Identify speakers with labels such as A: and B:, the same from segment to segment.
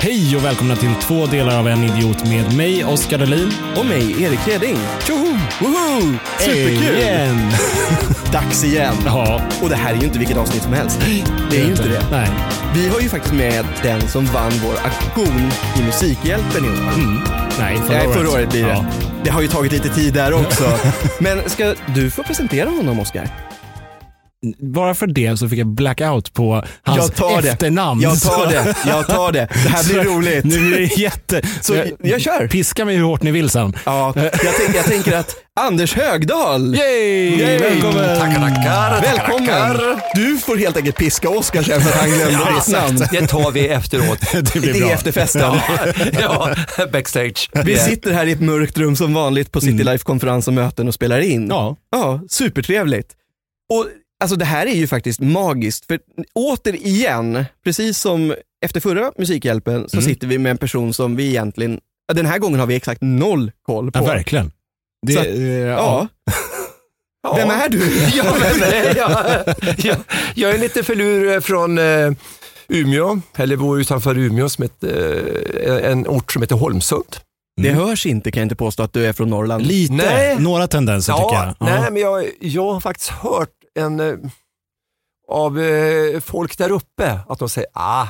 A: Hej och välkomna till två delar av En Idiot med mig, Oskar Dahlin.
B: Och mig, Erik Reding.
A: Tjoho!
B: Woho! Superkul!
A: Igen!
B: Dags igen.
A: Ja.
B: Och det här är ju inte vilket avsnitt som helst. Det är ju inte det.
A: Nej.
B: Vi har ju faktiskt med den som vann vår auktion i Musikhjälpen i år.
A: Nej, förra
B: Nej,
A: året.
B: förra året blir det.
A: Ja.
B: Det har ju tagit lite tid där också. Men ska du få presentera honom, Oskar?
A: Bara för det så fick jag blackout på hans
B: Jag tar det.
A: Alltså, efternamn.
B: Jag tar det. Jag tar det. Det här blir
A: Så-
B: roligt.
A: Nu blir det jätte...
B: Så jag kör.
A: Piska mig hur hårt ni vill sen.
B: Ja, jag, tänk, jag tänker att Anders Högdahl.
A: Yay!
B: Yay!
A: Välkommen!
C: Tackar, tackar.
B: Välkommen!
C: tackar.
B: Du får helt enkelt piska Oskar sen för att han glömde
C: Ja,
B: ditt namn.
C: exakt. Det tar vi efteråt.
A: Det blir
B: Det
A: bra.
B: är efterfesten.
C: ja, backstage.
B: Vi sitter här i ett mörkt rum som vanligt på
C: Mm.
B: Citylife-konferens och möten och spelar in.
A: Ja.
B: Ja, supertrevligt. Och alltså det här är ju faktiskt magiskt, för återigen, precis som efter förra Musikhjälpen, så
A: Mm.
B: sitter vi med en person som vi egentligen, ja, den här gången har vi exakt noll koll på.
A: Ja, verkligen. Det,
B: Så-
A: eh,
B: Ja.
C: Ja.
B: Vem är du?
C: Ja, vem är jag? Jag, jag är lite förlur från eh, Umeå, eller bor utanför Umeå, som ett, eh, en ort som heter Holmsund.
B: Det hörs inte kan jag inte påstå att du är från Norrland.
A: Lite,
C: Nej.
A: några tendenser tycker jag.
C: Nej, men jag, jag har faktiskt hört en, eh, av eh, folk där uppe att de säger ah,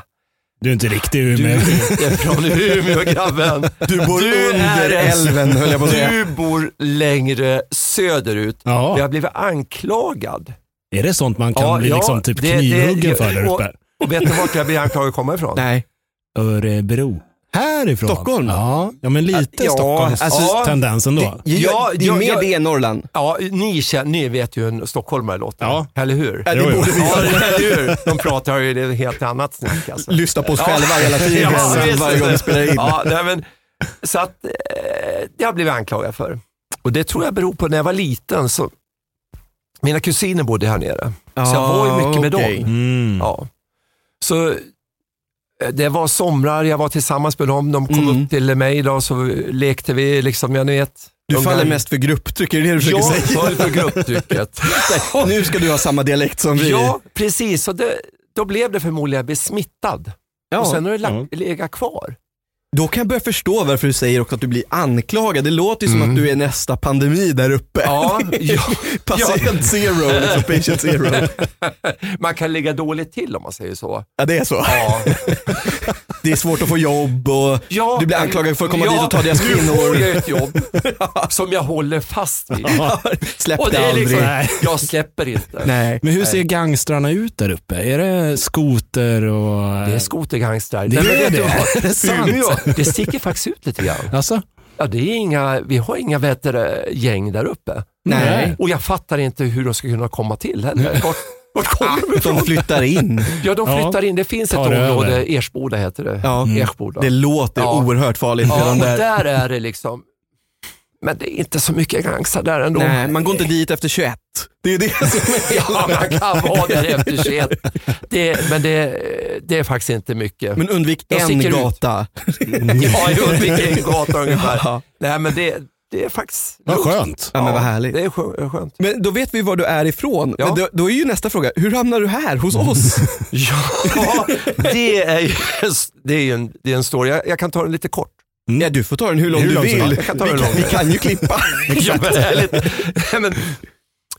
A: Du är inte riktig
C: du
A: Umeå.
C: är från Umeå grabben.
B: Du bor
C: Du
B: under
C: är en-
B: älven höll jag på att säga.
C: Du bor längre söderut.
A: Ja.
C: Jag har blivit anklagad.
A: Är det sånt man kan
C: Ja,
A: bli
C: ja,
A: liksom typ
C: det- det-
A: knivhuggen
C: ja,
A: för där
C: och-
A: uppe?
C: Och vet ni vart jag blir anklagad att komma ifrån?
B: Nej,
A: Örebro. Härifrån?
B: Stockholm?
A: Ja, ja men lite
C: Ja,
A: Stockholms
C: alltså-
A: tendens ändå.
B: ju,
C: Ja,
B: ju
C: jag-
B: mer
C: jag-
B: det är Norrland.
C: Ja, ni, känner, ni vet ju hur stockholmare låter,
A: Ja.
C: eller hur?
B: Ja, det
A: Jo, jo.
B: borde vi
C: Ja,
B: göra.
C: eller hur? De pratar ju det helt annat snack alltså.
B: Lyssna på oss
A: Ah.
B: själva hela tiden,
C: visst.
B: varje gång vi spelar in.
C: Ja, nej, men, så att, eh, det har jag blivit anklagad för. Och det tror jag beror på när jag var liten. Så, mina kusiner bodde här nere,
B: Mm.
C: så jag var ju mycket med
B: Ah,
C: dem.
B: okej.
A: Mm.
C: Ja. Så eh, det var somrar, jag var tillsammans med dem, de kom
B: Mm.
C: upp till mig idag så lekte vi, liksom, jag vet.
B: Du
C: ungar.
B: faller mest för grupptryck, är det det du försöker
C: Jag
B: säga?
C: föll för grupptrycket.
B: Nu ska du ha samma dialekt som vi.
C: Ja, precis. Och det, då blev det förmodligen jag blev smittad.
B: Ja. Mm.
C: Och sen har det lagt,
A: Ja.
C: legat kvar.
B: Då kan jag börja förstå varför du säger också att du blir anklagad. Det låter ju som
C: Mm.
B: att du är nästa pandemi där uppe.
C: Ja, ja,
B: Patient zero, liksom patient zero.
C: man kan ligga dåligt till om man säger så.
B: Ja, det är så.
C: Ja.
B: Det är svårt att få jobb och
C: Ja,
B: du blir anklagad för att komma
C: ja,
B: dit och ta deras
C: Nu får
B: kvinnor.
C: jag ett jobb som jag håller fast vid.
B: Släpp
C: Och
B: det
C: det är
B: aldrig.
C: liksom,
A: Nej.
C: jag släpper inte.
B: Nej.
A: Men hur ser gangstrarna ut där uppe? Är det skoter och...
C: Det är skotergangstrar.
A: Det
C: Nej, men
A: är
C: vet
A: det.
C: du vad?
A: Är det sant?
C: Umeå, det sticker faktiskt ut lite grann.
A: Alltså?
C: Ja, det är inga, vi har inga vetter, gäng där uppe.
B: Nej.
C: Och jag fattar inte hur de ska kunna komma till heller. Vart, vart kommer de ifrån?
B: De flyttar in.
C: Ja, de
A: Ja.
C: flyttar in. Det finns ett
A: Tar det
C: område,
A: över.
C: Ersboda heter det.
B: Ja. Mm.
C: Ersboda.
B: Det låter
C: Ja.
B: oerhört farligt.
C: ja,
B: redan
C: och
B: där.
C: där är det liksom, men det är inte så mycket gangsta där ändå.
B: Nej, man går inte dit efter 21. Det är det som är
C: Ja, man kan vara där efter 21. Det, men det, det är faktiskt inte mycket.
B: Men undvik
C: Jag
B: en
C: sticker ut.
B: gata.
C: ja, i Ludvikegatan ungefär.
B: Ja.
C: Nej, men det, det är faktiskt
A: Vad
C: lugnt.
A: skönt.
B: Ja, men vad härligt.
C: Det är skö- skönt.
B: Men då vet vi var du är ifrån.
C: Ja. Mm.
B: Men då, då är ju nästa fråga, hur hamnar du här hos oss?
C: Ja, det är ju det är ju en, det är en story. Jag, jag kan ta den lite kort.
B: Mm. Ja, du får ta den hur lång
A: Hur
B: du
A: lång som
B: vill.
A: helst.
B: Vi
C: Jag kan ta den
B: kan,
C: långt.
B: vi kan ju klippa.
C: Ja, men ärligt. Nej, men,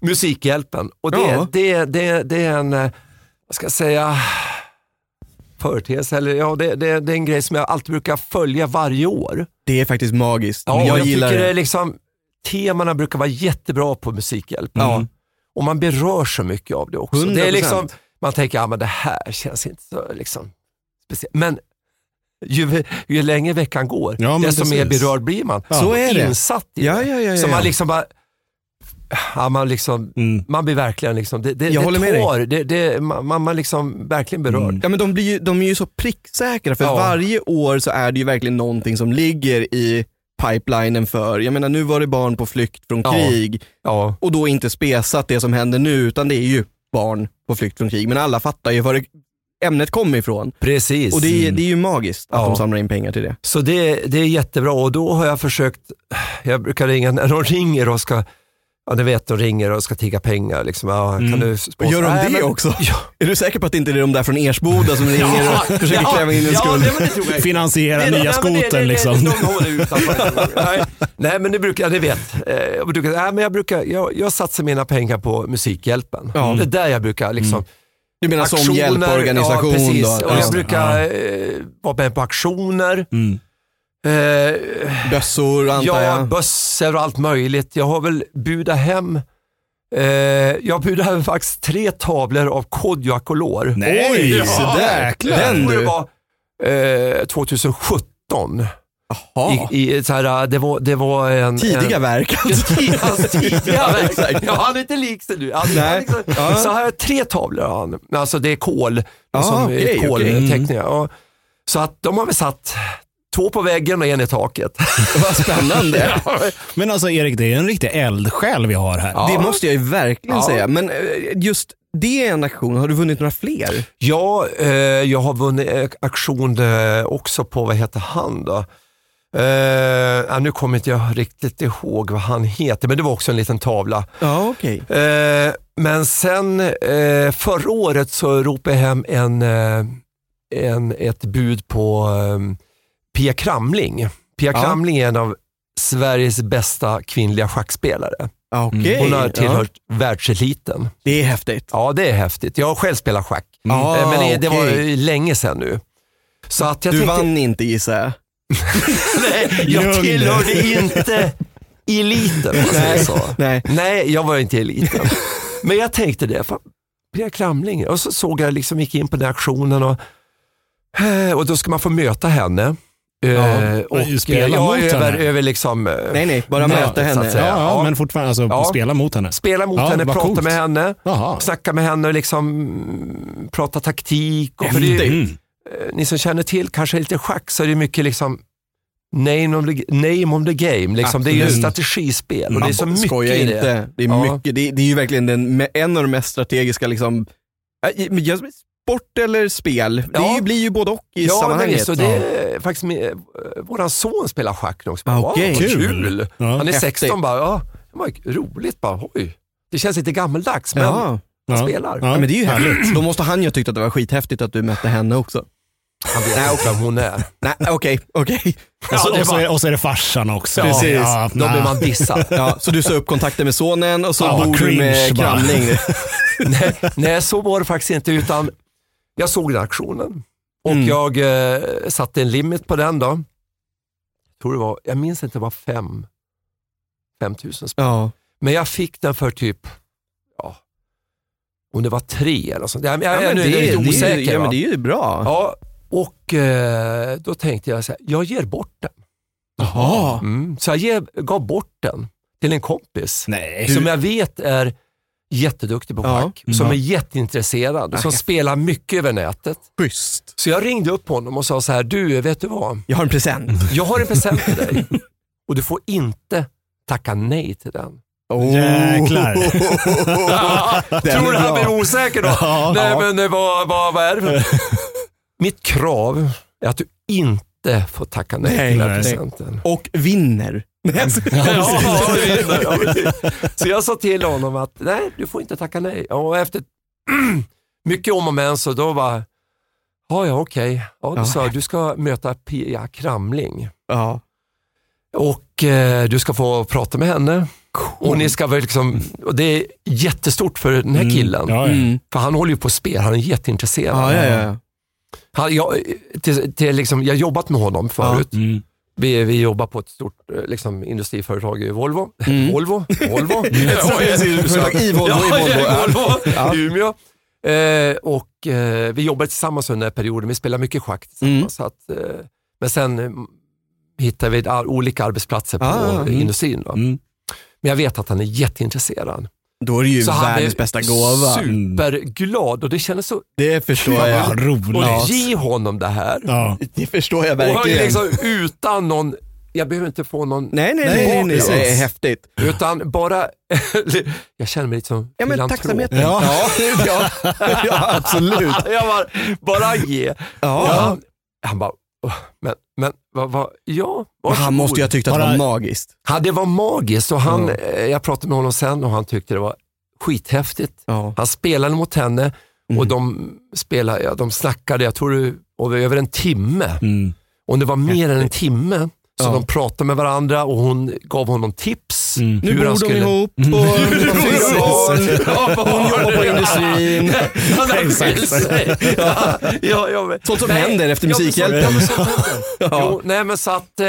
C: musikhjälpen. Och det,
B: Ja.
C: det, det, det är en, eh, vad ska jag säga, företeelse. Eller, ja, det, det, det är en grej som jag alltid brukar följa varje år.
B: Det är faktiskt magiskt.
C: Ja, och
B: jag,
C: jag
B: gillar
C: tycker det. är
B: det.
C: liksom, temana brukar vara jättebra på Musikhjälpen.
B: Ja.
C: Och man berörs så mycket av det också. Det är
B: 100%.
C: liksom, man tänker, ja men det här känns inte så liksom, speciellt. Men ju, ju längre veckan går,
A: Ja, men
C: desto mer
A: precis.
C: berörd blir man.
A: Så
B: är det.
C: Insatt i
B: Ja,
C: det.
B: ja, ja, ja.
C: Så man liksom bara, ja, man liksom,
A: Mm.
C: man blir verkligen liksom, det, det,
B: Jag håller med
C: det
B: dig.
C: tar, det, det, man, man- man liksom verkligen berörd.
A: Mm.
B: Ja, men de, blir ju, de är ju så pricksäkra för
C: Ja.
B: varje år så är det ju verkligen någonting som ligger i pipelinen för, jag menar nu var det barn på flykt från
C: Ja.
B: krig
C: Ja.
B: och då inte spesat det som händer nu utan det är ju barn på flykt från krig. Men alla fattar ju var det, ämnet kommer ifrån.
C: Precis.
B: Och det är, det är ju magiskt att
C: Ja.
B: de samlar in pengar till det.
C: Så det, det är jättebra och då har jag försökt, jag brukar ringa, när de ringer och ska, ja, du vet, de ringer och ska tigga pengar. Liksom. Ja, kan
A: Mm.
C: du sponsra-
B: Gör de
C: Nej,
B: det
C: men-
B: också?
C: Ja,
B: Är du säker på att det inte är de där från Ersboda som ringer och försöker klämma in en skuld?
C: Ja, det, men det tror jag inte.
A: Finansiera
C: Nej,
A: nya
C: nej, men det- det-
A: skotern
C: det-
A: liksom.
C: de håller utanför. Nej, Nej, men det brukar, ja, det vet. Eh, Jag, brukar, nej, men jag, brukar, jag, jag satsar mina pengar på Musikhjälpen.
B: Ja.
C: Det är där jag brukar liksom,
B: Du menar som
C: aktioner,
B: hjälporganisation?
C: ja, precis.
B: då?
C: Och
A: Just
C: jag
A: det,
C: brukar eh, vara med på aktioner.
A: Mm.
C: Eh,
B: Bössor antar
C: Ja,
B: jag?
C: bössor och allt möjligt. Jag har väl budat hem eh, jag bjuder hem faktiskt tre tavlor av Kodjo Akolor.
A: Nej,
B: Oj,
A: ja.
B: så där. Den
C: Den det
B: du.
C: var eh, 2017.
B: Jaha.
C: I, i, ett så här, äh, det, var, det var en...
B: Tidiga
C: en,
B: verk alltså.
C: Tidiga, hans tidiga
B: Ja,
C: verk.
B: exakt.
C: ja, han är inte lik sig nu. Han,
B: Nej.
C: han liksom,
B: Ja.
C: Så här har jag tre tavlor av han. Alltså det är kol,
B: Ah,
C: liksom,
B: okej, okej.
C: kolteckningar. Ja. Så att de har väl satt två på väggen och en i taket.
B: Vad spännande.
A: Men alltså Erik, det är en riktig eldsjäl vi har här.
C: Ja.
B: Det måste jag ju verkligen
C: Ja.
B: säga. Men eh, just det är en aktion, har du vunnit några fler?
C: Ja, eh, jag har vunnit eh, auktion eh, också på, vad heter han då? Eh, ja, nu kommer inte jag riktigt ihåg vad han heter, men det var också en liten tavla.
B: Ja, okej.
C: Eh, men sen eh, förra året så ropade jag hem en, eh, en, ett bud på eh, Pia Kramling. Pia
B: Ja.
C: Kramling är en av Sveriges bästa kvinnliga schackspelare.
B: Okej.
C: Mm. Hon har
B: Ja.
C: tillhört världseliten.
B: Det är häftigt.
C: Ja, det är häftigt. Jag har själv spelat schack.
B: Ah,
C: Eh, Men det, det var
B: okej.
C: ju länge sedan nu. Så att jag
B: Du
C: tänkte,
B: vann inte gissar jag.
C: nej, jag
A: Lugn.
C: tillhörde inte eliten. om man säger så.
B: Nej.
C: Nej, jag var inte eliten. Men jag tänkte det, fan, Pia Kramling. Och så såg jag, liksom, gick in på den här auktionen och, eh, och då ska man få möta henne. Eh,
A: Ja,
C: och eh,
A: spela
C: jag
A: mot
C: över,
A: henne.
C: över liksom, eh,
B: nej, nej, bara
A: Nej,
B: möta
C: så att
B: henne.
A: Ja,
C: säga.
B: Ja.
A: ja,
C: Ja.
A: men fortfarande alltså,
C: Ja.
A: spela mot henne.
C: spela mot
A: Ja,
C: henne,
A: vad
C: prata
A: coolt.
C: med henne,
A: Jaha.
C: snacka med henne och liksom, mm, prata taktik. Och, för det är ju-
A: Mm.
C: eh, ni som känner till kanske lite schack så är det mycket liksom name of the, name of the game. Liksom. Det är ju en
A: Absolut.
C: strategispel och det är så
B: Man
C: mycket
B: skojar
C: i det.
B: inte. Det är,
C: Ja.
B: mycket, det, är- det är ju verkligen den, me- en av de mest strategiska, liksom, äh, men jag- sport eller spel, det är
C: Ja.
B: ju, blir ju både och i
C: Ja, men
B: sammanhanget.
C: visst, och det är faktiskt min, eh, våran son spelar schack nu också.
B: Ah,
C: Wow,
B: okej.
C: vad kul.
A: Kul. Ja.
C: Han är
B: Häftigt.
C: 16 bara, ja, det var roligt bara, oj. Det känns lite gammaldags, men han
B: Ja.
A: Ja.
C: spelar.
A: Ja.
B: ja, men det är ju härligt. Då måste han ju ha tyckt att det var skithäftigt att du mötte henne också.
C: Han vet inte vem hon är.
B: Nej, okej, okej.
A: Och, så,
C: Ja, det
A: och, så
C: var-
A: är, Ah. och så är det farsan också.
B: Precis.
A: Ja,
C: Då blir man dissad.
B: Ja, så du sa upp kontakten med sonen och så
A: Ja,
B: bor du med
A: cringe bara.
B: Kramling.
C: nej, nej, så var det faktiskt inte, utan jag såg den aktionen och
B: Mm.
C: jag eh, satte en limit på den då. Jag, tror det var, jag minns inte, det var fem, fem tusen spänn.
B: Ja.
C: Men jag fick den för typ, ja, om det var tre eller sånt. Jag, jag, jag, nu är jag lite osäker.
B: det, är ju- ja,
C: va?
B: men det är ju bra.
C: Ja, och eh, då tänkte jag så här, jag ger bort den.
B: Jaha.
C: Mm. Så jag ger, gav bort den till en kompis
A: Nej.
C: som jag vet är jätteduktig på
B: Ja. Mm.
C: schack, som
A: Ja.
C: är jätteintresserad och som
B: Nej.
C: spelar mycket över nätet.
B: Schysst.
C: Så jag ringde upp honom och sa så här, du vet du vad,
B: Jag har en present.
C: jag har en present till dig och du får inte tacka nej till den.
B: Oh.
A: Jäklar.
B: Den är
C: tror du han
B: bra.
C: blir osäker då?
A: Ja.
C: Nej
B: Ja.
C: men eh, vad, vad, vad är det för Mitt krav är att du inte får tacka nej,
B: Nej,
C: till den här
A: nej.
C: presenten.
B: Och vinner.
C: Ja, ja, precis. Ja, precis. så jag sa till honom att nej, du får inte tacka nej. Och efter mycket om och men så då var ja, ja okej. Ja, du
B: Ja.
C: sa du ska möta Pia Kramling
B: Ja.
C: och eh, du ska få prata med henne. Och, ni ska väl liksom, och det är jättestort för den här killen.
A: Ja, ja.
B: Mm.
C: För han håller ju på spel, han är jätteintresserad.
B: Ja, ja, ja.
C: Han, jag, till, till liksom, jag har jobbat med honom förut.
A: Mm.
C: Vi, vi jobbar på ett stort eh, liksom, industriföretag i Volvo.
B: Mm.
C: Volvo? Volvo?
B: Företag i Volvo, i Volvo.
C: Ja, i Volvo.
B: Ja.
C: I Umeå. Eh, och, eh, vi jobbade tillsammans under den här perioden. Vi spelade mycket schack tillsammans.
B: Mm.
C: Så att, eh, men sen eh, hittade vi ar- olika arbetsplatser på eh,
B: Ah, mm.
C: industrin. Då.
A: Mm.
C: Men jag vet att han är jätteintresserad.
B: Då är det ju
C: Så han
B: världens
C: blev
B: bästa gåva. Mm.
C: Superglad och det kändes så...
B: Det förstår
C: Fan,
B: jag.
A: Vad roligt.
C: Mm. Och ge honom det här.
A: Ja.
B: Det förstår jag
C: Och
B: verkligen.
C: liksom utan någon, jag behöver inte få någon,
B: Nej, nej, nej,
C: Nej,
B: nej, nej.
C: precis.
B: det är häftigt.
C: utan bara, jag känner mig lite som
B: Ja, men
C: filantrop.
B: tacksamheten.
A: Ja.
B: ja, ja, absolut.
C: Jag bara, bara ge.
B: Ja.
C: Ja. Han bara, "Åh, men Men vad, vad, ja,
B: Han måste ju ha tyckt att det
A: Bara-
B: var magiskt.
C: Ja, det var magiskt och han,
B: Ja.
C: eh, jag pratade med honom sen och han tyckte det var skithäftigt.
B: Ja.
C: Han spelade mot henne
B: Mm.
C: och de, spelade, ja, de snackade, jag tror det var över en timme.
A: Mm.
C: Och det var mer än en timme som
B: Ja.
C: de pratade med varandra och hon gav honom tips.
A: Mm.
B: Nu
C: hur
B: bor
C: han
B: de
C: skulle-
B: ihop och de har fyra barn. Hon jobbar på industrin.
C: Han har skilt sig. Ja, ja, ja, men-
B: Sånt som
C: Nej,
B: händer efter
C: ja, men så-
B: Musikhjälpen.
C: ja, men så- Jo, nej men så att, eh,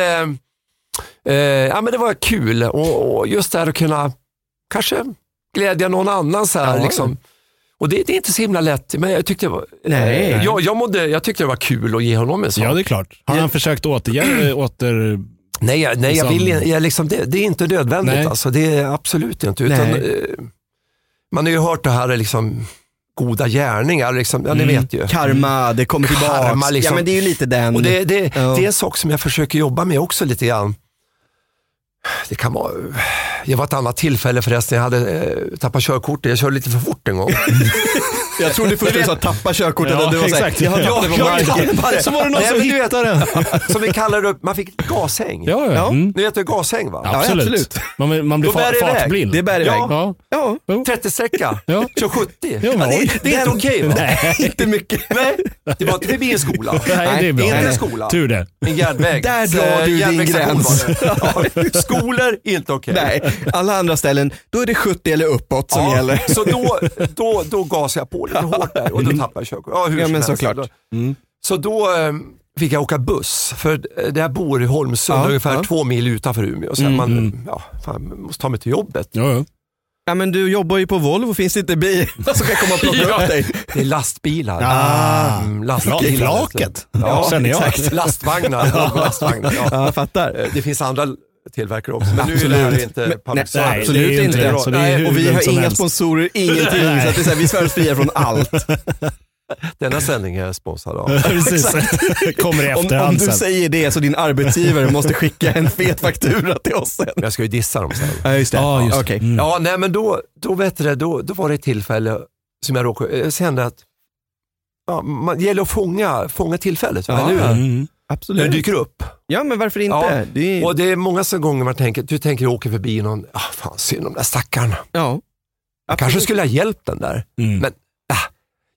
C: eh, ja men det var kul och, och just det här att kunna kanske glädja någon annan så här
B: Ja.
C: liksom. Och det, det är inte så himla lätt, men jag tyckte det var,
B: Nej.
C: eh, Jag, jag, mådde, jag tyckte det var kul att ge honom en sån.
A: Ja, det är klart. Har han försökt återge, åter...
C: nej, jag, nej jag
A: Liksom-
C: vill, jag, liksom, det, det är inte nödvändigt
A: Nej.
C: alltså, det är absolut inte. Utan,
B: Nej.
C: eh, man har ju hört det här liksom, goda gärningar, liksom, ja ni
A: Mm.
C: vet ju.
B: Karma, det kommer tillbaka.
C: Karma, liksom.
B: Ja men det är ju lite den.
C: Och det, det,
B: Ja.
C: det är en sak som jag försöker jobba med också lite grann. Det kan vara, det var ett annat tillfälle förresten, jag hade eh, tappat körkortet, jag körde lite för fort en gång.
B: jag trodde först att du sa tappa körkortet
A: Ja,
B: och du var såhär,
A: exakt.
B: jag har tappat det på
C: Ja, jag
B: marken.
C: tappade.
A: Så var det någon
C: Nej,
A: som
C: men du vet,
A: hittade den.
C: Som vi kallar det, man fick gashäng.
A: Ja,
B: Ja.
A: ja. Mm.
C: Ni vet du gashäng va?
B: Ja,
A: absolut.
B: absolut.
A: Man, man blir
C: Då bär det
A: fa-
C: iväg.
A: fartblind.
B: Det bär iväg.
A: Ja.
B: Ja,
A: Jo.
C: 30-sträcka,
A: Ja.
C: kör 70.
A: Ja, men
C: det,
A: oj.
C: det är inte
B: Den-
C: okej va?
A: Nej.
B: inte mycket.
C: Nej, det var inte förbi en skola.
A: Nej, det är bra.
C: inte en
A: Nej.
C: skola.
A: Tur det.
C: En järnväg.
B: Där drar
C: Eh,
B: du din
C: järnvägsstation
B: gräns.
C: var det. Ja. Skolor, inte okej.
B: Nej, alla andra ställen, då är det 70 eller uppåt som
C: ja,
B: gäller.
C: Så då, då, då gasade jag på lite hårt där och då tappade jag körkortet. Ja, hur
B: Ja,
C: som
B: men
C: helst.
B: såklart.
C: Så då eh, fick jag åka buss, för där jag bor i Holmsund,
B: Ja,
C: ungefär
B: ja.
C: två mil utanför Umeå. Så
A: Mm,
C: man
A: mm.
C: ja, fan, man måste ta mig till jobbet.
A: Ja, ja.
B: Ja men du jobbar ju på Volvo, finns det inte bil som kan komma och plocka upp dig?
C: Det är lastbilar.
A: Ah.
C: Mm, lastbilar.
A: Flaket.
C: Ja,
A: Känner jag.
C: exakt. Lastvagnar. Volvo lastvagnar ja.
B: Ja, jag fattar.
C: Eh, Det finns andra tillverkare också, men nu är det här inte public
B: nej,
C: service.
B: absolut
A: det är
B: inte.
A: inte.
C: bra.
A: Så det är
B: Nej,
A: hur
B: och vi
A: dumt
B: har
A: som
B: inga
A: helst.
B: sponsorer, ingenting.
A: Nej.
B: Så att det är så här, vi svärs fria från allt.
C: Denna sändning är sponsrad av.
A: Precis. Kommer i
B: Om, om
A: efterhand
B: du
A: sen.
B: säger det så din arbetsgivare måste skicka en fet faktura till oss sen.
C: Jag ska ju dissa dem sen.
B: Ja just det.
A: Ja, just det.
B: Okej.
A: Mm.
C: Ja, nej men då, då, vet du, det, då, då var det ett tillfälle som jag råkade, jag kände att ja, man, det gäller att fånga, fånga tillfället,
B: Ja,
C: eller hur?
A: Mm.
C: När det
B: Absolut.
C: dyker upp.
B: Ja men varför inte?
C: Ja.
B: Det är,
C: Och det är många så gånger man tänker, du tänker jag åker förbi någon, ah, fan synd om de där stackarna.
B: ja.
C: Jag kanske skulle ha hjälpt den där.
A: Mm.
C: Men-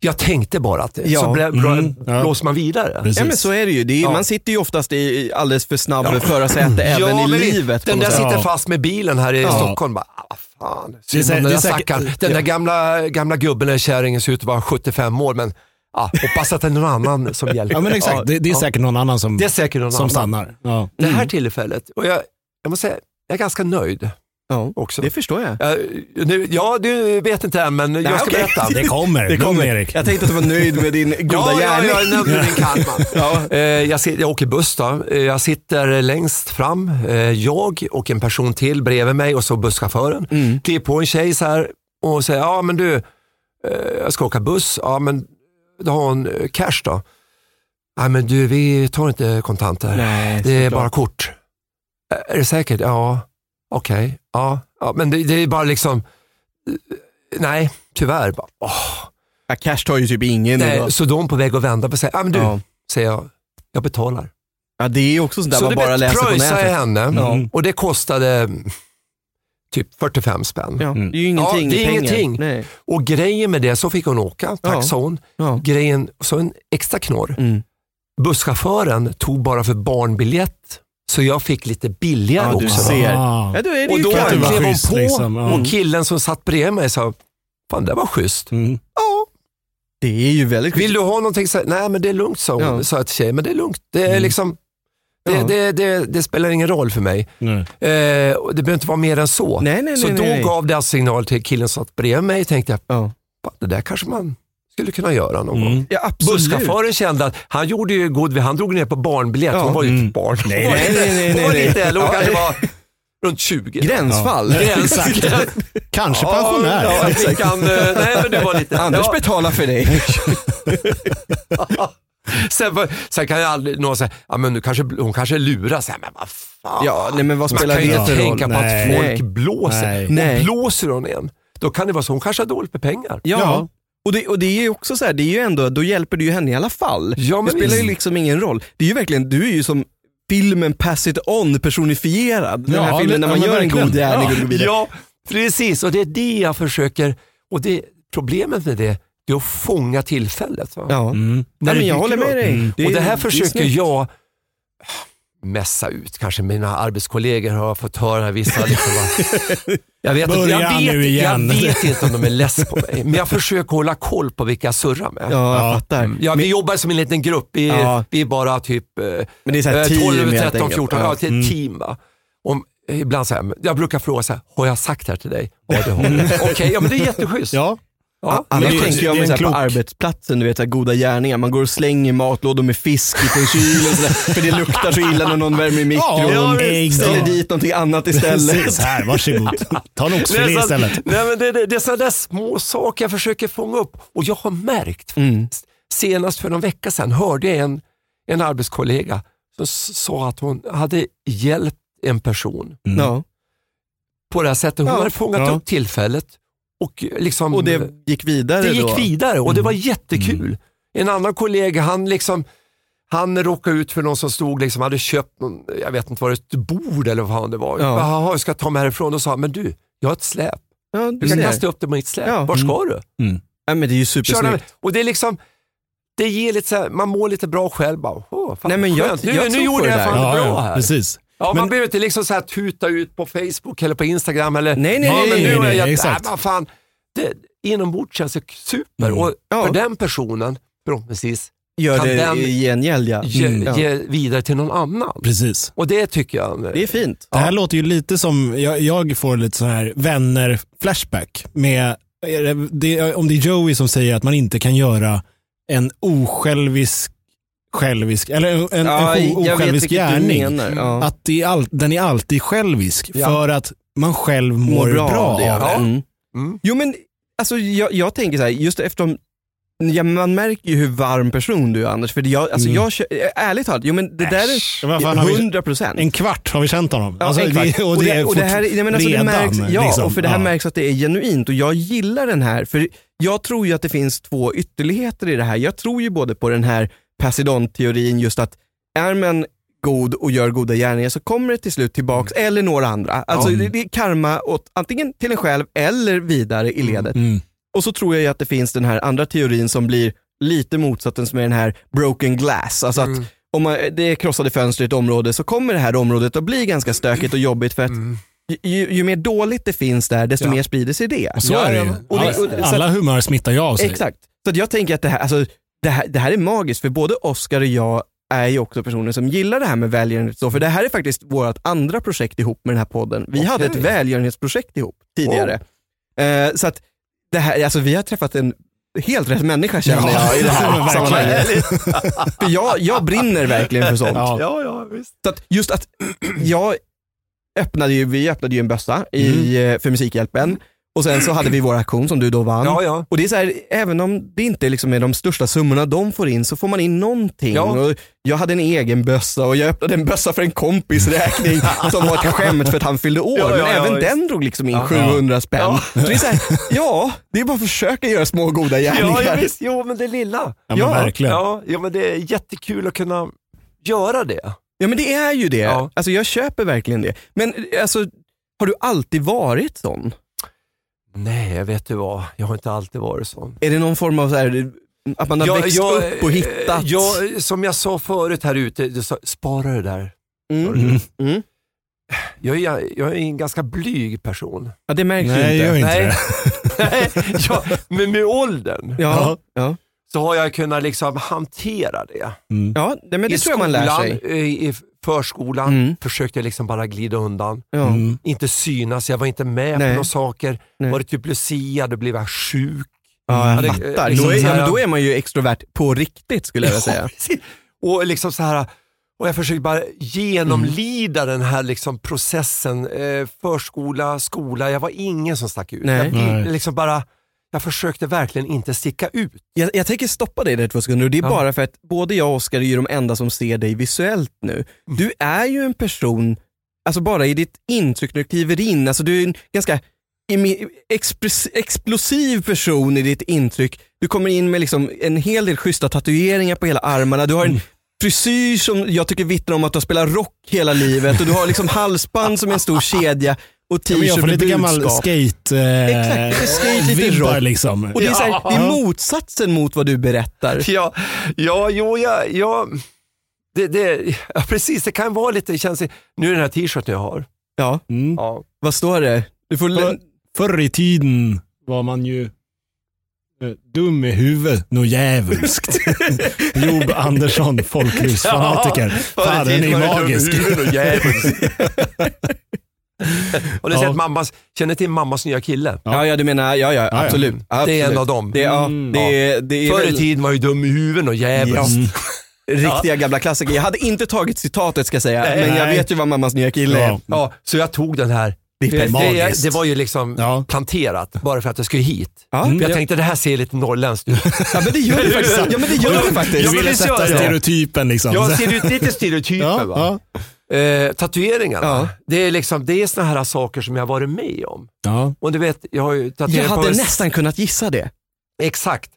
C: Jag tänkte bara att det,
B: Ja,
C: så blä, blå,
A: mm, ja.
C: blåser man vidare.
A: Precis.
B: Ja men så är det ju. Det är,
C: Ja. Mm.
B: Man sitter ju oftast i- i alldeles för snabb förarsäte även i
C: men det-
B: livet. på
C: Den
B: något
C: där
B: sätt.
C: sitter
A: Ja.
C: fast med bilen här i
A: Ja.
C: Stockholm. Bara, ah, fan, synd
A: sä- det
C: om den,
A: är
C: där
A: säkert-
C: stackaren. den där gamla, gamla gubben eller kärringen ser ut att vara 75 år, men ah, hoppas att det är någon annan som hjälper.
A: Ja, men exakt. Det, det är
C: Ja.
A: säkert någon annan som,
C: Det är säkert någon
A: som Mm.
C: annan.
A: stannar. Ja.
C: Det här tillfället, och jag, jag måste säga, jag är ganska nöjd
B: Ja,
C: också.
B: det förstår jag.
C: Ja, nu, ja, du vet inte än, men jag ska
B: okej.
C: berätta.
A: Det kommer.
B: Det
A: Lugn,
B: kommer.
A: Erik.
B: Jag tänkte att du var nöjd med din goda
C: Ja, ja,
B: gärning.
C: jag nämnde min karma.
B: Ja.
C: Eh, jag, sit, jag åker buss då. Eh, Jag sitter längst fram, eh, jag och en person till bredvid mig och så busschauffören.
B: Mm.
C: Kliver på en tjej så här och säger, ja men du, eh, jag ska åka buss. Ja men, då har hon eh, cash då. Nej men du, vi tar inte kontanter.
B: Nej,
C: Det är
B: såklart.
C: bara kort. Ä- Är det säkert? Ja. Okej. Ja. ja. Men det, det är bara liksom... eh, Nej, tyvärr. Bara, åh.
B: Ja, cash tar ju typ ingen
C: Nej,
B: idag.
C: så de är på väg att vända på sig. Ja, men du,
B: Ja.
C: säger jag. Jag betalar.
B: ja, det är ju också sånt där
C: så
B: man
C: du
B: bara
C: vet,
B: läser på
C: pröjsar jag
B: nätet.
C: henne
A: Ja.
C: och det kostade mm, typ 45 spänn.
B: Ja,
A: Mm.
B: det är ju ingenting
C: Ja, det är
B: i pengar.
C: ingenting.
B: Nej.
C: Och grejen med det, så fick hon åka. Tack
B: Ja.
C: sa hon.
B: Ja.
C: Grejen, så en extra knorr.
B: Mm.
C: Busschauffören tog bara för barnbiljett. Så jag fick lite billigare
B: Ja, du
C: också.
B: ser.
A: Ah.
B: Ja, då är det
C: Och
B: ju
C: då
A: kan
B: klart.
A: det
C: klev
A: vara
C: hon
A: schysst,
C: på
A: liksom. Ja.
C: och killen som satt bredvid mig sa, fan det var schysst.
A: Mm.
C: Ja,
B: Det är ju väldigt
C: vill du ha någonting? Så, nej men det är lugnt sa hon,
B: Ja.
C: sa jag till tjejen, men det är lugnt. Det, är
A: Mm.
C: liksom, det,
B: Ja.
C: det, det, det spelar ingen roll för mig.
A: Nej.
C: Eh, och det behöver inte vara mer än så.
B: Nej, nej,
C: så
B: nej.
C: då
B: nej.
C: gav det alltså signal till killen som satt bredvid mig, tänkte jag,
B: Ja.
C: fan, det där kanske man skulle kunna göra någon gång.
A: Mm.
B: Ja, absolut.
C: Busschauffören kände att han gjorde ju god, han drog ner på barnbiljett,
B: Ja.
C: hon var ju
A: Mm.
C: ett barn.
A: Nej,
C: Hon var
B: nej,
C: inte-
B: nej, nej,
C: hon var
B: nej.
C: inte äldre, hon
B: Ja.
C: kanske var runt 20.
B: Gränsfall.
A: Exakt. Kanske pensionär.
C: Ja, jag fick han, eh, nej men du var lite...
B: Anders
C: ja.
B: betalar för dig.
C: sen, var- sen kan jag aldrig, någon säga, ja, men nu kanske, hon kanske lurar, så här, men vad fan.
B: Ja, nej, men vad
C: man
B: spelar
C: kan ju
B: det
C: inte
B: för
C: tänka
A: roll?
C: på att
A: Nej.
C: folk
B: Nej.
C: blåser.
A: Nej.
B: Nej.
C: Och blåser hon en, då kan det vara så, hon kanske har dåligt med pengar.
B: Ja.
A: Ja.
B: Och, det, och det är ju också så här, det är ju ändå, då hjälper du ju henne i alla fall.
C: Ja, men
B: det spelar ju
C: visst.
B: liksom ingen roll. Det är ju verkligen, du är ju som filmen Pass It On personifierad. Den här
A: Ja,
B: filmen
A: det-
B: när
A: ja,
B: man
A: men
B: gör en
A: verkligen.
B: god gärning och går vidare.
C: Ja, precis. Och det är det jag försöker, och det, problemet med det, det är att fånga tillfället. Va?
B: Ja.
A: Mm.
C: När
B: Nej,
C: det
B: men jag
C: dyker
B: håller
C: upp.
B: med dig.
A: Mm.
C: och det här försöker
B: snyggt.
C: jag mässa ut. Kanske mina arbetskollegor har fått höra här vissa. Liksom, va? jag, vet inte,
A: Börja
C: jag, vet,
A: nu igen.
C: jag vet inte om de är less på mig, men jag försöker hålla koll på vilka jag surrar med.
B: Ja, jag
A: Ja.
B: fattar.
C: Mm. Ja, vi jobbar som en liten grupp. Vi,
B: Ja.
C: vi är bara typ eh,
B: Men det är så här
C: eh,
B: team
C: 12,
B: helt
C: 13,
B: enkelt.
C: 14.
B: Ja.
C: Ja,
B: Mm.
C: till ett team. Va? Om, eh, ibland så här, jag brukar fråga så här, har jag sagt det här till dig? Ja, det har jag. Okej, ja, men det är jätteschysst.
A: Ja.
C: Ja.
B: Annars
A: Men det-
B: tänker jag
A: det är
B: mig
A: en
B: så här på
A: klok-
B: arbetsplatsen, du vet så här, goda gärningar. Man går och slänger matlådor med fisk ifrån kylen så där, för det luktar så illa när någon värmer i mikron.
A: Ja, ägg.
B: Ställer
A: Ja.
B: dit någonting annat istället.
A: Precis, här, varsågod. Ta en
C: Nej,
A: oxfilé
C: så-
A: istället.
C: Nej, men det, det, det är sådana där små saker jag försöker fånga upp. Och jag har märkt,
B: Mm.
C: senast för någon vecka sedan hörde jag en, en arbetskollega som s- sa att hon hade hjälpt en person
B: Ja.
C: på det här sättet. Hon
B: Ja.
C: hade fångat
A: Ja.
C: upp tillfället och liksom
B: Och det gick vidare
C: det gick
B: då?
C: vidare och det var
A: Mm.
C: jättekul.
A: Mm.
C: En annan kollega, han liksom han råkade ut för någon som stod liksom, hade köpt någon, jag vet inte vad det ett bord eller vad fan det var.
B: Ja.
C: Jaha, jag ska ta mig härifrån. Och sa han, men du, jag har ett släp.
B: Ja,
C: Du
B: du
C: kan
B: ser.
C: kasta upp det på mitt släp.
B: Ja.
C: Var ska du?
B: Ja, men det är ju
C: Kör den.
B: supersnyggt.
C: Och det är liksom, det ger lite så här, man mår lite bra själv. Bara, åh, fan,
B: Nej, men jag-
C: skönt.
B: jag
C: nu, nu
B: tror på
C: gjorde
B: det
C: jag
B: där.
C: fan det bra här.
A: precis.
C: Ja, man
A: Men-
C: behöver inte liksom så här tuta ut på Facebook eller på Instagram. Eller,
B: Nej, nej,
C: ja, men
B: nej,
C: nu
A: nej,
C: har
A: nej,
C: jag,
A: exakt.
C: Nej, men fan, det, inombords känns det super.
A: Mm.
C: Och
B: Ja.
C: för den personen, förhoppningsvis,
B: Gör
C: Kan
B: det
C: den-
B: i gengäld ja.
C: ge,
B: Mm. ja.
C: ge vidare till någon annan.
A: precis.
C: Och det tycker jag.
B: Det är fint.
A: Det här låter ju lite som, jag, jag får lite så här vänner-flashback. Med, är det, det, om det är Joey som säger att man inte kan göra en osjälvisk, självisk, eller en, en,
B: Ja,
A: en
B: jag vet
A: osjälvisk
B: vilket du
A: gärning.
B: menar. Ja.
A: Att det är all, den är alltid självisk
C: Ja.
A: för att man själv mår, bra,
B: av det.
A: av det.
C: ja.
B: Mm.
C: Mm.
B: Jo men, alltså jag, jag tänker så här, just eftersom ja, man märker ju hur varm person du är Anders. För jag, alltså,
A: Mm.
B: jag, kö- ärligt talat, jo men det där
A: Ja, vad fan har
B: är
A: vi-
B: 100 procent.
A: En kvart har vi känt honom.
B: Ja,
A: Alltså,
B: exakt.
A: det, och det, är
B: och det här,
A: fort-
B: nej, men alltså,
A: redan,
B: det märks, ja,
A: liksom.
B: och för det här
A: Ja.
B: märks att det är genuint och jag gillar den här. För Jag tror ju att det finns två ytterligheter i det här. Jag tror ju både på den här Pasidon-teorin just att är man god och gör goda gärningar så kommer det till slut tillbaks eller några andra. Alltså
A: Ja.
B: det, det är karma åt antingen till en själv eller vidare i ledet.
A: Mm.
B: Och så tror jag ju att det finns den här andra teorin som blir lite motsatsen som är den här broken glass. Alltså att
C: Mm.
B: om man, det är krossade fönster i ett område så kommer det här området att bli ganska stökigt och jobbigt för att
C: Mm.
B: ju, ju mer dåligt det finns där, desto
C: Ja.
B: mer sprider sig det.
A: Så
C: Ja,
A: är det
C: ja,
A: ju.
C: men-
B: och det- och-
A: Alla-
B: så
A: Alla humör smittar ju av sig.
B: Exakt. Så att jag tänker att det här, alltså, det, här, det här är magiskt, för både Oscar och jag är ju också personer som gillar det här med välgörenhet. och Så, för det här är faktiskt vårt andra projekt ihop med den här podden. Vi
C: Okej.
B: hade ett välgörenhetsprojekt ihop tidigare. Eh, så att det här, alltså, vi har träffat en helt rätt människa känner
A: Ja,
B: jag i det här
A: verkligen.
B: sammanhanget. För jag, jag brinner verkligen för sånt.
A: Ja.
C: Ja, ja, visst.
B: Så att just att jag öppnade ju, vi öppnade ju en bössa i, eh, för Musikhjälpen och sen så hade vi vår auktion som du då vann.
C: Ja, ja.
B: Och det är så här, även om det inte liksom är de största summorna de får in så får man in någonting.
C: Ja.
B: Och jag hade en egen bössa och jag öppnade en bössa för en kompis räkning som var ett skämt för att han fyllde år.
C: Ja, ja,
B: men
C: ja,
B: även
C: visst.
B: den drog liksom in
C: Ja.
B: 700 spänn.
C: Ja.
B: Så det är så här, ja, det är bara att försöka göra små goda
C: Ja,
B: gärningar.
C: ja, visst. Jo, men det lilla.
A: Ja, men verkligen.
C: Ja, ja, men det är jättekul att kunna göra det.
B: Ja men det är ju det.
C: Ja.
B: Alltså jag köper verkligen det. Men eh, alltså, har du alltid varit sån?
C: Nej, jag vet du vad. Jag har inte alltid varit sån.
B: Är det någon form av så här, att man har växt upp och hittat?
C: eh, Jag, som jag sa förut här ute, du sa, spara det där.
B: mm.
A: Mm.
B: Mm.
C: Jag är, jag är en ganska blyg person.
B: Ja det märks
A: Nej,
B: ju
A: gör
B: inte.
A: inte
C: Nej.
A: det.
C: Nej, jag, men med åldern
B: Ja, ja.
C: så har jag kunnat liksom hantera det.
A: Mm.
B: ja nej, men det
C: I
B: tror jag man lär
C: skolan, eh,
B: sig.
C: I i förskolan
B: Mm.
C: försökte jag liksom bara glida undan.
B: Ja.
A: Mm.
C: Inte synas, jag var inte med
B: Nej.
C: på några saker.
B: Nej.
C: Var det typ Lucia, då blev jag sjuk.
B: Ja, jag
C: Ja, det-
B: fattar.
C: liksom
B: Då
C: så
B: är,
C: här-
B: ja, men då är man ju extrovert på riktigt skulle jag vilja säga.
C: Precis. Och liksom så här och jag försöker bara genomlida den här liksom processen. Eh, förskola, skola, jag var ingen som stack ut.
B: Nej.
C: Jag, ville
A: Nej.
C: liksom bara, jag försökte verkligen inte sticka ut.
B: Jag, jag tänker stoppa dig där två sekunder och det är
C: Ja.
B: bara för att både jag och Oskar är ju de enda som ser dig visuellt nu.
A: Mm.
B: Du är ju en person, alltså bara i ditt intryck när du kliver in, alltså du är en ganska imi- express, explosiv
A: Mm.
B: person i ditt intryck. Du kommer in med liksom en hel del schyssta tatueringar på hela armarna, du har en frisyr som jag tycker vittnar om att du har spelat rock hela livet och du har liksom halsband som är en stor kedja och
A: Ja, men
B: t-shirt
A: jag får
B: med
A: lite gammal
B: budskap.
A: skate, eh,
B: Exakt, det är skate, lite
A: vibbar
B: rock.
A: liksom.
B: Och det är, så här, det är
A: Ja.
B: motsatsen mot vad du berättar.
C: Ja, ja, jo, ja, ja. Det, det, ja, precis. Det kan vara lite känsligt. Nu är det den här t-shirten jag har.
B: Ja,
A: Mm.
C: Ja.
B: vad står det? Du får lä-
A: För, förr i tiden var man ju eh, dum i huvudet, något djävulskt. Job Andersson, folkrusfanatiker. Fan, den är magisk.
C: Och, jävligt. och det är
A: Ja.
C: att mammas, känner till mammas nya kille.
B: ja, ja, du menar, ja, ja,
A: ja.
B: absolut.
C: Det är en
B: absolut.
C: av dem.
B: Det, är- ja,
A: Mm.
B: det, är- det är
C: Förr i
B: väl
C: tiden var ju dum i huvudet och jävligt.
A: Ja. Mm.
B: riktiga gamla klassiker. Jag hade inte tagit citatet ska jag säga, men jag
A: Nej.
B: vet ju vad mammas nya kille är.
A: Ja.
C: Ja, så jag tog den här.
A: Det är
C: det,
A: magiskt.
C: det var ju liksom
A: Ja.
C: planterat bara för att jag skulle hit.
B: Ja, Mm.
C: För jag
B: ja.
C: tänkte det här ser lite norrländskt ut.
B: ja, men det gör det faktiskt. Ja, men det gör det
A: Du
B: faktiskt.
C: men
A: ville
C: visst
A: sätta
C: gör jag.
A: stereotypen liksom.
C: Jag ser ut lite stereotyper.
A: ja,
C: va?
A: ja.
C: Eh, tatueringarna,
B: Ja.
C: det är, liksom, det är såna här saker som jag varit med om.
A: Ja.
C: Och du vet, jag har ju
B: Jag
C: tatuerat på
B: hade
C: mig-
B: nästan kunnat gissa det.
C: Exakt.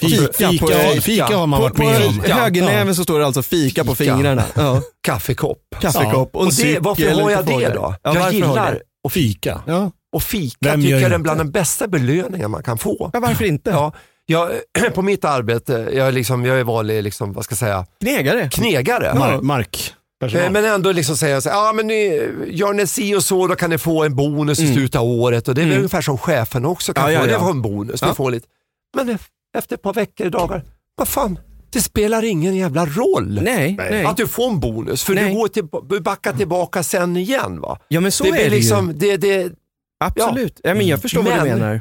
A: Fika,
B: Fika på-
A: fika, fika har man
B: På,
A: varit
B: på
A: med om.
B: högernäven så står det alltså fika på
C: Fika.
B: fingrarna. Ja.
C: Kaffekopp.
B: Kaffekopp och, en
C: Och det,
B: cykel
C: varför har
B: lite
C: jag det
B: fågel.
C: då?
B: Ja,
C: jag
B: varför har du
C: gillar
B: det?
A: Och fika. Ja.
C: att fika,
A: Vem gör
C: tycker jag är
A: inte?
C: bland de bästa belöningar man kan få.
B: Ja, varför inte?
C: Ja, jag, på mitt arbete, jag är, liksom, jag är vanlig liksom, vad ska jag säga,
B: Knegare.
C: knegare.
A: Mar- Mark.
C: Eh, Men ändå liksom säga så här, ah, men ni, gör ni si och så då kan ni få en bonus i slutet av året. Och det är väl ungefär som chefen också kan
B: Mm. Ja, ja,
C: få.
B: ja.
C: Det var en bonus. Ni
B: Ja.
C: får lite. Men e- efter ett par veckor, dagar, vad fan, det spelar ingen jävla roll.
B: Nej,
A: Nej.
B: nej.
C: Att du får en bonus, för
B: Nej.
C: du går till, du backar tillbaka sen igen. Va?
B: Ja men så
C: det
B: är
C: blir
B: det ju.
C: liksom, det, det,
B: Absolut. Ja. men jag förstår vad du
C: Mm. Men-
B: menar.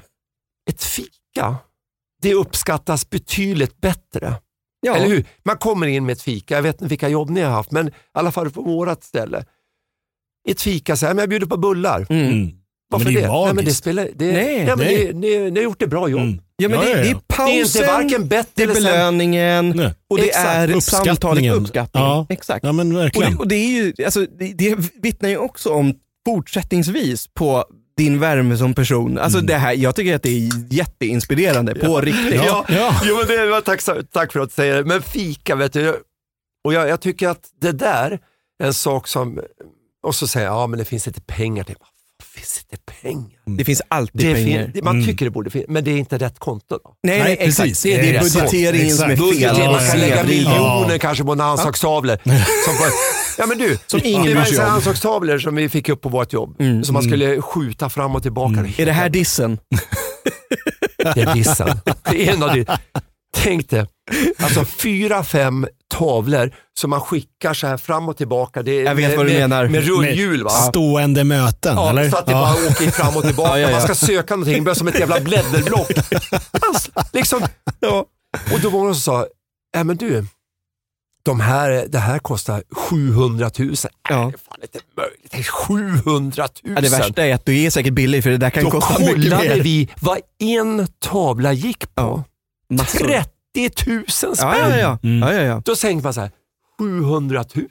C: ett fika, det uppskattas betydligt bättre.
B: Ja.
C: Eller hur? Man kommer in med ett fika, jag vet inte vilka jobb ni har haft, men i alla fall på vårat ställe. Ett fika, så här, men jag bjuder på bullar.
B: Mm.
A: Mm.
C: Varför
A: men det är
C: det?
A: magiskt.
C: Nej, men det spelar, det,
B: Nej,
C: nej, men
A: nej.
C: Ni, ni, ni har gjort ett bra jobb.
A: Mm.
B: Ja, men
A: Ja,
B: det,
A: ja,
B: det är
A: ja.
C: Det är inte
B: pausen,
C: varken bättre
B: det är
C: eller sämre.
B: belöningen
A: Nej.
B: och det är
C: Exakt.
B: samtalet,
A: Uppskattningen.
B: uppskattningen.
A: Ja.
B: Exakt.
A: ja, men
B: Och det,
A: verkligen.
B: och det, är ju, alltså, det, det vittnar ju också om fortsättningsvis på din värme som person. Alltså
A: Mm.
B: det här, jag tycker att det är jätteinspirerande på riktigt.
C: Ja,
A: Ja.
C: Jo, men det var tacksam, tack för att du säger det. Men fika, vet du. Och jag, jag tycker att det där är en sak som, och så säger jag, ja men det finns inte pengar. Det, det finns inte pengar.
B: Det finns alltid
C: Mm. Det
B: pengar.
C: fin, det- man
A: Mm.
C: tycker det borde finnas, men det är inte rätt konto. Då.
B: Nej,
A: Nej,
B: nej,
A: precis.
B: exakt. Det är,
A: Det är
B: det är
A: rätt.
B: budgeteringen som är
A: Exakt.
B: fel.
A: Budgetering,
C: Budgetering,
B: och
C: man kan lägga
B: snedvriden.
C: miljoner kanske på en handsakstavle. Som, på- ja, men du,
B: Som ingen
C: det var
B: bryr sig
C: ju
B: om. Mm,
C: handsakstavlor som vi fick upp på vårt jobb. Som man skulle skjuta fram och tillbaka.
B: Är det här dissen?
C: Det är dissen. Det är en av de, tänk dig, alltså fyra, fem tavlor som man skickar så här fram och tillbaka. Det är,
B: Jag vet
C: med,
B: vad du
C: med,
B: menar.
C: Med rullhjul va?
A: Stående möten,
C: Ja,
A: eller?
C: så att det bara åker fram och tillbaka.
B: Ja, ja, ja.
C: Man ska söka någonting, det blir som ett jävla blädderblock. Alltså, liksom. Och då var det någon som sa, äh, men du, de här, det här kostar 700
B: Ja.
C: 000. Äh, det är fan inte möjligt. Det är 700 000.
B: Ja, det värsta är att du är säkert billig för det där kan
C: då
B: kosta mycket
C: kollade
B: mer.
C: vi vad en tavla gick på.
B: Massor.
C: 30 000 spänn.
B: Ja, ja, ja.
A: Mm.
B: ja, ja, ja.
C: Då tänkte man så här, 700 000,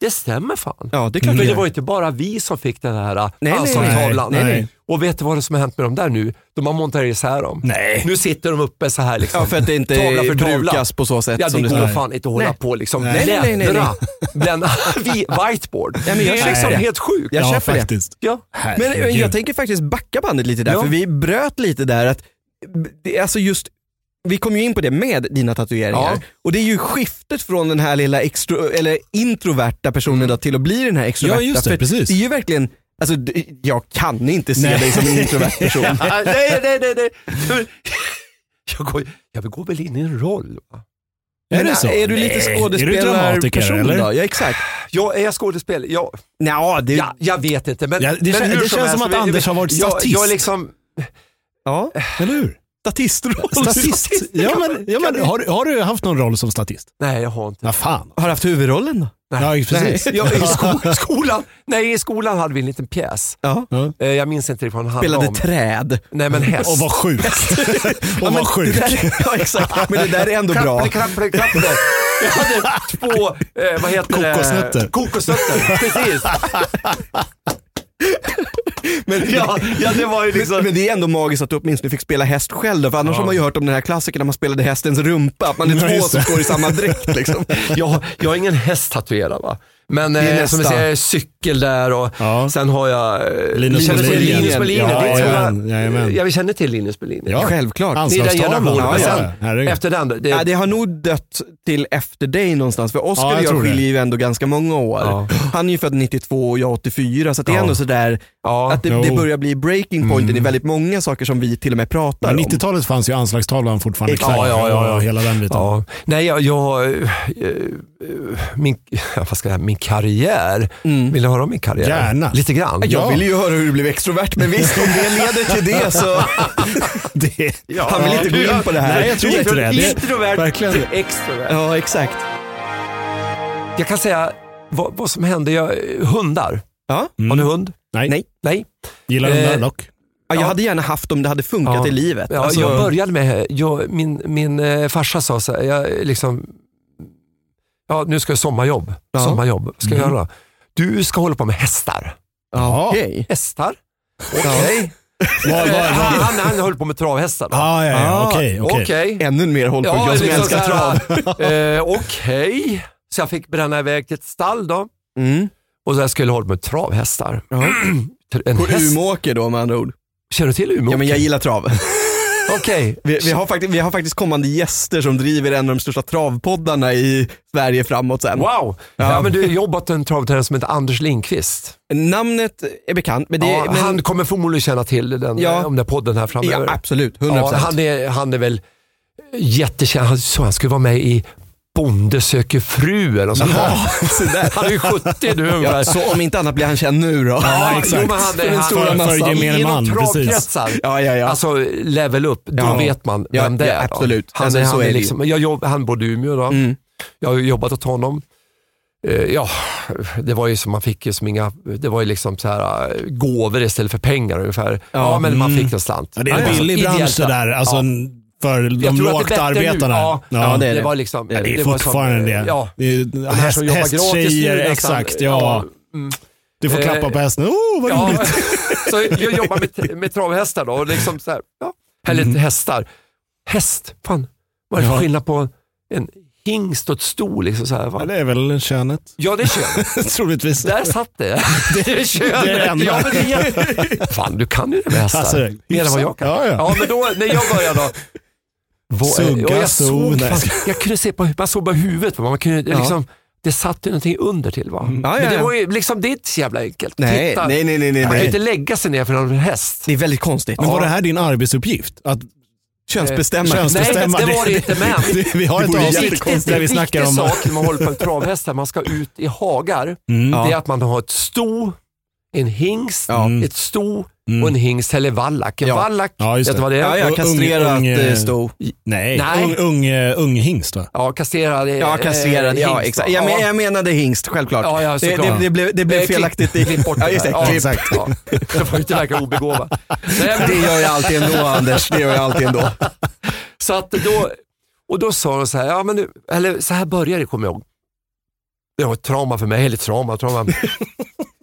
C: det stämmer fan.
B: ja det är klart
C: Men
B: vi
C: det
B: gör.
C: var ju inte bara vi som fick den här
B: nej,
C: anslagstavlan.
B: nej, nej.
C: Och vet du vad det som har hänt med de där nu? De har monterat isär dem.
A: Nej.
C: Nu sitter de uppe så här liksom.
B: Ja, för att det inte
C: Tavla för tavla.
B: brukas på så sätt
C: Ja,
B: som
C: det
B: du
C: går
B: sa.
C: fan inte att hålla
B: Nej.
C: på liksom.
A: Nej,
B: nej, nej, nej,
C: Bläddra. Blända. Vi- Whiteboard.
B: Ja, men jag
C: det är
B: köper
C: liksom
B: det.
C: helt sjukt.
B: Jag
A: ja,
B: köper det.
A: faktiskt.
C: Ja.
B: Men eh,
A: Herregud.
B: jag tänker faktiskt backa bandet lite där,
C: Ja.
B: för vi bröt lite där. Att, det, alltså just, vi kom ju in på det med dina tatueringar.
C: Ja.
B: Och det är ju skiftet från den här lilla extro, eller introverta personen då, till att bli den här extroverta.
A: Mm. Ja, just det,
B: För
A: precis.
B: Det är ju verkligen, alltså, d- jag kan inte se
A: Nej.
B: dig som en introvert person.
C: Ah, nej, nej, nej. nej. Jag går, jag går väl in i en roll. Va?
A: är det så?
B: Är du lite
A: Nej. Är du
B: skådespelarperson
A: dramatiker eller?
B: då? Ja, exakt.
C: Jag är jag skådespelare? Ja,
B: Nja, det,
C: ja, jag vet inte. Men,
A: Ja, det
C: men
A: kän-
C: hur
A: det känns som
C: helst,
A: att
C: vi-
A: Anders
C: vi-
A: har varit
C: jag,
A: statist.
C: Jag liksom,
B: ja.
A: Eller hur?
B: Statistroll.
A: Statist? Ja, men, ja, men har, du- har du haft någon roll som statist?
C: nej, jag har inte.
A: Ja, fan.
B: Har du haft huvudrollen då?
A: Ja, precis.
C: Nej, jag, i sko, skolan, nej, i skolan hade vi en liten pjäs.
B: Ja.
A: Ja.
C: Eh, Jag minns inte riktigt vad den handlade
B: Spelade
C: om.
B: träd.
C: Nej, men häst.
A: Och var sjuk. Och var
B: Det
A: sjuk.
B: där, ja exakt, men det där är ändå bra.
C: Klapple, klapple, klapple. Jag hade två, eh, vad heter det?
A: Kokosnötter.
C: Kokosnötter, precis.
B: Men,
D: Ja, ja, det var ju liksom...
B: men det är ändå magiskt att du åtminstone fick spela häst själv då, för annars har man ju hört om den här klassikern när man spelade hästens rumpa, att man är
A: Ja,
B: två
A: just
B: som
A: det.
B: går i samma dräkt. Liksom.
C: jag, jag har ingen häst tatuerad va. Men
B: är
C: eh,
B: nästa.
C: som vi säger, cykel där och
A: Ja.
C: sen har jag eh,
A: Linus Berlin.
C: Linus Berlin.
A: Ja,
C: det är inte
A: jajamän,
C: så-
A: jajamän.
C: Ja, vi känner till Linus Berlin.
A: Ja.
B: Självklart.
C: Det är den
A: Anslagstavlan.
C: generationen.
A: Ja,
C: Men
A: ja,
C: sen,
A: herregud.
C: efter den, det,
B: Nej, det har nog dött till efter dig någonstans, för
A: Ja,
B: Oscar
A: jag
B: och jag
A: tror det.
B: skiljer ju ändå ganska många år.
C: Ja.
B: Han är ju född 92 och jag 84, så att det är
C: Ja.
B: ändå sådär
C: ja,
B: att det,
A: Jo.
B: det börjar bli breaking pointen i väldigt många saker som vi till och med pratar
A: Men
B: om.
A: 90-talet fanns ju anslagstavlan fortfarande
C: Ja, ja, ja, ja.
A: och hela den biten.
C: ja. Nej, jag, jag eh, eh, min, vad ska jag, säga, min karriär.
B: Mm.
C: Vill du höra om min karriär?
A: Gärna.
C: Lite grann.
B: Jag
A: Ja.
B: vill ju höra hur du blev extrovert, men visst om det leder till det så,
A: Det,
B: han vill inte gå in på det här.
A: Nej, jag tror
C: Från
A: inte det. det
C: Introvert
A: verkligen.
C: till extrovert.
B: Ja, exakt.
C: Jag kan säga vad, vad som hände. Jag, hundar.
B: Ja.
C: Har ni
A: mm.
C: hund?
A: Nej.
B: Nej.
C: Nej.
A: Gillar
C: Eh,
A: hundar dock.
B: Ja, jag
C: Ja.
B: hade gärna haft om det hade funkat
C: Ja.
B: i livet.
C: Ja,
B: Alltså,
C: Jag började med, jag, min, min eh, farsa sa så här, jag eh, liksom, ja, nu ska jag sommarjobb.
B: Ja. Mm.
C: Sommarjobb ska jag
A: Mhm.
C: göra. Du ska hålla på med hästar.
B: ja, Okej.
C: Hästar?
B: Ja.
A: Vad- vad-
C: Eh,
A: vad-
C: han, han, han höll på med travhästar. då.
A: Ah, ja,
B: Ah,
A: ja, okej. okej.
C: Okej.
B: Ännu mer hållpunkt, jag som
C: liksom
B: älskar
C: så
B: trav.
C: här, Eh, Okej. Så jag fick bränna iväg till ett stall då.
B: Mm.
C: Och så jag skulle hålla på med travhästar.
B: Ja.
C: En
B: På
C: häst.
B: Umeåker då med andra ord.
C: Känner du till Umeå?
B: Ja, men jag gillar trav.
C: Okej.
B: Vi, vi, har faktiskt, vi har faktiskt kommande gäster som driver en av de största travpoddarna i Sverige framåt sen.
C: Wow! Ja. men du har jobbat med en travtränare som heter Anders Lindqvist.
B: Namnet är bekant, men det
C: ja,
B: men,
C: Han kommer förmodligen känna till den,
B: Ja.
C: om den podden här
B: ja,
C: framöver.
B: absolut, 100%.
C: Ja, han, är, han är väl jättekänd. Han, så han skulle vara med i Bonde söker fru eller något sånt där.
B: Så där.
C: Han är ju 70 nu ungefär.
B: Ja, så om inte annat blir han känd nu då.
C: Ja,
A: exakt.
C: jo, men han,
B: För den
C: han,
B: stora
C: han-
B: massan.
A: För gemene
C: Inom
A: man,
C: travkretsar,
B: Ja, ja, ja.
C: Alltså level up, då
B: Ja.
C: vet man
B: Ja,
C: vem det
B: ja,
C: är. då.
B: absolut.
C: Han,
B: Alltså,
C: är,
B: så
C: han,
B: är
C: är
B: det ju.
C: liksom, jag jobb, han bodde i Umeå då.
B: Mm.
C: Jag har ju jobbat åt honom. Eh, Ja, det var ju som man fick ju som inga, det var ju liksom så här eh, gåvor istället för pengar ungefär. Ja, men man fick en slant.
A: Mm. Ja, det är en
C: Alltså,
A: billig bransch
C: ideellt,
A: det där, alltså,
C: ja.
A: en- för
C: Jag
A: de
C: tror att det är
A: lågt
C: bättre
A: arbetarna.
C: Nu. Ja,
A: Ja,
C: det,
B: är det.
C: var liksom,
A: Ja, det är
C: var
A: fortfarande
C: som-
A: det.
C: eh, Ja,
A: det är,
C: de här
A: häst,
C: som jobbar gratis nu
A: hästtjejer,
C: nästan.
A: exakt. Ja.
C: mm.
A: Du får
C: Eh,
A: klappa på hästen. Oh, vad
C: Ja,
A: roligt.
C: så jag jobbar med, med travhästar då. Och liksom så här, ja. Eller hästar. Häst, fan. Vad är det för
A: Ja.
C: skillnad på en hingst och ett sto? Liksom så här,
A: Ja,
C: va?
A: det är väl könet,
C: Ja, det är könet.
A: troligtvis.
C: Där satt det. Det är könet.
A: det enda.
C: ja, men det är... Fan, du kan ju det med hästar.
A: Alltså,
C: Mer än vad jag kan.
A: Ja, ja.
C: Ja, men då, när jag började då. Vad,
A: Sugga,
C: och jag,
A: so,
C: såg,
A: nej.
C: fan, jag kunde se på, man såg bara huvudet. va? Man kunde,
B: Ja.
C: liksom, det satt ju någonting under till va?
B: Ja, ja,
C: Men det
B: ja.
C: var ju liksom, det är inte så jävla enkelt.
B: Nej,
C: Titta,
B: nej, nej, nej, nej,
C: Man kan ju
B: nej.
C: inte lägga sig ner för en häst.
B: Det är väldigt konstigt.
A: Men
B: Ja.
A: var det här din arbetsuppgift? Att
B: Könsbestämma.
A: Köns-
C: Eh, Nej, det
A: bestämma,
C: var det
A: det-
C: inte, men
A: det- vi har
B: Det
A: ett
B: vore
A: avsnitt
B: jättekonstigt.
A: där vi snackar
C: en
A: om...
C: sak när man håller på med travhästar, man ska ut i hagar,
A: Mm,
C: det är
B: Ja.
C: att man har ett sto, en hingst,
B: Ja.
C: ett sto
A: Mm.
C: och en hingst eller vallack. En
B: Ja.
C: vallack,
A: Ja, just
C: vet du
A: det.
C: vad det är?
B: Ja, ja,
A: Och
B: kastrerat
A: ung- ung,
B: ung,
A: eh,
B: sto.
A: Nej,
C: Nej.
A: Ung, ung, eh, ung hingst va?
C: Ja, kastrerad. eh,
B: Ja, kastrerad.
C: eh,
B: Ja,
C: hingst,
B: exakt.
C: va?
B: Jag, men, jag menade hingst, självklart.
C: Ja, ja,
B: det,
C: såklart.
B: det, det blev, det blev
C: Eh, klipp-
B: felaktigt. i-
C: Klipp bort
B: ja,
C: det
B: just det.
C: där. Ja,
B: Klipp.
C: exakt. Ja. Jag får inte verka obegåvad. Nej, men-
B: Det gör jag alltid ändå, Anders. Det gör jag alltid ändå.
C: Så att då, och då sa de så här, ja, men nu, eller så här började det kommer jag ihåg. Det var ett trauma för mig, eller trauma, trauma.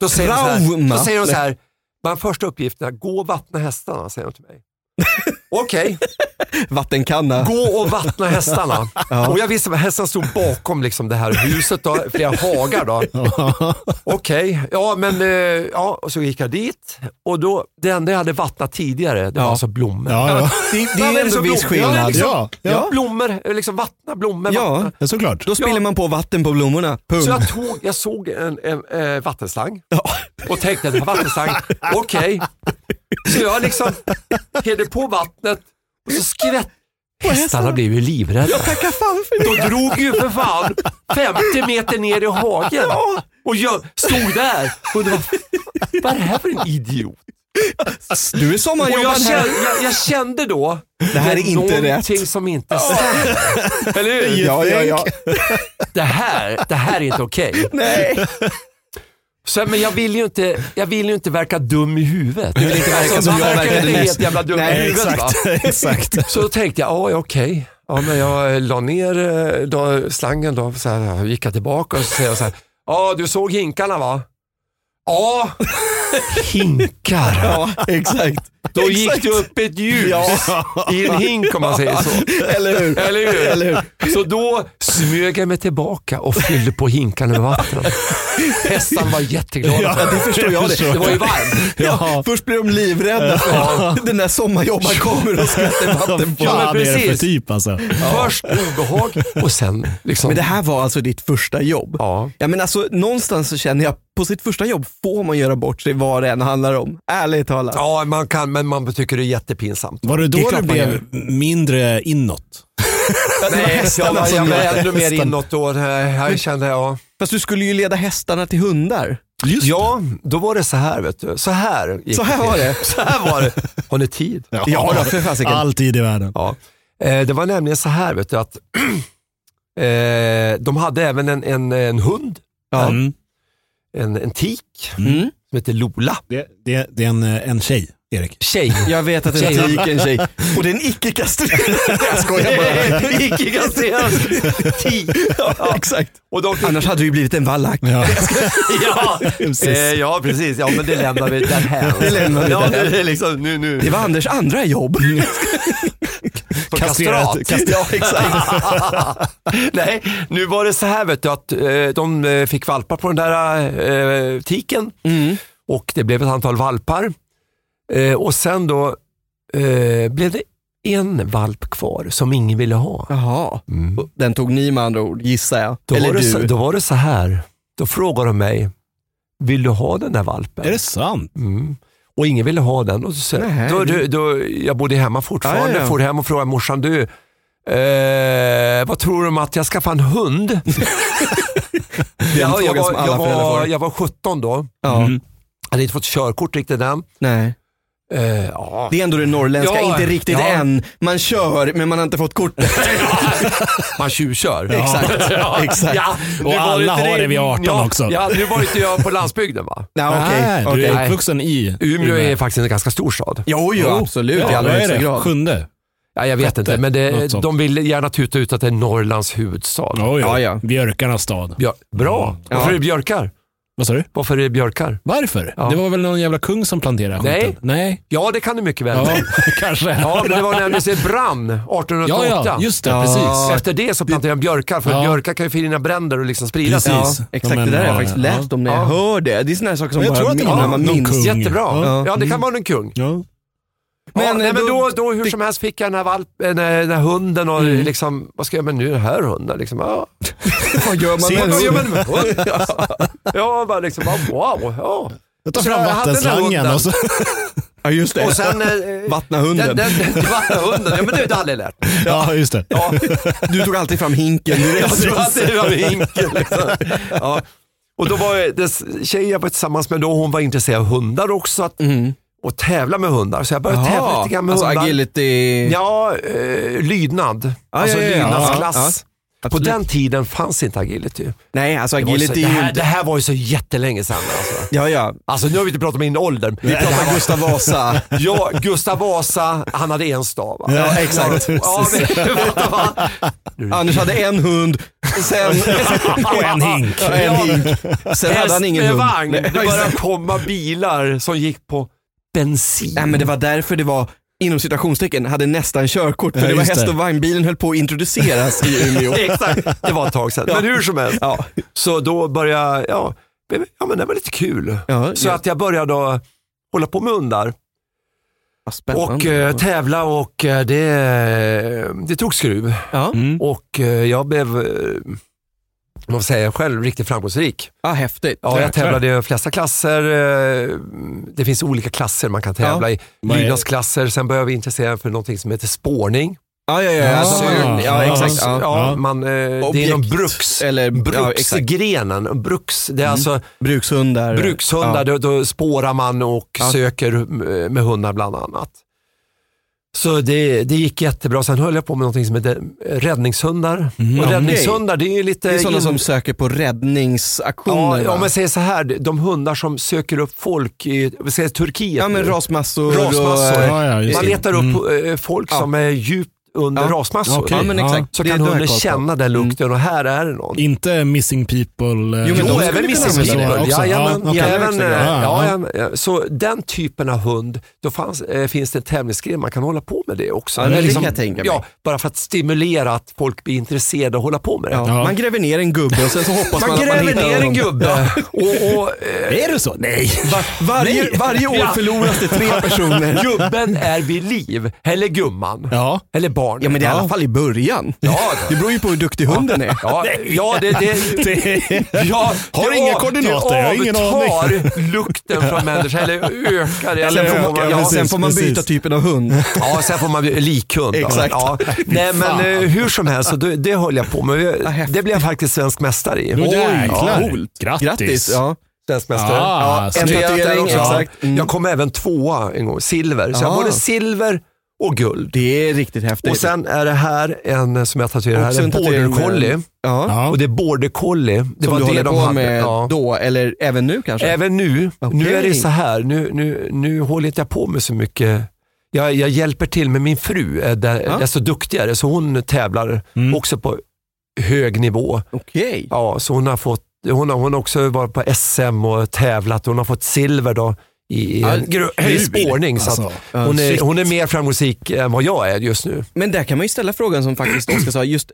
C: Då säger, De så här,
B: Trauma.
C: då säger de så här, bland första uppgifterna, gå och vattna hästarna, säger de till mig. Okej,
B: Vattenkanna.
C: gå och vattna hästarna. Och jag visste att hästen stod bakom liksom det här huset, då, flera hagar. Då. Okej, ja men eh, ja, och så gick jag dit och då, det enda jag hade vattnat tidigare, det var
B: Ja.
C: alltså blommor.
A: Ja, ja.
B: Det, det
C: Ja, men
B: är ändå
C: så
B: viss
C: blå- Ja,
B: skillnad.
C: liksom.
A: Ja, ja.
B: Ja.
C: Blommor, liksom vattna blommor. Vattna.
B: Ja,
A: ja, såklart.
B: då spiller
C: Ja.
B: man på vatten på blommorna. Punkt.
C: Så jag, tog, jag såg en, en, eh, vattenslang
B: Ja.
C: och tänkte att vattenslang, okej. Så jag liksom hällde på vattnet och så skvätt. Hästarna blev ju livrädda.
B: Tacka fan för det.
C: De drog ju för fan 50 meter ner i hagen och jag stod där och det var, vad är det här för en idiot?
B: Du är
C: Och jag
B: sommarjobbaren här.
C: kände, jag, jag kände då, det
B: här är inte
C: någonting som inte stämmer. Eller hur?
B: Ja, ja, ja.
C: Det här, det här är inte okej.
B: Nej.
C: Så, men jag vill, ju inte, jag vill ju inte verkar dum i huvudet. Jag vill inte
B: verka som Alltså, jag verkade
C: inte
B: nyss.
C: helt jävla dum
B: Nej,
C: i huvudet. Va?
A: exakt. exakt.
C: Så då tänkte jag, ja ja, okej. Ja, men jag eh, la ner eh, då, slangen då, så eh, här, gick jag tillbaka och så säger jag så här, ja du såg hinkarna va? Ja, hinkar.
B: Ja, exakt.
C: Då gick
B: Exakt.
C: det upp ett ljus
B: Ja.
C: i en hink om man säger så.
B: Eller hur?
C: Eller hur?
B: Eller hur?
C: Så då smög jag mig tillbaka och fyllde på hinkarna med vatten. Hästan var jätteglad.
A: Ja,
B: det förstår jag det.
C: Det var ju varmt.
B: Ja,
A: Ja.
B: först blir de livrädda för den där sommarjobbaren kommer och skvätter vatten på.
C: Ja,
A: Vad
C: men
A: är det för
C: precis.
A: typ alltså?
C: Först obehag och sen liksom...
B: Men det här var alltså ditt första jobb?
C: Ja.
B: Ja men alltså någonstans så känner jag, på sitt första jobb får man göra bort sig vad det än handlar om. Ärligt talat.
C: ja, man kan, men man tycker det är jättepinsamt.
A: Var det
B: Det är
A: då
B: klart
A: du
B: man
A: blev mindre inåt?
C: Nej, jag var, alltså, jag
B: som
C: var
B: gjorde
C: ännu mer
B: hästarna.
C: inåt då. Jag kände, ja.
B: Fast du skulle ju leda hästarna till hundar.
A: Just
C: Ja, då var det så här vet du. Så här gick
B: Så här
C: till.
B: var det.
C: Så här var det. Har ni tid?
B: Ja, då, för fasiken.
A: Alltid i världen.
C: Ja. Eh, det var nämligen så här vet du att eh, de hade även en, en, en hund,
B: Ja.
A: Mm.
C: en, en tik
B: Mm.
C: som heter Lola.
A: Det, det, det är en, eh, en tjej, Erik.
C: Tjej.
B: Jag vet att en
C: Tjej.
B: tik är en tjej. Och det är en icke-kastrerad. Jag skojar bara.
C: Icke kastrerad tik.
B: Ja, exakt.
C: Och de fick,
B: Annars hade du ju blivit en vallack.
A: Ja.
C: ja,
A: Precis.
C: eh, ja, precis. Ja, men det lämnar vi därhän.
B: Det lämnar vi
C: ja,
B: därhän.
C: det är liksom, nu, nu.
B: Det var Anders andra jobb.
C: Mm. På
A: Kastrerat.
C: kastrat.
B: Ja, exakt.
C: Nej, nu var det så här vet du att eh, de eh, fick valpar på den där eh, tiken
B: Mm.
C: och det blev ett antal valpar. Eh, och sen då eh, blev det en valp kvar som ingen ville ha.
B: Jaha. Den tog ni med andra ord, gissar jag.
C: Då,
B: Eller
C: var det,
B: du.
C: så- då var det så här, då frågade de mig, vill du ha den där valpen?
A: Är det sant?
C: Mm. Och ingen ville ha den. Och så,
B: Nej,
C: då,
B: det-
C: då, då, jag bodde hemma fortfarande.
B: Ja, ja, ja.
C: Jag for hem och frågade morsan, du, eh, vad tror du om att jag skaffar en hund?
B: Den
C: jag,
B: frågan
C: var,
B: som alla
C: jag,
B: föräldrar
C: var,
B: får.
C: jag var 17 då.
B: Ja.
A: Mm.
C: hade inte fått körkort riktigt än.
B: Nej.
C: Eh, ja.
B: Det är ändå det norrländska,
C: Ja,
B: inte riktigt
C: ja.
B: än. Man kör, men man har inte fått kortet.
C: Man tjuvkör.
B: Exakt.
C: Ja.
B: Exakt.
C: Ja, nu
A: Och
C: var det
A: alla
C: inte
A: har det vid 18
C: ja,
A: också.
C: Ja, nu var inte jag på landsbygden va?
B: Ja,
A: Nej,
B: okej.
A: du
B: okej.
A: är uppvuxen i Oh.
C: Umeå är faktiskt en ganska stor stad.
B: Jo, jo, absolut i
A: Ja,
B: allra
A: vad är
B: högsta
A: det?
B: grad.
A: Sjunde?
C: Ja, jag vet inte, men det,
A: något sånt.
C: de vill gärna tuta ut att det är Norrlands huvudstad.
A: Oj,
B: Ja, ja.
A: Björkarnas stad.
C: Björ, bra!
A: Ja.
C: Varför är det björkar?
A: Vad sa du?
C: Varför är det björkar?
A: Varför?
C: Ja.
A: Det var väl någon jävla kung som planterade
C: Nej.
A: skiten? Nej.
C: Ja, det kan du mycket väl. Ja,
A: Ja, kanske.
C: men det var nämligen så det brann 1808.
A: ja, ja, just det.
B: Ja.
C: Så
A: Precis.
C: Efter det så planterade de björkar, för
A: Ja.
C: björkar kan ju förhindra bränder och liksom sprida sig.
B: Ja,
A: Precis.
B: exakt,
A: Ja,
B: det
A: men,
B: där har jag
A: ja,
B: faktiskt
A: ja.
B: läst om när jag
C: Ja.
B: hör det. Det är sådana här saker som
A: Men jag
B: bara
A: tror att det var
B: när man
A: någon
B: minns.
A: kung.
C: Jättebra. Ja.
A: Ja. Mm.
C: det kan vara en kung.
A: Ja.
B: Men,
C: ja, nej,
B: eh,
C: men
B: då-
C: då, då hur som helst fick jag den här, valp, eh, den här, den här hunden och
A: Mm.
C: liksom, vad ska jag göra med nu den här hunden? Liksom, ja.
B: Vad gör man
A: Se,
B: med
C: Vad gör
B: hund?
C: man med hund? Ja, bara liksom, bara, wow. Ja.
A: Jag tar
C: Så
A: fram
C: jag hade den där
A: vattenslangen
C: hunden.
A: och så...
B: Ja, just det.
C: Och sen... Eh,
B: Vattna hunden.
C: Den, den, den vattna hunden, ja, men det, det hade jag lärt mig.
A: Ja, just det.
C: Ja.
B: Du tog alltid fram hinken.
C: Jag tror att det var vinkel. Liksom. Ja. Och då var jag- det, tjejen jag var tillsammans med då, hon var intresserad av hundar också. Att, Och tävla med hundar. Så jag började tävla lite grann med
B: Mm. alltså
C: hundar.
B: agility. Ah,
C: Ja, eh, lydnad. alltså
B: ja, ja, ja.
C: lydnadsklass.
B: Ja,
C: På
B: absolut.
C: den tiden fanns inte agility.
B: Nej, alltså
C: Det, var ju så,
B: agility
C: det,
B: är ju
C: här, det
B: inte...
C: här var ju så jättelänge sedan. Alltså,
B: Ja, ja.
C: alltså nu har vi inte pratat om min ålder.
B: Vi pratar Gustav Vasa.
C: Ja, Gustav Vasa, han hade en stav. va?
B: Ja, exakt.
C: Ja, men, vänta, va?
B: Anders hade en hund, sen...
A: Och en hink.
B: Ja, en hink. Sen hade han ingen hund.
C: Hästvagn. Det
B: Nej,
C: började komma bilar som gick på bensin.
B: Nej men det var därför det var, inom citationstecken, hade nästan körkort. För
A: Ja,
B: det var
A: just
B: häst
A: det.
B: och vagnbilen höll på att introduceras i Mm, Umeå.
C: Exakt, det var ett tag sedan. Men hur som helst.
B: Ja.
C: Så då började jag, ja, ja men det var lite kul.
B: Ja,
C: Så
B: ja.
C: att jag började då hålla på med hundar.
B: Vad
C: Och
B: spännande.
C: eh, tävla och eh, det, det tog skruv.
B: ja.
A: Mm.
C: Och eh, jag blev, eh, vad säger jag själv, riktigt framgångsrik.
B: ah, häftigt.
C: Ja, jag tävlade i de flesta klasser. eh, Det finns olika klasser man kan tävla i.
A: Vad är-
C: Lydnadsklasser, sen började vi intressera mig för någonting som heter spårning.
B: Ja, ja, ja.
A: Ja,
B: Alltså,
A: ja,
B: ja exakt.
C: Alltså,
B: Ja.
C: ja,
A: Ja.
C: Man, eh, det är
B: Objekt.
C: inom bruks,
B: Eller ja, exakt. Mm.
C: bruksgrenen. bruks, det är alltså
B: brukshundar.
C: brukshundar, då, då spårar man och
B: Ja.
C: söker eh, med hundar bland annat. Så det, det gick jättebra. Sen höll jag på med någonting som heter räddningshundar. Och
B: Mm. okej.
C: räddningshundar, det är ju lite...
B: Det är sådana
C: in-
B: som söker på
C: Ja,
B: räddningsaktioner.
C: om
B: va?
C: man säger så här, de hundar som söker upp folk i vi säger Turkiet.
B: ja men
C: nu.
B: rasmassor.
C: Rasmassor.
B: Och, eh,
A: Ja, ja, just
C: man
A: det. Mm.
C: letar upp eh, folk
B: Ja.
C: som är djupt under
B: Ja.
C: rasmassor.
A: Okej. Mm.
B: Ja, men
A: Ja.
B: exakt.
C: Så
B: Det
C: kan
B: är- då har jag
C: hunden
B: koll på.
C: känna den lukten och här är det någon.
A: Inte missing people. eh,
B: Jo, men
C: Jo,
B: de
C: även
B: skulle kunna
C: Mrs.
B: använda
A: det
C: People.
A: också.
C: Jajamän,
A: Ja, okej.
C: jajamän, eh,
A: Ja,
C: ja,
A: ja.
C: ja. Så den typen av hund, då fanns, eh, finns det en tävlingsgren man kan hålla på med det också.
B: Ja, det
C: Eller
B: kan jag tänka mig.
C: ja, bara för att stimulera att folk blir intresserade och hålla på med det.
B: Ja.
A: Ja.
B: Man gräver ner en gubbe och sen så hoppas man,
C: Man
B: att man
C: gräver
B: hittar
C: ner en
B: honom.
C: gubbe och, och eh,
A: Är det så? Nej.
B: Var, varje, varje år
C: Ja.
B: förloras det tre personer.
C: gubben är vid liv. Eller gumman.
A: Ja.
C: Eller barnet.
B: Ja men det är i alla fall i början.
C: Ja,
B: Det beror ju på hur duktig hunden är.
C: Ja, ja, det, det, ja,
A: Har
C: det
A: inga
C: av-
A: koordinater,
C: det
A: jag har ingen aning.
C: avtar lukten från människan, eller ökar det.
B: Sen
C: Eller
B: får man, ja,
C: ja,
B: sen får man
A: precis.
B: byta typen av hund.
C: Ja, sen får man bli likhund. då.
B: Exakt.
C: Ja. Nej, men eh, hur som helst, så det, det höll jag på med. Jag-
B: häftigt.
C: Det blev jag faktiskt svensk mästare i.
A: Oj,
C: ja.
A: jäklar.
B: coolt.
A: Grattis.
B: Grattis. Ja.
C: Svensk mästare.
A: Ah,
C: ja,
A: snyggt.
C: tatuering,
B: Tatuering,
C: också.
B: exakt. Mm.
C: Jag kom även tvåa en gång, silver. Så jag
B: Ah.
C: har både silver och guld.
B: Det är riktigt häftigt.
C: Och sen är det här en eh, som jag tatuerar här,
B: Också
C: en
B: en
C: border
B: tatuering med-
C: collie.
B: ja.
A: Ja.
C: Och det är border collie. Det
B: som
C: var
B: du
C: det
B: håller
C: de
B: på
C: hade.
B: med
C: Ja.
B: då, eller även nu kanske?
C: Även nu, nu är det
B: Okej.
C: så här, nu, nu, nu håller inte jag på med så mycket. Jag, jag hjälper till med min fru, är där,
B: Ja.
C: desto duktigare, så hon tävlar
A: Mm.
C: också på hög nivå.
B: Okej.
C: Ja, så hon har fått hon har, hon har också varit på SM och tävlat hon har fått silver då i, i,
B: Ja,
C: gru- i spårning. Så att
A: Alltså,
C: hon, är,
B: shit.
C: hon är mer framgångsrik än vad jag är just nu.
B: Men där kan man ju ställa frågan som faktiskt Oskar sa, just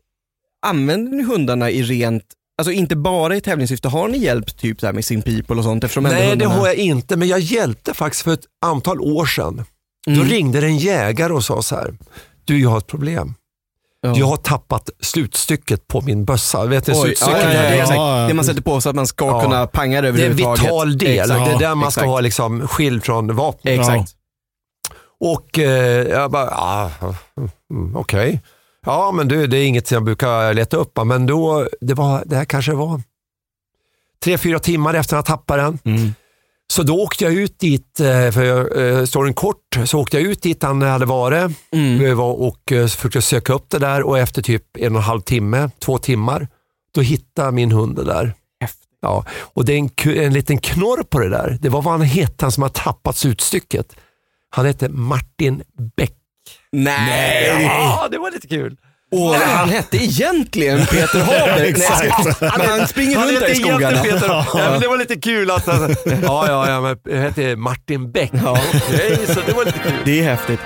B: använder ni hundarna i rent, alltså inte bara i tävlingssyfte, har ni hjälp typ där med sin people och sånt? Eftersom ändå
C: Nej, det
B: hundarna...
C: har jag inte, men jag hjälpte faktiskt för ett antal år sedan.
B: Mm.
C: Då ringde det en jägare och sa så här, du jag har ett problem.
B: Ja.
C: Jag har tappat slutstycket på min bössa. Vet ni,
B: Oj, ja,
C: slutstycket
B: ja,
C: är-
B: ja,
A: ja,
B: exakt.
A: ja.
B: Det man sätter på så att man ska
C: Ja.
B: kunna panga det
C: Det är en
B: överhuvudtaget.
C: vital del.
B: Exakt.
C: det är där man ska
B: exakt.
C: ha liksom skild från vapnet.
B: Exakt.
C: Och eh, jag bara, ah, mm, okej. Ja, men du, det är inget som jag brukar leta upp. va, Men då, det, var, det här kanske var tre, fyra timmar efter att jag tappade den.
A: Mm. Så,
C: Så då åkte jag ut dit, eh, för jag, eh, storyn kort, så åkte jag ut dit han hade varit
B: Mm.
C: Vi var och eh, försökte söka upp det där och efter typ en och en halv timme, två timmar, då hittade min hund det där.
B: Häftigt.
C: Ja, och det är en, ku- en liten knorr på det där. Det var vad han hette, han som har tappat slutstycket. Han hette Martin Bäck.
B: Nej!
C: Ja, det var lite kul.
B: Och han hette egentligen Peter Haber.
A: Exakt.
B: Nej, han, han springer
C: Han
B: runt där
C: hette
B: i skogarna.
C: egentligen Peter. Ja, men det var lite kul att han... Ja, ja, ja, men jag hette Martin Bäck. Ja. Okej, så det var lite kul.
B: Det är häftigt.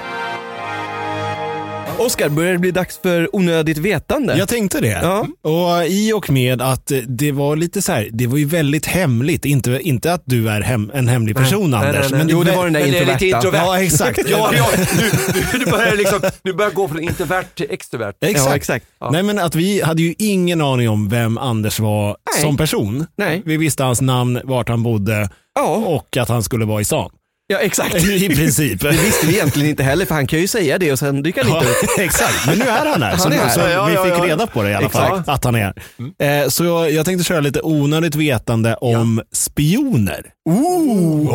B: Oskar, börjar det bli dags för onödigt vetande?
A: jag tänkte det.
B: Ja.
A: Och eh, I och med att eh, det var lite så här, det var ju väldigt hemligt. Inte, inte att du är hem, en hemlig person
C: nej,
A: Anders.
C: nej, nej.
A: Men
B: Jo, det var den där
C: Men det är lite
B: introverta.
C: introvert.
A: Ja, exakt.
C: Ja, ja, nu, nu, nu börjar jag liksom, nu börjar jag gå från introvert till extrovert.
A: Exakt.
B: Ja, exakt.
C: Ja.
A: Nej men att vi hade ju ingen aning om vem Anders var
B: Nej.
A: som person.
B: Nej.
A: Vi visste hans namn, vart han bodde
B: Ja,
A: och att han skulle vara i stan.
B: ja exakt.
A: I princip.
B: Det visste vi egentligen inte heller, för han kan ju säga det och sen dyker han
A: Ja,
B: inte upp.
A: exakt, men nu är han här. så
B: Han är här.
A: så
C: Ja, ja,
A: vi
C: ja,
A: fick
C: ja.
A: reda på det i alla
C: Exakt.
A: fall, att han är här. Eh, så jag, jag tänkte köra lite onödigt vetande om spioner. Ooh.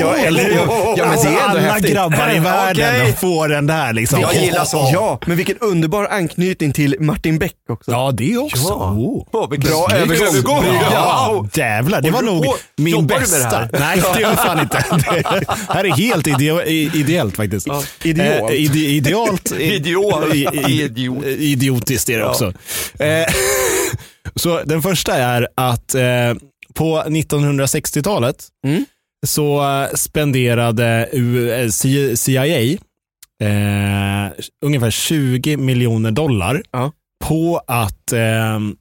B: Ja, eller- ja, men det är ändå
A: alla
B: häftigt.
A: grabbar i världen
C: Okej.
A: får den där liksom.
C: Jag gillar så.
B: Ja, men vilken underbar anknytning till Martin Beck också.
A: Ja, det också.
C: Ja.
A: Oh.
C: Åh, vilken
B: Bra
C: snygg
B: övergång.
C: Ja.
A: Ja, jävlar. Det
C: Och
A: var
C: du-
A: nog
C: och- jobbar
A: min
C: du med det här?
A: bästa. Nej, det gör jag fan inte. Det här är helt ideo- i- ideellt faktiskt.
B: Idealt.
A: Eh, ide- idealt. i-
C: Idiot.
A: i- i-
C: Idiot.
A: Idiotiskt är det också. Eh, så den första är att eh, på 1960-talet
B: Mm.
A: så eh, spenderade U- eh, C- CIA eh, ungefär 20 miljoner dollar
B: Ja.
A: på att ehm,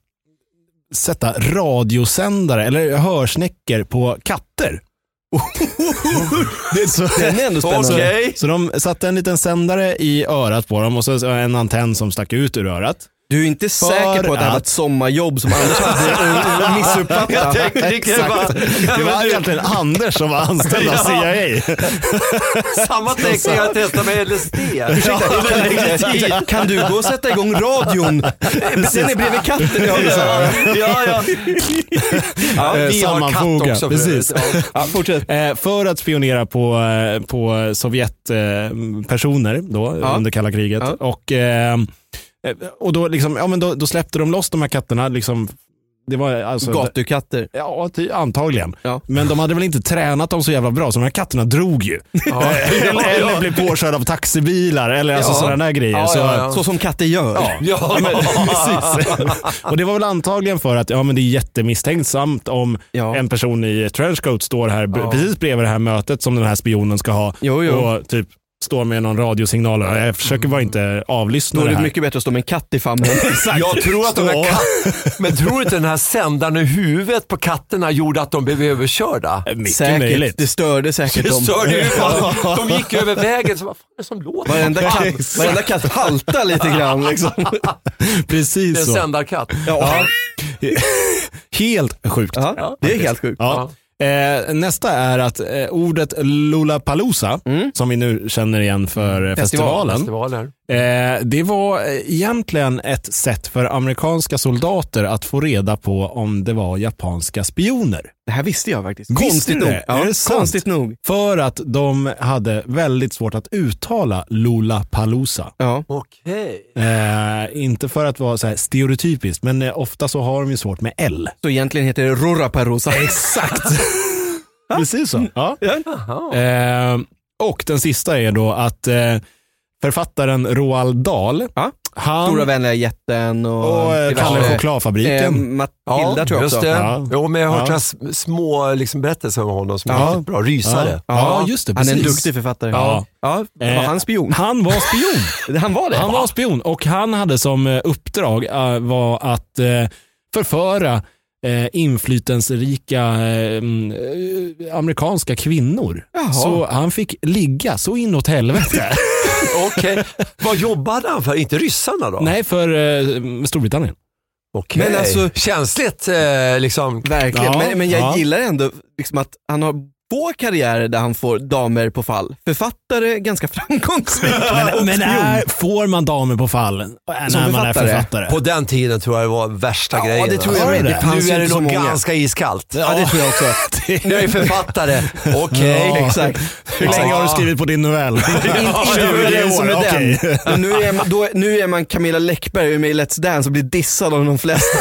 A: sätta radiosändare eller hörsnäckor på katter. det är så,
B: Den är ändå spännande.
C: Okej.
A: så de satte en liten sändare i örat på dem och så en antenn som stack ut ur örat.
B: Du är inte säker på att det här var ett sommarjobb som Anders hade
C: Jag
B: missuppfattat?
C: tänkte det kan vara
A: Exakt. Det var egentligen Anders som var anställd av
C: Ja.
A: CIA.
C: samma
B: Alltså-
C: text som jag testade med LSD.
B: Kan- Kan du gå och sätta igång radion? Den är bredvid katten. Ja, ja.
C: Ja, ja. ja
A: Eh,
C: vi har katt
A: sammanfoga,
C: också. för
A: precis.
C: övrigt. Ja.
B: Ja, fortsätt.
A: Eh, för att spionera på, eh, på Sovjetpersoner eh, personer då,
B: Ja.
A: under kalla kriget.
B: Ja.
A: Och, eh, eh, och då, liksom, ja, men då, då släppte de loss de här katterna liksom, Det var alltså...
B: Gatukatter.
A: Ja, ty, antagligen.
B: Ja.
A: Men de hade väl inte tränat dem så jävla bra, så de här katterna drog ju.
C: Ja.
A: eller, eller blev påkörda av taxibilar eller alltså
C: Ja.
A: sådana där grejer.
C: Ja,
A: så,
C: ja, ja.
B: Så som katter gör.
C: Ja.
A: Precis. Och det var väl antagligen för att ja, men det är jättemisstänksamt om
B: Ja.
A: en person i trenchcoat står här b- precis bredvid det här mötet som den här spionen ska ha
B: Jo, jo.
A: och typ står med någon radiosignal. Och Jag försöker bara inte avlyssna
B: Då är
A: det
B: det
A: här.
B: mycket bättre att stå med en katt i famnen.
C: Jag tror att de
A: Så.
C: här katt... Men tror du inte den här sändaren i huvudet på katterna gjorde att de blev överkörda?
A: Eh, mycket
B: säkert.
A: möjligt.
B: Det störde säkert
C: Det
B: dem.
C: störde ju fan. De gick över vägen. Så, vad fan är det som låter?
B: Varenda katt, varenda katt haltar lite grann. Liksom.
A: Precis
C: Det är en
A: så.
C: sändarkatt.
B: Ja.
A: Helt sjukt. Ja.
B: Ja. Det är helt sjukt.
A: Eh, nästa är att eh, ordet Lollapalooza,
B: Mm.
A: som vi nu känner igen för eh, festivalen,
C: Festivaler.
A: Eh, det var eh, egentligen ett sätt för amerikanska soldater att få reda på om det var japanska spioner.
B: Det här visste jag faktiskt.
A: Visste
B: konstigt
A: du
B: nog.
A: det? Är det sant?
B: konstigt nog.
A: För att de hade väldigt svårt att uttala Lollapalooza.
B: Ja.
C: Okej.
A: Eh, inte för att vara så här stereotypiskt, men eh, ofta så har de ju svårt med L.
B: Så egentligen heter det Rorraparosa. Exakt.
A: Precis så. Ja.
C: Jaha.
A: Eh, och den sista är då att eh, författaren Roald Dahl,
B: Ja.
A: han
B: Stora vänliga jätten och...
A: och eh, Kalle
B: diverse-
A: Chokladfabriken.
B: Eh, Matilda
C: Ja,
B: tror jag
C: just
B: också.
C: det.
A: Ja.
C: Jo, men jag har
A: Ja.
C: hört några s- små liksom, berättelser om honom som
B: Ja.
C: är riktigt bra. Rysare.
A: Ja, just det,
B: Han är en
A: precis.
B: duktig författare.
A: Ja.
B: ja var
A: Eh,
B: han spion?
A: Han var spion.
B: Han var det?
A: Han var spion och han hade som eh, uppdrag eh, var att eh, förföra eh, inflytelserika eh, mm, eh, amerikanska kvinnor.
B: Jaha.
A: Så han fick ligga så inåt helvete.
C: Okej. Vad jobbade han för? Inte ryssarna då?
A: Nej, för eh, Storbritannien.
C: Okej.
B: Men alltså-
C: Känsligt eh, liksom.
B: Verkligen,
A: Ja,
B: men, men jag
A: ja.
B: gillar ändå liksom att han har två karriärer där han får damer på fall. Författare, ganska framgångsrik.
A: Men, men är, får man damer på fall eh, när man är
B: författare?
A: författare?
C: På den tiden tror jag det var värsta
B: Ja,
C: grejen.
B: det tror jag
C: alltså.
A: med. Det
B: fanns
C: Nu
B: ju
C: är det
B: inte så
C: nog
B: många.
C: ganska iskallt.
A: Ja, det tror jag också.
C: Nu är jag författare. Okej.
A: Ja.
B: Exakt.
A: Hur länge har du skrivit på din novell?
B: In- Inte för den som är
A: okej.
B: den. Men Nu är, man, då, nu är man Camilla Läckberg och är med i Let's Dance och blir dissad av de flesta.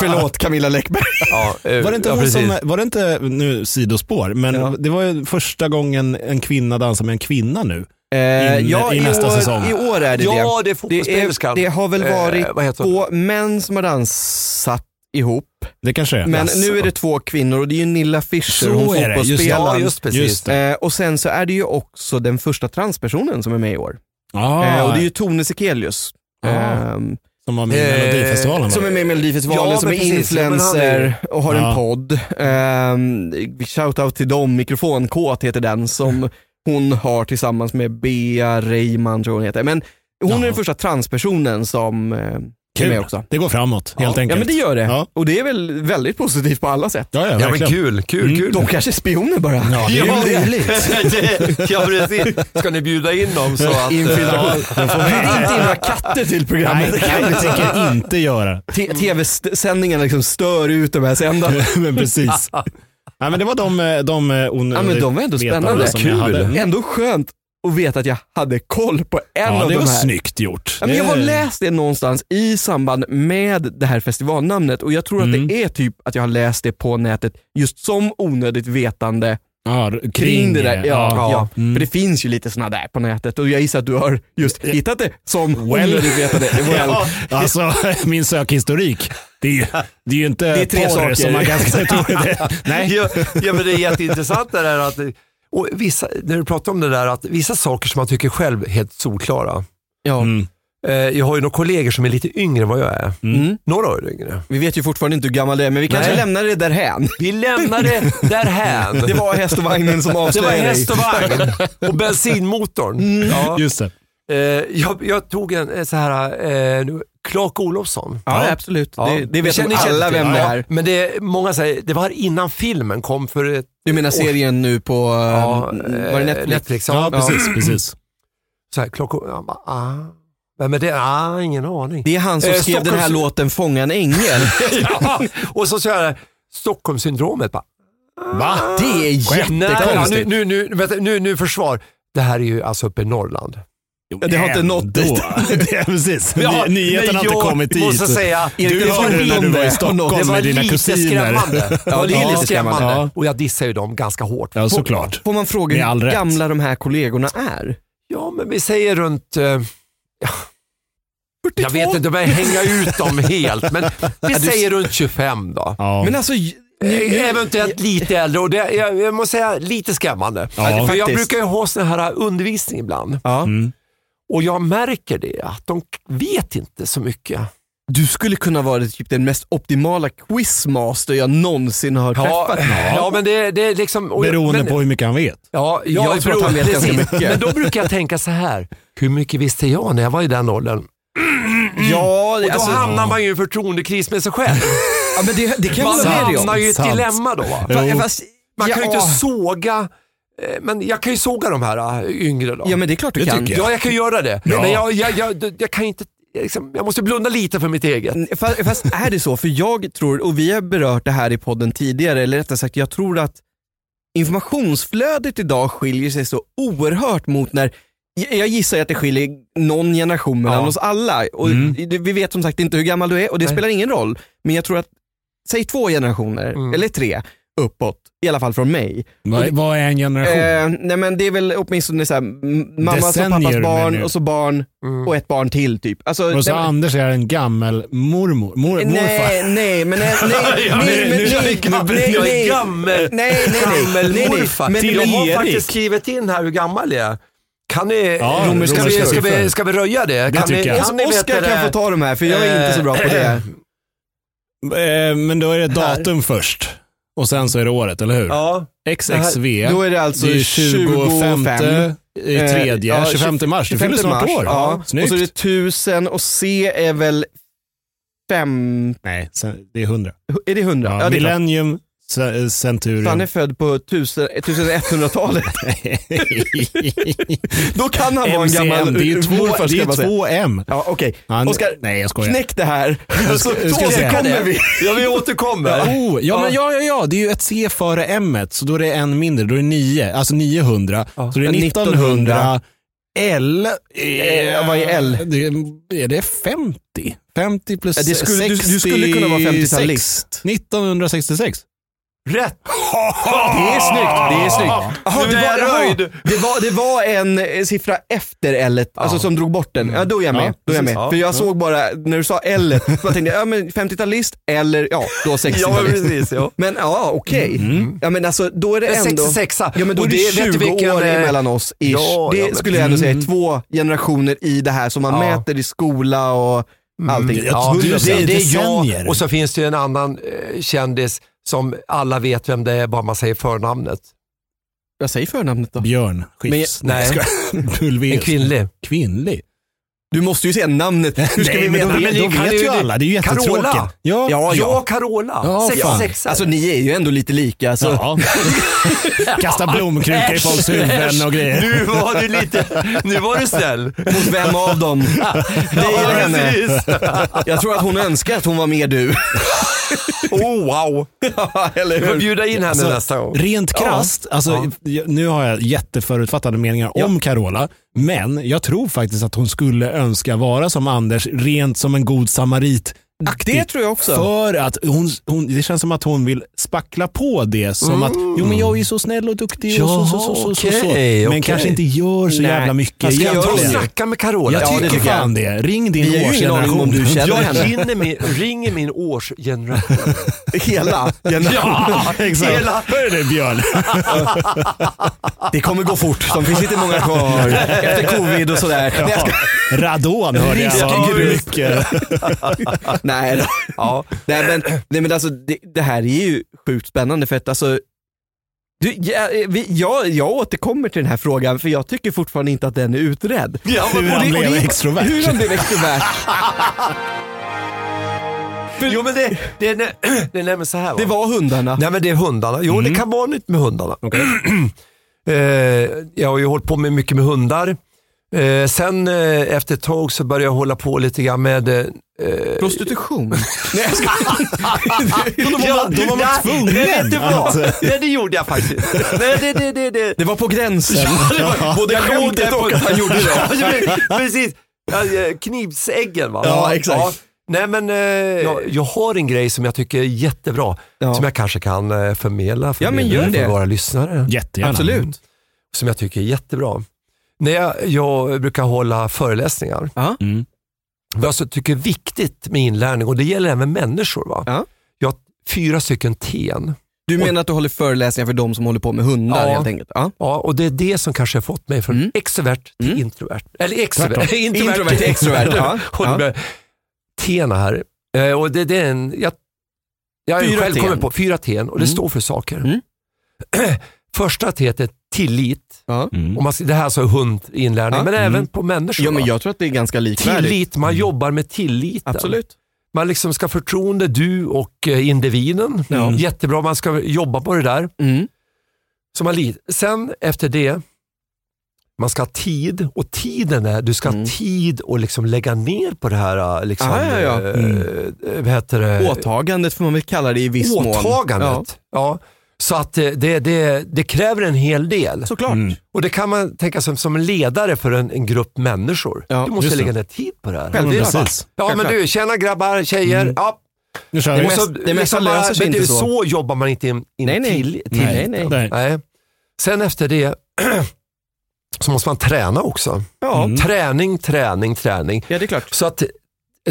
B: Förlåt Camilla Läckberg.
C: Ja, eh,
A: Var det, inte
C: ja,
A: hon
C: precis.
A: som, var det inte, nu sidospår, men
B: Ja.
A: det var ju första gången en kvinna dansar med en kvinna nu.
B: Eh,
A: In- i nästa
B: år,
A: säsong.
B: I år är det
C: Ja, det är
B: det. Det, är,
C: fotbollsspelerskan.
B: det har väl
C: Eh,
B: varit
C: vad heter hon?
B: två män som har dansat ihop,
A: Det kanske är.
B: men
A: Jaså.
B: nu är det två kvinnor och det är ju Nilla Fischer,
A: Så
B: hon
A: är det, just det.
B: fotbollsspelaren.
C: Ja, just precis.
A: Just det.
B: Eh, och sen så är det ju också den första transpersonen som är med i år.
A: Ah,
B: eh, och det är ju Tone Sekelius.
A: Ah.
B: ehm,
A: Som var med i
C: Eh,
A: Melodifestivalen va?
B: som är med i Melodifestivalen,
C: Ja,
B: som är
C: men precis. Ja, men han är-
B: influencer och har
A: Ja.
B: en podd. Eh, Shoutout till dem, Mikrofonkåt heter den, som hon har tillsammans med Bea Reiman tror jag hon heter. Men hon är
A: Ja.
B: den första transpersonen som eh, är med
A: Kul.
B: också.
A: Det går framåt helt
B: ja.
A: enkelt.
B: ja men det gör det.
A: Ja.
B: Och det är väl väldigt positivt på alla sätt.
A: Ja, ja,
C: Ja men
A: verkligen.
C: kul, kul,
A: Mm.
C: kul.
B: De kanske är spioner bara.
A: Ja, det är
C: Ja,
A: ju
C: det-
A: möjligt.
C: Det- ja, precis. Ska ni bjuda in dem så att... eh,
B: Infiltration. Bjud inte in några katter till
A: Nej,
B: programmet.
A: det kan vi tänker inte göra.
B: Tv-sändningarna liksom stör ut de här sändarna.
A: men precis. Nej, men det var de, eh, de, eh, on-
B: Ja, men de var ändå
A: vetande
B: spännande.
A: som jag
C: Kul.
A: hade. Mm.
B: Ändå skönt att veta att jag hade koll på en
A: Ja,
B: av
A: det
B: de
A: var
B: här.
A: snyggt gjort.
B: Ja, men jag har
A: Det-
B: läst det någonstans i samband med det här festivalnamnet och jag tror
A: Mm.
B: att det är typ att jag har läst det på nätet just som onödigt vetande
A: Ja, r- kring,
B: kring, det där. Ja, ja.
A: ja. Mm.
B: För det finns ju lite sådana där på nätet och jag gissar att du har just hittat det som
A: Well.
B: onödigt vetande. Well.
A: Ja, alltså min sökhistorik. Det är ju, det är ju inte
B: är tre
A: porr
B: saker.
A: som man ganska tror det. Nej,
C: Ja, ja, men det är jätteintressant det där att, och vissa, när du pratar om det där att vissa saker som man tycker själv är helt solklara.
B: Ja.
A: Mm.
C: Eh, jag har ju några kollegor som är lite yngre än vad jag är.
B: Mm.
C: Några år yngre.
B: Vi vet ju fortfarande inte hur gammal det är men vi kanske
C: Nej.
B: lämnar det därhän.
C: Vi lämnar det därhän.
B: Det var häst och vagnen som
C: Det var
B: avslöjade dig.
C: häst och vagn och bensinmotorn.
A: Mm.
C: Ja.
A: just det.
C: Eh, jag, jag tog en eh, så här, eh, nu, Clark Olofsson.
B: Ja, absolut.
C: Ja.
B: Det, det vet
C: känner-
B: nog alla
C: känner till.
B: vem det
C: Ja,
B: är.
C: Men det, är- många säger, det var innan filmen kom för ett,
B: Du menar serien nu på,
C: ja,
B: eh, var det
C: eh,
B: Netflix?
A: Ja,
C: ja.
A: precis. precis.
C: Så här, Clark Olofsson, jag bara, ah, vem är det? Ah, ingen aning.
B: Det är han som
C: Eh,
B: skrev den här
C: Stockholms-
B: låten Fånga en ängel.
C: ja. Och så så här, Stockholmssyndromet bara.
A: Va?
B: Det är
A: Skämt.
C: Nej, ja, nu,
B: jättekonstigt.
C: nu, nu, vänta, nu, nu försvar. Det här är ju alltså uppe i Norrland.
B: Ja, det har inte
A: Ändå.
B: nått dit.
A: Det är precis.
C: Ja,
A: Nyheten
C: men
A: har inte
C: jag
A: kommit dit.
C: måste säga,
A: du
C: det
A: hörde det när du var i Stockholm med dina kusiner.
C: skrämmande. Det var
B: Ja,
C: lite skrämmande.
A: Ja.
C: Och jag dissar ju dem ganska hårt.
A: Ja, såklart.
B: Får man fråga
A: Med all
B: hur
A: rätt.
B: gamla de här kollegorna är?
C: Ja, men vi säger runt... eh, ja. Jag vet inte om jag hänger ut dem helt, men vi säger runt 25 då.
A: Ja.
B: Men alltså, j-
C: Eh, Eventuellt lite äldre och det, jag, jag måste säga lite skrämmande.
A: Ja.
C: För jag
B: Faktiskt.
C: brukar ju ha sån här undervisning ibland
B: ja.
A: Mm.
C: och jag märker det att de vet inte så mycket.
B: du skulle kunna vara typ den mest optimala quizmaster jag någonsin har
C: Ja,
B: träffat.
C: ja men det, det är liksom... och jag-
A: Beroende
C: men,
A: på hur mycket han vet.
C: Ja,
B: Jag
C: ja,
B: tror att han vet
C: precis.
B: ganska mycket.
C: Men då brukar jag tänka så här, hur mycket visste jag när jag var i den åldern?
B: Ja, det-
C: mm. Då
B: alltså,
C: hamnar man ju i en förtroendekris med sig själv.
B: ja men det, det kan jag
C: Man
B: hålla med dig
C: hamnar
B: om.
C: ju i ett
A: Sant.
C: dilemma då. va?
A: Jo.
B: Fa- fast-
C: Man kan ju
B: ja.
C: inte såga, eh, men jag kan ju såga de här eh, yngre då.
B: Ja men det är klart du
A: Det
B: kan.
A: tycker
C: Ja, jag kan göra det.
A: Ja.
C: Men jag, jag, jag, jag kan inte, jag liksom, jag måste blunda lite för mitt eget.
B: Fa- Fast är det så? För jag tror, och vi har berört det här i podden tidigare, eller rättare sagt jag tror att informationsflödet idag skiljer sig så oerhört mot när jag- jag gissar ju att det skiljer någon generation mellan
C: Ja.
B: oss alla. Och
A: Mm.
B: det- Vi vet som sagt inte hur gammal du är och det
C: Nej.
B: spelar ingen roll. Men jag tror att, säg två generationer,
C: Mm.
B: eller tre, uppåt. I alla fall från mig.
A: Vad, vad är en generation?
B: Eh, nej men det är väl åtminstone så här, m- mammas och
A: Decennier,
B: pappas
A: menar
B: barn
A: du?
B: och så barn
C: Mm.
B: och ett barn till typ. Alltså,
A: och så
B: nej, men-
A: Anders är en gammal mormor. Mor, morfar.
B: Nej, nej, men nej, nej,
C: Ja,
B: nej, men nej, nej,
C: nu- nu- nu- nu-
B: nej,
C: jag är
B: nej.
C: gammel.
B: Nej, nej, nej, nej, nej.
C: Gammelmorfar.
B: Men-
A: Till
C: Jag
B: men-
C: har
A: Erik.
C: faktiskt skrivit in här hur gammal jag är. Kan ni,
A: Ja,
C: ska, vi, ska,
A: romerska
C: vi, ska, vi,
A: siffror.
C: ska vi röja det? kan ni,
A: tycker jag.
C: Kan ni
B: Oskar
C: veta
B: kan få
C: det?
B: ta de här för jag är inte så bra på det.
A: Eh, men då är det
B: Här.
A: datum först. Och sen så är det året, eller hur?
C: Ja.
A: XXV.
B: Då är det alltså
A: eh, det är
B: 25.
A: 25 i tredje,
B: Eh, ja,
A: 25 mars. Du fyller
B: 25
A: snart
B: mars,
A: år.
B: Ja. Och
A: Snyggt.
B: så är det tusen och C är väl fem,
A: Nej, sen, det är 100.
B: är det hundra?
A: Ja,
B: Ja, det är klart.
A: millennium, ce- eh,
B: Han är
A: centurion.
B: född på 1000 1100-talet. Då kan han vara en gammal
A: MCM, det är ju två,
B: morfar ska
A: det
B: jag bara
A: är
B: säga.
A: två M.
B: Ja, okej.
A: Han,
B: Oskar,
A: nej, jag skojar.
B: knäck det här. Så
A: ska- jag ska säga
B: återkommer
A: det.
B: vi.
C: ja, vi återkommer.
A: Oh, ja, men ja, ja, ja, det är ju ett C före M, så då är det en mindre. Då är det 9, alltså 900.
C: Ja.
A: Så det är 1900. L, eh,
B: vad är L?
A: Det, är det 50? 50 plus
B: Ja, det skulle- du-
A: 60,
B: du skulle kunna vara 50-talist.
A: 1966.
C: Rätt.
B: Det är snyggt,
C: Ah.
B: det är snyggt. Jaha,
C: Nu
B: det,
C: är
B: var,
C: jag
B: jaha,
C: röjd.
B: det, var, det var en eh, siffra efter L, alltså som drog bort den. Ja, då är jag med.
A: Ja,
B: då är jag med.
A: precis.
B: För jag såg bara, när du sa L, så jag tänkte jag, ja men 50-talist eller ja, då 60-talist.
C: precis. Ja.
B: men ja, okej. Ja men alltså då är det
C: Men
B: ändå...
C: 66
B: Ja men då
C: och
B: är
C: det
B: det
C: är- vet du
B: 20
C: vilken,
B: år
C: eh,
B: emellan oss ish.
C: ja,
B: det
C: ja, men-
B: skulle jag ändå säga är två generationer i det här som man
C: Ja.
B: mäter i skola och allting.
C: Ja,
A: du
C: det,
A: säger
C: det är
A: decennier.
C: jag och så finns det ju en annan eh, kändis som alla vet vem det är bara man säger förnamnet.
B: Jag säger förnamnet då.
A: Björn Skifs.
C: Men- nej.
A: jag skojar. Pulveus.
C: En kvinnlig.
A: Kvinnlig.
B: Du måste ju säga namnet. Hur ska
A: Nej,
B: vi
A: men
B: veta
A: då,
C: men
A: vet-
C: ni
A: då
C: kan
A: vet
C: ju
A: ju
C: det.
A: alla. Det är ju
C: Carola.
A: jättetråkigt. Ja,
C: Ja,
B: Ja, ja.
C: Carola.
A: Ja, fan.
C: 66
B: Alltså ni är ju ändå lite lika. alltså. Så.
A: Ja. Kasta blomkrukor i folks huvuden och grejer.
C: Nu var du lite, nu var du snäll.
B: Mot vem av dem? Dig eller henne?
C: precis.
B: Jag tror att hon önskar att hon var med du.
C: Oh wow.
B: eller
C: Vi får
B: hur?
C: bjuda in henne
A: Alltså,
C: nästa gång.
A: Rent krasst, alltså, jag- nu har jag jätteförutfattade meningar om Carola, men jag tror faktiskt att hon skulle önska vara som Anders, rent som en god samarit.
B: Det tror jag också.
A: För att hon, hon, det känns som att hon vill spackla på det som att,
B: Mm.
A: jo men jag är ju så snäll och duktig och så, så, så, så, så, så.
C: okej,
A: men
C: okej.
A: kanske inte gör så
B: Nej.
A: jävla mycket
B: Fast kan jag
C: Ta och
B: det.
A: egentligen.
C: snacka med Carola.
A: Jag
B: Ja, det
A: tycker
B: tycker jag.
A: fan det. Ring din
B: Vi har ju ingen aning om
A: årsgeneration.
B: du känner
C: jag
B: henne.
C: ringer min, ringer min årsgeneration.
B: Hela
A: Ja, exakt.
C: Hela-
A: Hör du Björn?
B: Det kommer gå fort. Som finns inte många kvar. Efter covid och sådär. Nej, jag ska-
A: Radon hörde jag. var
B: Riskgrus.
A: mycket.
B: Nej, då.
C: Ja.
B: nej men, nej, men alltså, det, det här är ju sjukt spännande för att alltså du, jag, vi, jag, jag återkommer till den här frågan för jag tycker fortfarande inte att den är utredd.
C: Ja, men-
A: Hur
B: Och
A: han
B: det- och
A: blev
B: det-
A: extrovert.
B: Hur han blev extrovert.
C: Jo men det, det, är, nä- det är nämligen så här. Va?
B: Det var hundarna.
C: Nej men det är hundarna. Jo det
B: Mm.
C: kan vara nytt med hundarna. Eh, jag har ju hållit på med mycket med hundar. Eh, sen eh, efter ett tag så började jag hålla på lite grann med... Eh,
B: Prostitution?
A: Nej, jag ska... då var man, då var man
C: Nej, vet du
A: tvungen.
C: vad?
B: Alltså.
A: att-
C: Nej, det gjorde jag faktiskt. Nej, det, det, det, det.
B: Det var på gränsen.
C: Både jag
B: skämtet
C: och att han gjorde det. Precis. Ja, eh, Knivsäggen va?
B: Ja, exakt.
C: Nej men eh, jag, jag har en grej som jag tycker är jättebra.
B: Ja.
C: Som jag kanske kan eh, förmedla för,
B: Ja, men
C: er-
B: gör
C: för
B: det.
C: våra lyssnare.
A: Jättegärna.
B: Absolut.
C: Mm. Som jag tycker är jättebra. När jag, jag brukar hålla föreläsningar.
B: Ja.
A: Mm.
C: Vad jag så tycker är viktigt med inlärning, och det gäller även människor. Va?
B: Ja.
C: Jag har fyra stycken ten.
B: Du menar att du håller föreläsningar för de som håller på med hundar
C: Ja.
B: helt enkelt? Ja.
C: Ja, och det är det som kanske har fått mig från
B: Mm.
C: extrovert till
B: Mm.
C: introvert. Eller extrovert.
A: Tvärtom.
C: introvert,
B: Introvert till extrovert, ja.
C: och det
B: Ja.
C: blir Tena här. Eh, Och det, det är en, jag, jag har ju
B: Fyra
C: själv
B: ten.
C: kommit på fyra ten och det
B: Mm.
C: står för saker.
B: Mm.
C: Första T är tillit.
A: Mm.
C: Om man, det här sa hund i inlärning,
B: Ja.
C: men även
A: Mm.
C: på människor.
B: ja, men
C: va?
B: jag tror att det är ganska likvärdigt.
C: tillit, man jobbar med tilliten.
B: Absolut.
C: Man liksom ska ha förtroende, du och eh, individen. Mm.
A: Ja.
C: Jättebra, man ska jobba på det där.
B: Mm.
C: Så man lit. Sen efter det, man ska ha tid och tiden är, du ska ha
B: Mm.
C: tid att liksom lägga ner på det här liksom,
B: Ah, ja, ja.
C: eh, vad heter det?
B: Åtagandet får man väl kalla det i viss mån. Ja,
C: åtagandet. Ja. Så att eh, det, det, det kräver en hel del.
B: såklart.
A: Mm.
C: Och det kan man tänka som, som en ledare för en, en grupp människor.
B: Ja,
C: du måste
A: just det.
C: lägga ner tid på det här.
A: Ja,
B: Själv-
C: Det är-
A: men precis.
C: Ja men
B: Mm.
C: du, tjena grabbar, tjejer.
A: Mm.
C: Ja,
A: Nu kör
B: Det
A: vi.
B: måste-
C: så- liksom
B: det mesta
C: bara-
B: löser sig
C: men
B: inte
C: det är
B: så.
C: Så jobbar man inte in, in
B: Nej, nej.
C: till, till
B: Nej, nej.
A: Nej.
C: Nej. Sen efter det så måste man träna också.
B: Ja.
A: Mm.
C: Träning, träning, träning.
B: ja, det är klart.
C: Så att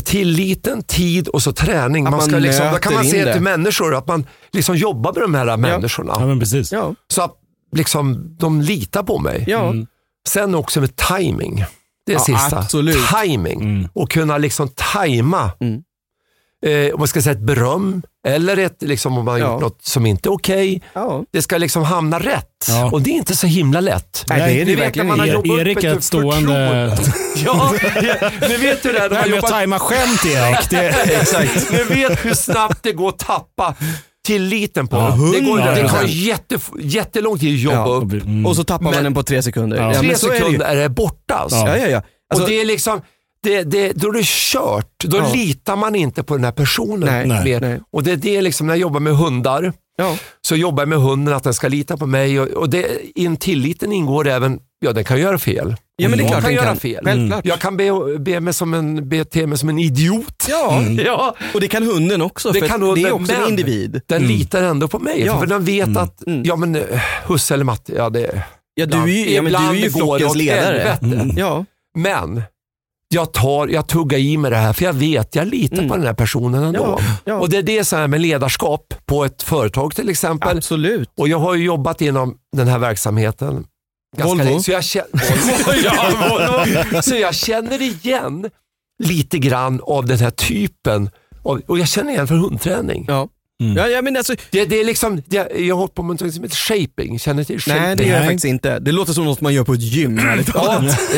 C: tilliten, tid och så träning.
B: Att
C: Man ska
B: man
C: liksom, då kan man
B: nöter in
C: se
B: det.
C: till människor, att man liksom jobbar med de här människorna.
A: Ja, men precis.
B: Ja.
C: Så att liksom, de litar på mig.
B: Ja.
A: Mm.
C: Sen också med timing. Det är
B: Ja,
C: sista.
B: absolut.
C: Timing.
A: Mm.
C: Och kunna liksom tajma.
B: Mm.
C: Eh, om man ska säga ett beröm eller ett, liksom, om man har
B: Ja.
C: gjort något som inte är okej.
B: ja.
C: Det ska liksom hamna rätt.
A: Ja.
C: Och det är inte så himla lätt.
B: Nej, det är det
C: Ni vet när
B: verkligen E-
C: man har
A: inte.
C: jobbat
A: Erik
C: upp
A: är ett stående-
C: förtroende. ja, ni vet hur det är när man
A: Nej, men
C: jobbar...
A: tajma skämt Erik. Det...
C: Exakt. Ni vet hur snabbt det går att tappa tilliten på
A: Ja,
C: det, går,
A: hundra
C: det tar
B: procent.
C: jätte, jättelång tid att jobba
B: Ja.
C: upp.
A: Mm.
B: Och så tappar man
C: Men-
B: den på tre sekunder.
A: Ja.
B: Ja,
C: Tre
B: men så är det ju.
C: sekunder är det borta alltså.
A: Ja.
B: Ja, ja, ja. Alltså,
C: och det är liksom, det, det, då är det kört. Då
B: Ja.
C: litar man inte på den här personen.
B: Nej,
C: mer.
B: nej.
C: Och det är det liksom, när jag jobbar med hundar,
B: ja.
C: så jobbar jag med hunden att den ska lita på mig. Och, och det, i en tilliten ingår även, ja den kan göra fel.
B: ja, men det är
C: jag
B: klart den
C: kan göra
B: Mm. kan. Mm.
C: fel.
B: Självklart.
C: Jag kan be, be mig som en, bete mig som en idiot.
B: Ja,
C: Ja,
B: Mm. och det kan hunden också.
C: Det
B: för
C: kan
B: att
C: hunden,
B: det är också en
C: men-
B: individ.
C: den litar ändå på mig.
B: Mm. Ja.
C: För den vet att,
B: Mm.
C: ja men eh, husse eller matte, ja det
B: Ja, du är ju, ja, men du är
C: ibland
B: ju
C: går det
B: flockens
C: åt
B: ledare. Mm.
C: helvete.
B: Ja,
C: Men jag, tar, jag tuggar i mig det här för jag vet, jag litar på den här personen ändå.
B: Mm. Ja, ja.
C: Och det är det som är med ledarskap på ett företag till exempel.
B: absolut.
C: Och jag har ju jobbat inom den här verksamheten. ganska
B: Volvo.
C: länge, Så jag, känner, Volvo, ja, Volvo. så jag känner igen lite grann av den här typen. Av, och jag känner igen från hundträning.
B: Ja. Ja, ja, men alltså,
C: Det, det är liksom, jag, jag har hållit på med något som heter shaping. Känner ni till shaping?
B: nej, det gör jag
A: Nej.
B: faktiskt inte. Det låter som något man gör på ett gym. ärligt
C: Ja,
B: talat.
C: eh,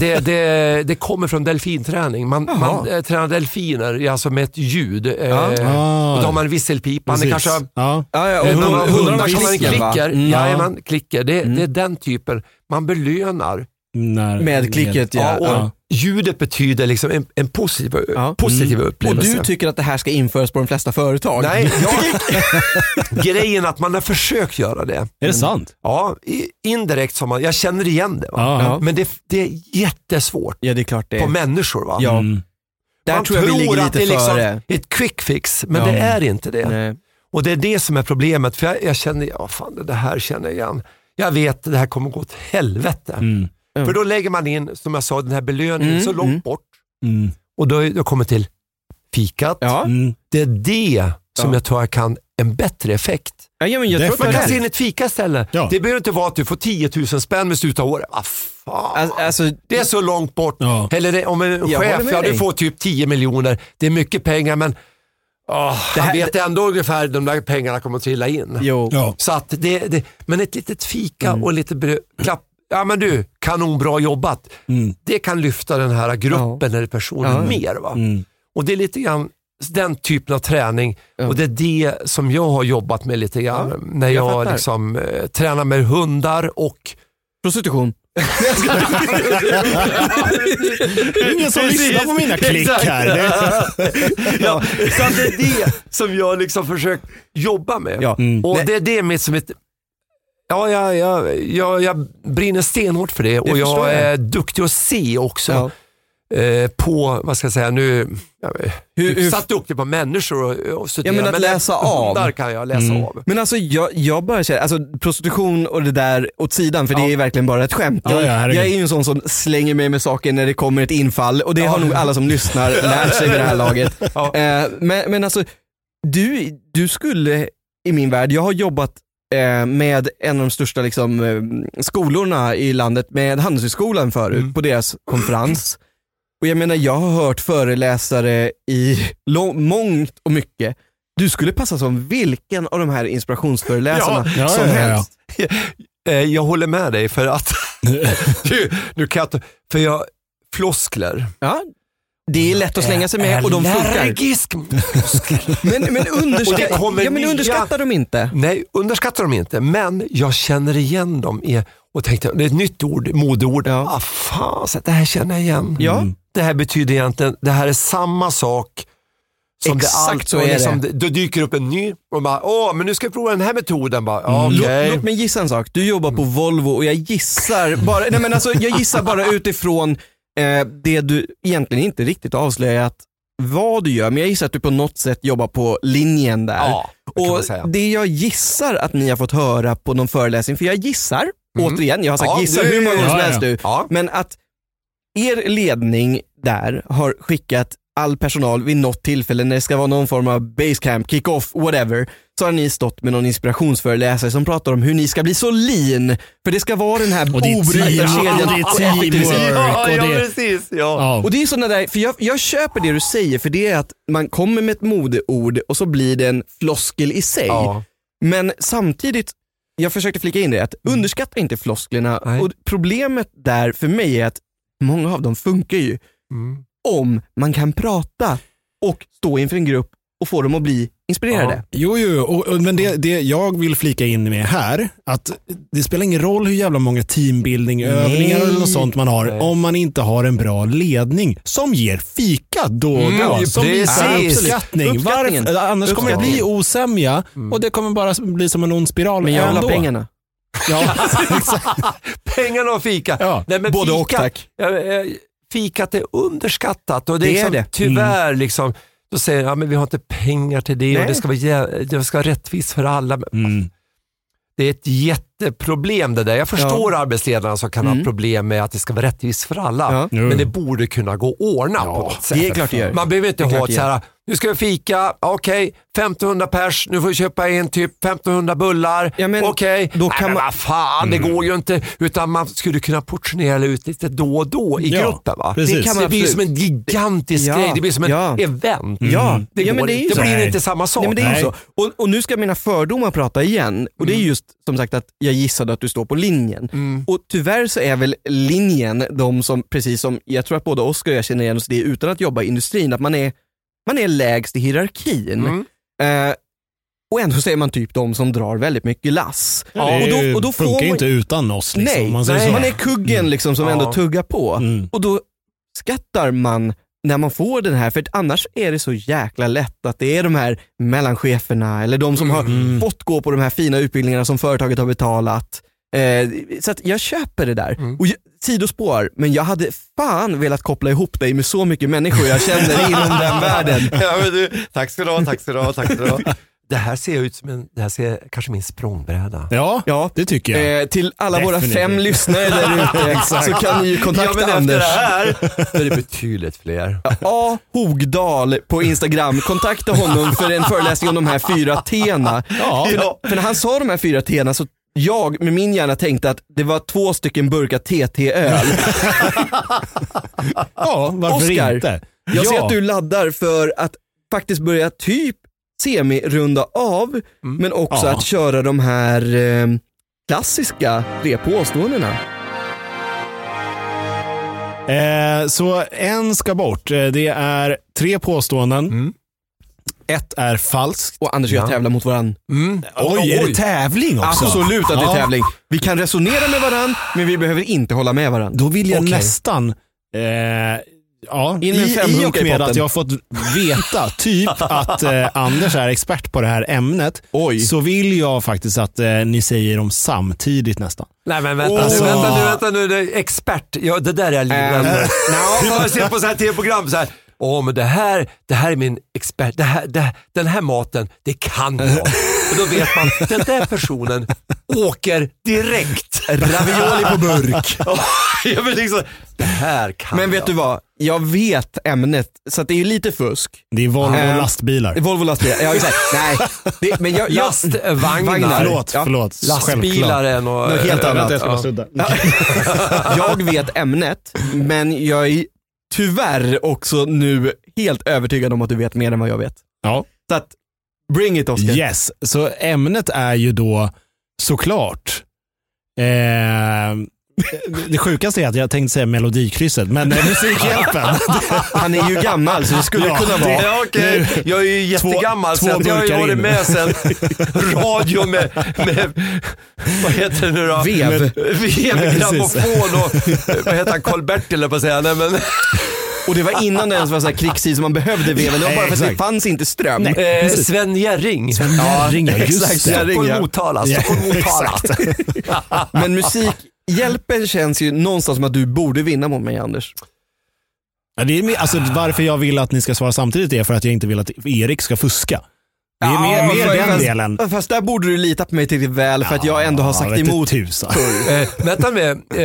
C: det, det, det kommer från delfinträning. Man,
B: Jaha.
C: man eh, tränar delfiner alltså med ett ljud. Eh,
B: Ja.
A: Ah.
C: Och då har man en visselpipa. Det
A: Precis.
C: kanske, eh,
A: ja.
B: Ja, ja, och
C: när man
B: hund-
C: har
B: hundarna
C: hundar som man
B: klicken, va?
C: klicker.
B: Mm.
C: Ja, man klicker. Det,
B: Mm.
C: det är den typen. Man belönar.
A: När,
B: Med klicket ja.
C: Ja, och
A: Ja.
C: Ljudet betyder liksom en, en positiv,
B: Ja. Mm.
C: positiv
B: Och
C: upplevelse.
B: du tycker att det här ska införas på de flesta företag?
C: Nej, jag, grejen är att man har försökt göra det.
A: Är det sant?
C: Ja, i- indirekt som man, jag känner igen det. Va?
A: Ja.
B: Ja.
C: Men det, det är jättesvårt
B: Ja, det är klart det.
C: på människor. Va?
B: Ja,
A: Mm.
B: där
C: man
B: tror jag vi ligger
C: att
B: lite
C: det är liksom
B: före.
C: ett quick fix, men
A: Ja.
C: det är inte det.
B: Nej.
C: Och det är det som är problemet, för jag, jag känner, ja fan det här känner jag igen. Jag vet det här kommer gå åt helvete.
A: Mm.
B: Mm.
C: För då lägger man in, som jag sa, den här belöningen
B: Mm,
C: så långt
B: mm.
C: bort
A: Mm.
C: och då, då kommer till fikat.
B: Ja.
A: Mm.
C: Det är det som
B: Ja.
C: jag tror jag kan en bättre effekt.
B: Ja, ja, men jag tror att
A: Definitivt.
B: det
C: Man kan
B: är
C: se
B: rätt.
C: in ett fika istället.
A: Ja.
C: Det behöver inte vara att du får 10 000 spänn vid slutet av året. Ah, fan.
B: Alltså, alltså,
C: det är så långt bort.
A: Ja.
C: Eller det, om en
B: håller
C: chef,
B: med
C: ja, du
B: dig.
C: får typ 10 miljoner. Det är mycket pengar men ah,
B: här-
C: han vet ändå ungefär de där pengarna kommer att trilla in.
B: jo.
A: Ja.
C: Så att det, det, men ett litet fika och lite brö- klapp. Ja men du, kanonbra jobbat.
A: Mm.
C: Det kan lyfta den här gruppen eller personen
B: Ja.
C: mer. Va?
A: Mm.
C: Och det är lite grann den typen av träning
B: Ja.
C: och det är det som jag har jobbat med lite grann när jag,
B: jag fattar.
C: liksom, eh, tränar med hundar och
B: Prostitution.
A: Det är ingen som
C: Precis,
A: lyssnar på mina klick
C: exakt.
A: här. Det-
C: ja, så att det är det som jag liksom försökt jobba med.
B: Ja.
A: Mm.
C: Och det är det mitt som ett... Ja, jag, jag, jag, jag brinner stenhårt för det och
B: förstår
C: jag
B: jag.
C: är duktig att se också
B: Ja.
C: eh, på, vad ska jag säga nu, jag är
B: Hur, hur,
C: satt duktig på människor och, och studera.
B: Ja, men att läsa av.
C: Där kan jag läsa
A: Mm.
C: av.
B: men alltså jag, jag bara känner, alltså prostitution och det där åt sidan för det
C: Ja.
B: är verkligen bara ett skämt.
A: Ja,
B: Jag,
A: ja, herregud.
B: jag är ju en sån som slänger mig med saker när det kommer ett infall och det har nog alla som lyssnar lärt sig vid det här laget.
C: Ja.
B: Eh, men, men alltså, du, du skulle i min värld, jag har jobbat eh, med en av de största liksom, eh, skolorna i landet, med Handelshögskolan förut, på deras konferens. Och jag menar, jag har hört föreläsare i lång- mångt och mycket. Du skulle passa som vilken av de här inspirationsföreläsarna
A: Ja, ja,
B: som
A: ja, ja.
B: helst.
C: Eh, Jag håller med dig för att, du, nu kan jag inte, för jag, floskler.
B: Ja, det är lätt att slänga sig med och de funkar.
C: Allergisk mot floskler.
B: Men, men,
C: Och det
B: underska-
C: kommer
B: ja, men
C: nya-
B: underskattar de inte?
C: Nej, underskattar dem inte, men jag känner igen dem i, och tänkte, det är ett nytt ord, modeord.
B: Ja.
C: Ah, fan, så det här känner jag igen. Mm.
B: Ja,
C: Det här betyder egentligen, det här är samma sak som
B: Exakt
C: det allt,
B: så
C: och
B: är det.
C: Då dyker upp en ny och bara, åh, men nu ska vi prova den här metoden. Bara, ja,
B: Låt,
C: okej.
B: låt mig gissa en sak. Du jobbar på Volvo och jag gissar bara, nej men alltså, jag gissar bara utifrån eh, det du egentligen inte riktigt har avslöjat vad du gör, men jag gissar att du på något sätt jobbar på linjen där.
C: Ja, det kan man säga.
B: och Det jag gissar att ni har fått höra på någon föreläsning, för jag gissar, återigen, jag har sagt
C: Mm. Ja,
B: gissar
C: det-
B: hur många gånger som
A: Ja,
B: helst
A: ja.
B: nu,
C: Ja.
B: men att er ledning där har skickat all personal vid något tillfälle när det ska vara någon form av basecamp, kick-off, whatever, så har ni stått med någon inspirationsföreläsare som pratar om hur ni ska bli så lean, för det ska vara den här
A: Och det är
B: obrutna
A: team-
B: kedjan.
A: och det är
B: och
A: teamwork.
B: effektivitet.
A: och det-
C: precis. Ja.
A: Ja.
B: Och det är sådana där, för jag, jag köper det du säger, för det är att man kommer med ett modeord och så blir det en floskel i sig.
C: Ja.
B: Men samtidigt, jag försökte flika in det, att underskatta inte flosklerna.
C: Nej.
B: Och problemet där för mig är att många av dem funkar ju
C: Mm.
B: om man kan prata och stå inför en grupp och få dem att bli inspirerade.
A: Jo, jo, och, och, men det, det jag vill flika in med här, att det spelar ingen roll hur jävla många teambuilding, övningar eller något sånt man har,
C: Nej.
A: om man inte har en bra ledning som ger fika då och då.
C: Mm,
A: som
C: precis.
A: visar uppskattning.
B: Uppskattningen.
A: Varför, annars kommer det bli osämja
C: Mm.
A: och det kommer bara bli som en ond spiral
B: Men jag vill
A: ändå.
B: ha pengarna.
A: Ja,
C: Pengarna och fika.
A: ja.
C: Nej, men
B: Både
C: fika,
B: och tack.
C: Ja, eh, Fikat är underskattat och det är,
B: Det är
C: liksom,
B: det. Mm.
C: tyvärr liksom, då säger de, ja, men vi har inte pengar till det och
B: Nej.
C: det ska, vara, jä- det ska vara rättvist för alla. Men
A: Mm.
C: Det är ett jätteproblem det där. Jag förstår arbetsledarna som kan
B: Mm.
C: ha problem med att det ska vara rättvist för alla.
B: Ja.
A: Jo.
C: Men det borde kunna gå att ordna på något sätt.
B: Det är klart det gör.
C: Man behöver inte
B: Det är
C: ha
B: klart
C: ett så här, nu ska vi fika, okej, 1500 pers, nu får vi köpa in typ 1500 bullar,
B: Ja, men
C: okej.
B: då
C: Då
B: kan
C: kan Nej,
B: man- Mm.
C: men vad fan, det går ju inte. Utan man skulle kunna portionera ut lite då och då i
A: Ja,
C: gruppen. Va?
A: precis.
C: Det, kan man det blir ju som en
B: absolut.
C: gigantisk
B: Ja,
C: grej, det blir som ett
B: ja.
C: event.
B: Ja,
C: Mm. Det,
B: ja,
C: går
B: men det är ju
C: inte.
B: så.
C: det blir
A: Nej.
C: inte samma sak.
B: Nej, Mm. men det är ju
A: Nej.
B: så. Och, och nu ska mina fördomar prata igen. Och det är just som sagt att jag gissade att du står på linjen.
C: Mm.
B: Och tyvärr så är väl linjen de som, precis som jag tror att både Oskar och jag känner igen oss i det utan att jobba i industrin, att man är, man är lägst i hierarkin.
C: Mm.
B: Eh, och ändå så är man typ de som drar väldigt mycket lass.
A: Ja,
B: och då, och då
A: funkar
B: får
A: ju
B: man,
A: inte utan oss. Liksom,
B: nej,
A: om man säger
B: nej,
A: så.
B: man är kuggen liksom som
C: Ja.
B: ändå tuggar på.
A: Mm.
B: Och då skattar man när man får den här, för att annars är det så jäkla lätt att det är de här mellancheferna eller de som har
A: Mm.
B: fått gå på de här fina utbildningarna som företaget har betalat. Eh, så att jag köper det där.
C: Mm.
B: Och jag, sidospår, men jag hade fan velat koppla ihop dig med så mycket människor jag känner inom den världen.
C: ja, men du, tack ska du ha, tack ska du ha, tack ska du ha. Det här ser ut som en, det här ser kanske min språngbräda.
A: Ja,
B: Ja.
A: det tycker jag.
B: Eh, till alla våra
A: Definitivt.
B: fem lyssnare där ute så kan ni ju kontakta Anders.
C: här då är det betydligt fler.
B: A. Hogdal på Instagram. Kontakta honom för en föreläsning om de här fyra T'na.
A: Ja.
B: För, för när han sa de här fyra T'na så jag med min hjärna tänkte att det var två stycken burkar TT-öl.
A: ja, varför
B: Oscar,
A: inte?
B: Jag ser
A: ja.
B: att du laddar för att faktiskt börja typ semi-runda av, men också
A: Mm. Ja.
B: att köra de här eh, klassiska tre påståendena. Mm.
A: Eh, så en ska bort. Eh, Det är tre påståenden. Ett är falskt.
B: Och Anders och jag
C: Ja.
B: tävlar mot varandra.
C: Mm.
A: Oj, är det tävling också?
B: Absolut att det är
A: Ja.
B: tävling. Vi kan resonera med varandra, men vi behöver inte hålla med varandra.
A: Då vill jag
B: Okej.
A: nästan, eh, ja,
B: In med en
A: i, i
B: femhunka
A: och
B: i
A: med
B: potten.
A: att jag har fått veta typ att eh, Anders är expert på det här ämnet,
B: Oj.
A: så vill jag faktiskt att eh, ni säger dem samtidigt nästan.
C: Nej men vänta,
A: Alltså-
C: nu, vänta nu, vänta nu, det är expert. Ja, det där är jag livrädd
B: Äh,
C: för. Hur man ser på så här tv-program så här. Åh, men det här, det här är min expert. Det här, det, här- den här maten, det kan jag. Och då vet man, den där personen åker direkt.
B: Ravioli på burk.
C: jag vill liksom, det här kan
B: Men vet
C: jag.
B: du vad? Jag vet ämnet, så att det är ju lite fusk.
A: Det är Volvo
B: Eh,
A: lastbilar.
B: Volvo lastbilar. Jag har ju sagt, nej. Det, men jag, jag,
C: Lastvagnar.
A: Förlåt,
B: Ja.
A: förlåt.
C: Lastbilar
A: Självklart.
C: är nog...
B: Något helt annat.
A: Jag ska bara
C: Ja.
A: sudda.
B: jag vet ämnet, men jag är tyvärr också nu helt övertygad om att du vet mer än vad jag vet.
A: Ja.
B: Så att, bring it Oscar.
A: Yes, så ämnet är ju då såklart eh, det sjukaste är att jag tänkte säga Melodikrysset, men eh, Musikhjälpen.
B: Han är ju gammal så det skulle
A: Ja,
B: kunna
A: det-
B: vara.
C: Ja, okej. Jag är ju jättegammal
A: Två-
C: så
A: två
C: att jag har ju
A: burkar
C: varit
A: in.
C: med sen radio med, med, vad heter det nu då?
B: Vev.
C: Vev,
A: precis.
C: grammofon och vad heter han, Karl-Bertil höll jag på att säga. Nej, men,
B: Och det var innan det ens var så här krigstid som man behövde veven. Det var
A: Nej,
B: bara för att det
A: exakt.
B: fanns inte ström.
A: Nej.
C: eh,
A: Precis.
C: Sven Jerring.
A: Sven Jerring, ja, just
B: exakt,
A: det.
B: Jerring. ja.
C: Stockholm Motala. Stockholm
A: Ja,
C: Motala.
B: Men musikhjälpen känns ju någonstans som att du borde vinna mot mig Anders.
A: Ja, det är mer, alltså, varför jag vill att ni ska svara samtidigt är för att jag inte vill att Erik ska fuska. Det är mer, mer den
B: fast,
A: delen.
B: Fast där borde du lita på mig tillräckligt väl för att jag ändå har
A: Ja,
B: sagt
A: vet du
B: emot.
A: Tusan.
C: Eh, vänta med, eh,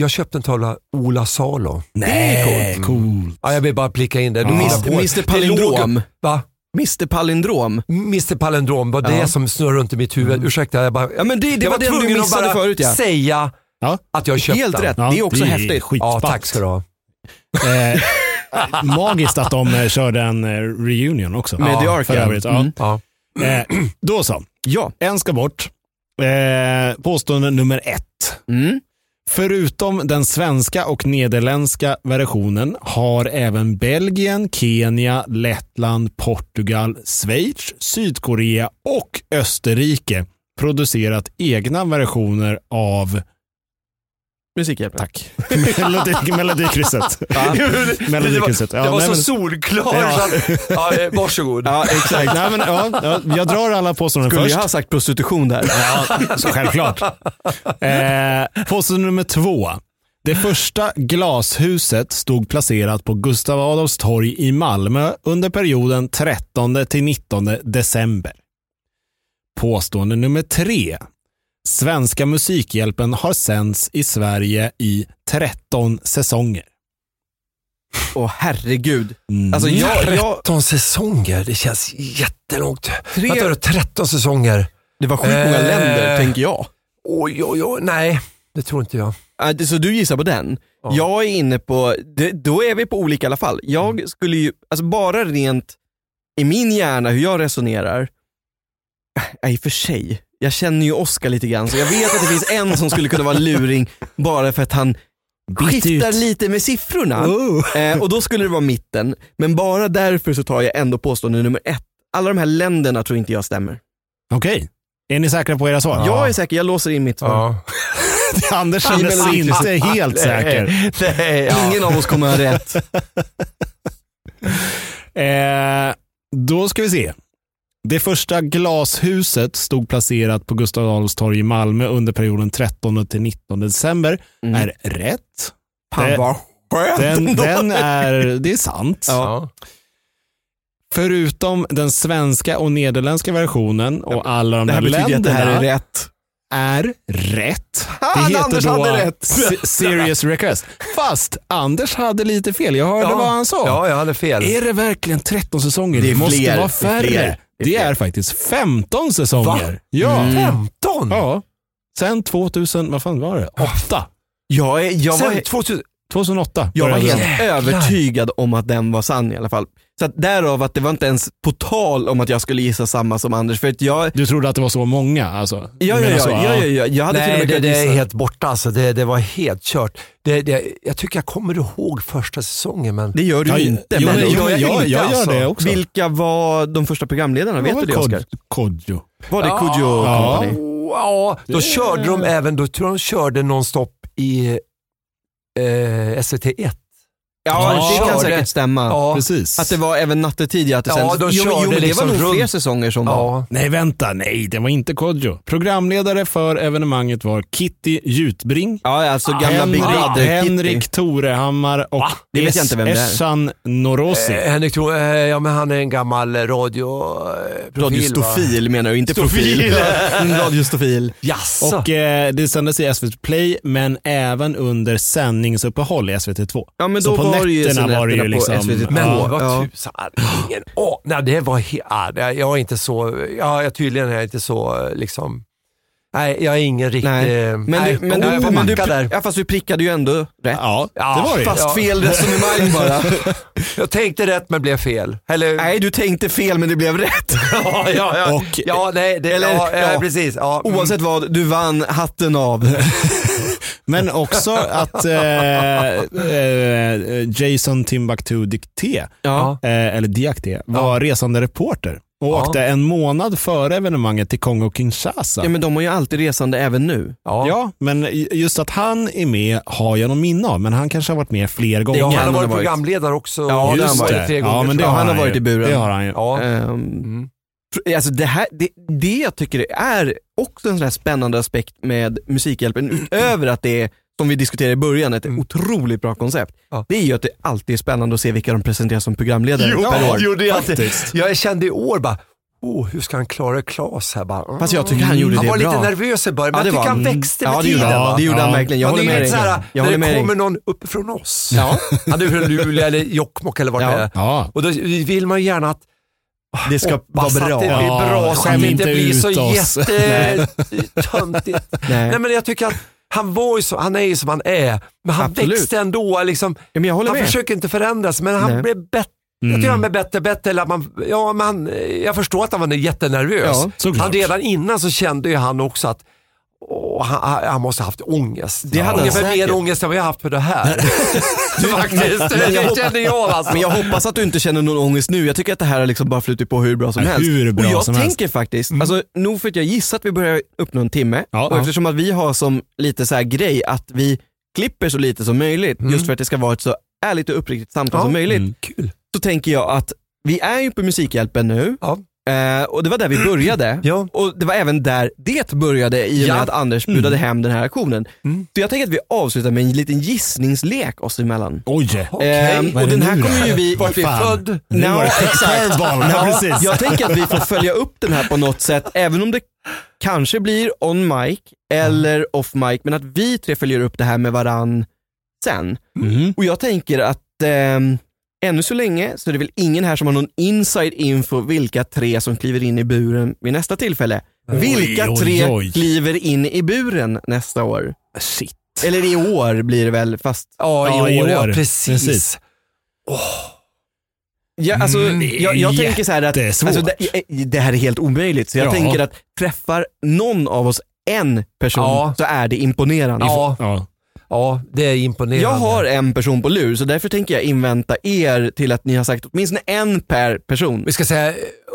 C: jag köpte en tavla Ola Salo.
A: Nej, cool.
C: Ja, jag vill bara plicka in det. Du
A: Ja.
C: menar på-
B: Mr.
C: det låg
B: Palindrom.
C: upp- Va?
B: Mr Palindrom.
C: Mr Palindrom var det
B: Ja.
C: som snurrade runt i mitt huvud. Ursäkta, jag bara...
B: Ja men det, det
C: jag
B: var, den du
C: tvungen att
B: missade
C: bara
B: förut ja.
C: säga
A: Ja.
C: att jag köpte
B: Helt
C: den.
B: rätt,
A: Ja,
B: det är också häftigt.
A: skitballt.
C: Ja, tack ska du ha.
A: Eh, magiskt att de eh, körde en eh, reunion också.
B: Med
C: Ja,
B: The Ark
A: för
B: ja.
A: övrigt, ja.
B: Mm.
C: Ja.
A: Eh, då så,
B: Ja.
A: en ska bort. Eh, påstående nummer ett.
B: Mm.
A: Förutom den svenska och nederländska versionen har även Belgien, Kenya, Lettland, Portugal, Schweiz, Sydkorea och Österrike producerat egna versioner av
B: Musikhjälpen.
A: Tack. Melodi, melodikrysset. melodikrysset. Ja,
C: det var
A: nej,
C: så
A: men-
C: solklart.
A: Ja.
C: Så att, ja, eh, varsågod.
B: Ja exakt.
A: Nej, men, ja, ja, jag drar alla påståenden
B: Skulle
A: först.
B: jag ha sagt prostitution där?
A: Ja, så självklart. Eh, påstående nummer två. Det första glashuset stod placerat på Gustav Adolfs torg i Malmö under perioden 13 till 19 december. Påstående nummer tre. Svenska Musikhjälpen har sänds i Sverige i 13 säsonger.
B: Åh herregud.
A: Mm.
B: Alltså jag, jag,
C: 13 säsonger, det känns jättelångt.
B: Tre-
C: Vänta du, 13 säsonger.
B: det var sjukt många
C: Eh.
B: länder tänker jag.
C: Oj, oj, oj. Nej, det tror inte jag.
B: Ah, det- Så du gissar på den?
C: Ja.
B: Jag är inne på, det, då är vi på olika i alla fall.
C: Mm.
B: Jag skulle ju, alltså bara rent i min hjärna hur jag resonerar, äh, i och för sig, jag känner ju Oscar lite grann så jag vet att det finns en som skulle kunna vara luring bara för att han
A: Byt
B: skiftar
A: ut.
B: lite med siffrorna.
A: Oh.
B: Eh, och då skulle det vara mitten, men bara därför så tar jag ändå påstående nummer ett. Alla de här länderna tror inte jag stämmer.
A: Okej. Är ni säkra på era svar?
B: Jag är säker, jag låser in mitt svar.
C: Ja.
A: Anders kändes
B: Melodi-
A: inte helt säker.
C: Nej, ja.
B: Ingen av oss kommer ha rätt.
A: Eh, då ska vi se. Det första glashuset stod placerat på Gustav Adolfs torg i Malmö under perioden 13 till 19 december.
B: Mm.
A: Är rätt.
B: Fan
A: Det-
B: vad skönt
A: Den,
B: ändå.
A: den är, det är sant.
C: Ja.
A: Förutom den svenska och nederländska versionen och alla de
B: Det
A: där
B: här betyder att det
A: länderna
B: här är rätt.
A: är rätt.
B: Ah, Anders hade rätt.
A: Se- Serious Request. Fast Anders hade lite fel. Jag hörde
C: Ja.
A: vad han sa.
C: ja, jag hade fel.
A: Är det verkligen 13 säsonger?
B: Det
A: Det,
B: är
A: måste
B: fler,
A: vara
B: det är
A: färre. Det är,
B: fler, det är fler. Mm.
A: faktiskt 15 säsonger.
C: Va?
A: Ja.
C: 15?
A: ja. Sen 2000, vad fan var det? 8.
B: Jag, är, jag, var,
C: Sen 2000,
A: 2008
B: Jag var
A: började
B: helt
A: den.
B: övertygad om att den var sann i alla fall. Så att därav att det var inte ens på tal om att jag skulle gissa samma som Anders. För att jag,
A: Du trodde att det var så många? Alltså. Du
B: ja, ja,
A: menar
B: ja,
A: så,
B: ja, ja, ja, jag hade till och med
C: Nej, det,
B: kunnat
C: det är
B: gissa.
C: helt borta alltså. Det, det var helt kört. Det, det, jag tycker jag kommer ihåg första säsongen, men
B: Det gör du
A: Ja,
B: ju inte.
A: jo,
B: men
A: men
B: det
A: jo,
B: gör jag
A: jag-
B: inte
A: jag gör
B: alltså.
A: det också.
B: Vilka var de första programledarna?
A: Det
B: Vet
A: var
B: du det
A: Kod-
B: Oskar?
A: Kodjo.
B: Var det
C: Ja.
B: Kodjo och
A: Ja.
B: Company?
C: Ja, då körde de även, då tror jag de körde nonstop i eh, SVT1.
B: Ja,
A: Ja,
B: det kan
C: körde.
B: säkert stämma.
C: Ja,
A: Precis.
B: Att det var även nattetid ja, att det
C: Ja,
B: sändes.
C: de
B: jo, men-
C: körde
B: jo, men det
C: liksom
B: var nog
C: runt.
B: fler säsonger som var.
C: ja.
A: Nej, vänta. Nej, det var inte Kodjo. Programledare för evenemanget var Kitty Jutbring.
B: Ja, alltså gamla
A: Henrik,
B: Big Brother
A: Henrik
B: Kitty.
A: Torehammar och
B: Det vet jag inte vem det är.
A: Essan Norosi.
C: Eh, Henrik tror, eh, ja men han är en gammal eh, radioprofil.
B: Radiostofil menar jag, inte profil.
A: Stofil.
B: En Radiostofil. Alltså.
C: Jaså?
A: Och eh, det sändes i SVT Play, men även under sändningsuppehåll i SVT2.
B: Ja, men
A: Så
B: då
A: på
B: var det ju
A: nätterna
B: sen
A: var det ju
B: nätterna på
A: liksom-
B: SVT
C: Men
A: Ja,
C: vad
B: ja.
C: tusan, ingen oh, Nej, det var he- ah, det- Jag är inte så, ja, jag tydligen är jag inte så eh, liksom, nej jag är ingen riktig,
B: Nej. Men,
C: nej,
B: du, Eh, men,
C: jag
B: du,
C: får
B: men du,
C: backa där.
B: ja, fast du prickade ju ändå rätt.
A: Ja,
C: Ja,
A: det var det ju.
C: fast-
B: Fast
C: Ja.
B: fel resonemang bara.
C: Jag tänkte rätt men blev fel. Eller,
B: Nej, du tänkte fel men det blev rätt.
C: ja, ja, ja.
A: Och-
C: ja, nej, det,
B: Eller-
C: ja,
B: ja.
C: ja, precis. Ja. Mm.
B: Oavsett vad, du vann hatten av.
A: Men också att eh, eh, Jason Timbuktu Dicté, eh,
B: Ja.
A: eller Diakté, var resande reporter och
C: Ja.
A: åkte en månad före evenemanget till Kongo-Kinshasa.
B: ja, men de var ju alltid resande även nu.
C: Ja.
A: Ja, men i- just att han är med har jag någon minne av, men han kanske har varit med fler gånger.
C: Ja,
B: han
C: han
B: har
C: har varit
B: varit.
C: programledare också.
B: Ja, det har han
A: Just
B: varit.
A: det.
C: Tre gånger,
A: ja, men det
C: tror
A: har
C: jag.
B: han har
A: ju.
B: varit i buren.
A: Det har han ju.
C: Ja.
B: Ehm,
C: Mm.
B: fr- alltså det, här, det, det jag tycker är också en sån här spännande aspekt med Musikhjälpen, utöver att det är, som vi diskuterade i början, ett
C: Mm.
B: otroligt bra koncept.
C: Ja.
B: Det är ju att det alltid är spännande att se vilka de presenterar som programledare per år.
C: jo, det är alltid-
A: Faktiskt.
C: Jag kände i år bara, oh, hur ska han klara Klas här? Bara,
B: Fast jag tycker han gjorde
C: Mm. han
B: det
C: var
B: bra.
C: lite nervös i början, men
B: det
C: jag
B: var
C: tycker han
B: han.
C: växte med
B: Ja det gjorde
C: tiden.
B: han,
C: va?
B: det gjorde han
A: Ja.
B: verkligen. Jag
C: Han är
B: håller med
C: lite
B: dig.
C: så här,
B: Jag
C: när
B: håller
C: det
B: med
C: kommer
B: dig.
C: någon uppifrån oss.
B: Ja,
C: Han är från Luleå eller Jokkmokk eller vart
B: Ja.
C: det är.
A: Ja.
C: Och då vill man ju gärna att
B: det ska vara
C: hoppas
B: bra.
C: att det blir
A: Ja,
C: bra så att
A: skäm
C: det inte
A: inte
C: blir så
A: ut oss.
C: jättetöntigt.
B: Nej.
C: Nej men jag tycker att han, var ju så, han är ju som han är, men han
B: Absolut.
C: växte ändå. Liksom,
B: Ja, men jag håller
C: han
B: med.
C: försöker inte förändras, men han
B: Nej. Mm.
C: blev bättre. Jag tycker han blev bättre bättre. Eller att man, ja, men han, jag förstår att han var jättenervös.
B: Ja,
A: såklart.
C: han, redan innan så kände ju han också att åh, han, han måste ha haft ångest.
B: Det hade han
C: Ungefär
B: säkert.
C: mer ångest än vad jag haft för det här. Faktiskt,
B: Men jag
C: det kände jag alltså.
B: Men jag hoppas att du inte känner någon ångest nu. Jag tycker att det här har liksom bara flutit på hur bra som
A: Ja,
B: helst.
A: hur bra
B: och jag
A: som helst. Mm.
B: tänker faktiskt, alltså, nog för att jag gissar att vi börjar uppnå en timme
A: Ja,
B: och
A: ja.
B: eftersom att vi har som lite så här grej att vi klipper så lite som möjligt just för att det ska vara ett så ärligt och uppriktigt samtal
C: Ja.
B: som möjligt.
A: Mm.
C: Kul.
B: Så tänker jag att vi är ju på Musikhjälpen nu
C: Ja.
B: eh, och det var där vi började.
C: Ja.
B: Och det var även där det började i och med
C: Ja.
B: att Anders budade hem den här aktionen.
C: Mm.
B: Så jag tänker att vi avslutar med en liten gissningslek oss emellan.
A: Oj.
C: Okej.
B: Ehm,
A: Vad är
B: och
A: det
B: den här
A: nu då?
B: kommer ju vi...
A: Vart
C: vi är
A: Fan.
C: född.
A: Nu
B: Ja,
A: var det
B: exakt.
A: curveball. Ja, precis.
B: Jag tänker att vi får följa upp den här på något sätt, även om det kanske blir on mic
A: Mm.
B: eller off mic, men att vi tre följer upp det här med varann sen.
A: Mhm.
B: Och jag tänker att ehm, ännu så länge så är det väl ingen här som har någon inside info vilka tre som kliver in i buren vid nästa tillfälle. vilka
A: oj,
B: tre
A: oj.
B: kliver in i buren nästa år?
A: Shit.
B: Eller i år blir det väl, fast
C: Ja, i
A: Ja, i
C: år. Ja,
A: år.
C: precis.
A: Precis.
B: Ja, alltså,
A: Mm,
B: jag, jag tänker så här att
A: jättesvårt.
B: alltså, det, det här är helt omöjligt, så jag
A: Ja.
B: tänker att träffar någon av oss en person
C: Ja.
B: så är det imponerande.
C: Ja,
A: Ja.
C: ja, det är imponerande.
B: Jag har en person på lur, så därför tänker jag invänta er till att ni har sagt åtminstone en per person.
C: Vi ska säga eh,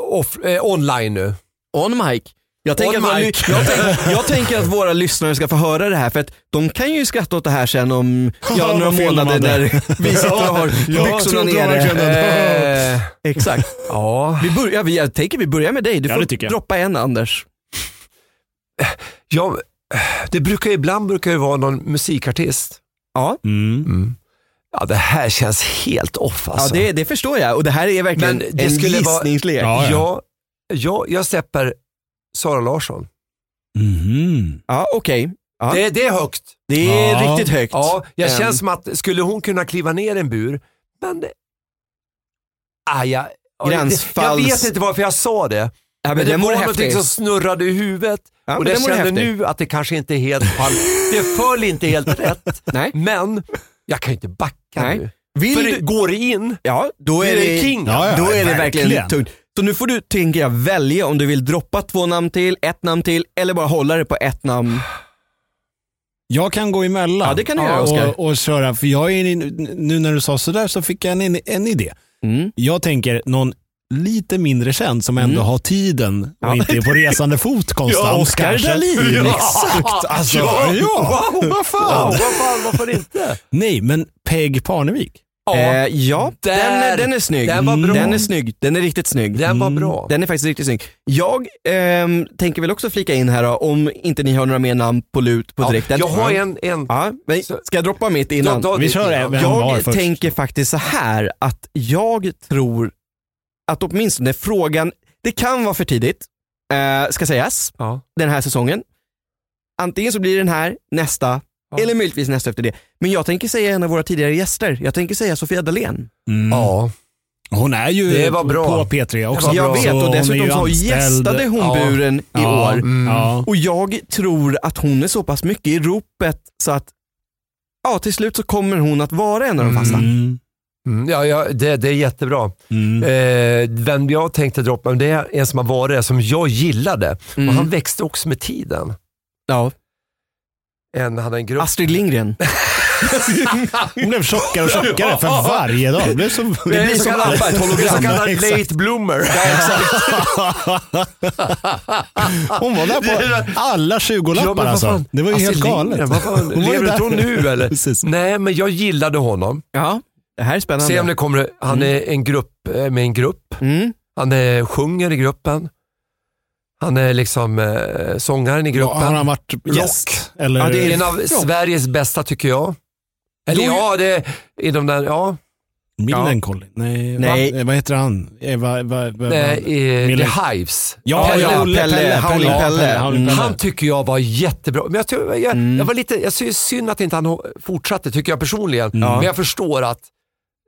C: off, eh, online nu.
B: On mic. Jag tänker,
C: On
B: att, våra
C: mic.
B: ly- jag, tänk, jag tänker att våra lyssnare ska få höra det här för att de kan ju skratta åt det här sen om ja,
A: Vad
B: några
A: fel de
B: månader
A: hade.
B: när vi sitter och har
A: jag
B: byxorna
A: trodde verkligen
B: nere.
A: det.
C: Eh,
B: Exakt.
C: ja.
B: Vi börjar, vi- jag tänker vi börjar med dig. Du
A: Ja,
B: får
A: det tycker jag.
B: droppa en Anders.
C: ja, det brukar ibland brukar det vara någon musikartist.
B: Ja,
A: Mm.
C: Ja, det här känns helt off alltså.
B: ja det, det förstår jag och det här är verkligen
C: Men det
B: en
C: skulle vara-
B: gissningslek.
A: Ja.
C: jag, jag, jag släpper Sara Larsson.
A: Mhm.
B: Ja, okej. Ja.
C: Det, det är högt.
B: Det är
A: Ja.
B: riktigt högt.
C: Ja, jag
B: Ehm,
C: känns som att skulle hon kunna kliva ner i en bur, men... det- Ah, jag,
B: Gränsfalls-
C: jag vet inte varför jag sa det.
B: ja, men
C: Men det
B: den
C: var
B: vore
C: någonting
B: häftig.
C: som snurrade i huvudet
B: Ja, men
C: och jag
B: den vore
C: kände
B: häftig.
C: nu att det kanske inte är helt... Fall, det föll inte helt rätt,
B: Nej.
C: men jag kan ju inte backa
B: Nej.
C: nu.
B: Vill
C: För
B: du,
C: går det in,
B: ja, då
C: det
B: är
C: är
B: det,
C: det king.
A: Ja, ja,
B: då är det verkligen
A: verkligen.
B: tungt. Så nu får du, tänker jag, välja om du vill droppa två namn till, ett namn till eller bara hålla det på ett namn.
A: Jag kan gå emellan
B: Ja, det kan du göra, Oscar.
A: och, och köra, för jag är in, nu när du sa sådär så fick jag en, en idé.
B: Mm.
A: Jag tänker någon lite mindre känd som ändå
B: Mm.
A: har tiden och
B: Ja.
A: inte är på resande fot konstant.
B: Ja, Oscar
A: kanske.
B: Dahlin.
A: Ja.
C: Ja.
A: Exakt. Alltså, ja.
C: Wow, vad fan, vad fan, varför inte?
A: Nej, men Peg Parnevik.
B: Eh, ja, den, är-
C: Där.
B: den är snygg.
C: Den var bra.
B: Den är snygg. Den är riktigt snygg.
C: Den var
A: Mm.
C: bra.
B: Den är faktiskt riktigt snygg. Jag ehm, tänker väl också flika in här då, om inte ni har några mer namn på lut på
C: Ja,
B: direkten.
C: Jag har en... en
B: Ja, men ska
C: Så-
B: jag droppa mitt innan?
C: Ja, då-
A: Vi kör även var
B: Jag
A: först.
B: tänker faktiskt så här att jag tror att åtminstone frågan, det kan vara för tidigt, eh, ska sägas,
C: Ja.
B: den här säsongen. Antingen så blir det den här, nästa,
C: Ja.
B: eller möjligtvis nästa efter det. Men jag tänker säga en av våra tidigare gäster. Jag tänker säga Sofia Dalén.
A: Mm.
C: Ja.
A: Hon är ju
C: Det var bra.
A: på P3 också.
C: var
B: Jag
C: bra.
B: vet och dessutom så gästade hon
C: Ja.
B: buren i
A: Ja.
B: år.
C: Mm.
A: Ja.
B: Och jag tror att hon är så pass mycket i ropet så att ja, till slut så kommer hon att vara en av de
C: Mm.
B: fasta.
A: Mm.
C: Mm, ja, ja det, det är jättebra.
A: Mm.
C: Eh, vem jag tänkte droppa, men det är en som har varit där som jag gillade.
B: Mm.
C: Och han växte också med tiden.
B: Ja.
C: En, han hade en grupp.
A: Alltså,
B: Astrid Lindgren.
A: Hon blev tjockare och tjockare för varje dag. Det blev så...
C: det
B: blir
C: blir
B: som
C: som
B: appar, ett hologram.
C: Så
A: Ja,
C: kallad
A: exakt.
C: late bloomer.
A: Hon var där på alla 20-lappar alltså. Det var ju helt galet. Hon var ju
C: lever
A: där.
C: inte hon nu eller?
A: Precis.
C: Nej, men jag gillade honom.
B: Ja, det här är
C: Se om
B: spännande.
C: det kommer. Han
A: Mm.
C: är en grupp, eh, med en grupp.
B: Mm.
C: Han är, sjunger i gruppen. Han är liksom eh, sångaren i gruppen.
A: Har han varit gäst? Eller?
B: Ja, det
C: En av Sveriges bästa tycker jag. Eller
B: Då-
C: ja, det är i de där, ja.
A: Millencolin? Nej.
B: Nej.
A: Va? Eh, Vad heter han? Eva, va, va,
C: Nej, eh, i,
A: Mille-
C: The Hives.
A: Ja,
B: Pelle,
A: ja, Pelle,
B: Pelle,
A: Pelle,
B: Howling
A: ja,
B: Pelle.
A: Howling
B: Mm.
C: Han tycker jag var jättebra. Men jag, tror- jag,
B: Mm.
C: jag var lite, jag ser synd att inte han ho- fortsatte tycker jag personligen.
B: Mm.
A: Ja.
C: Men jag förstår att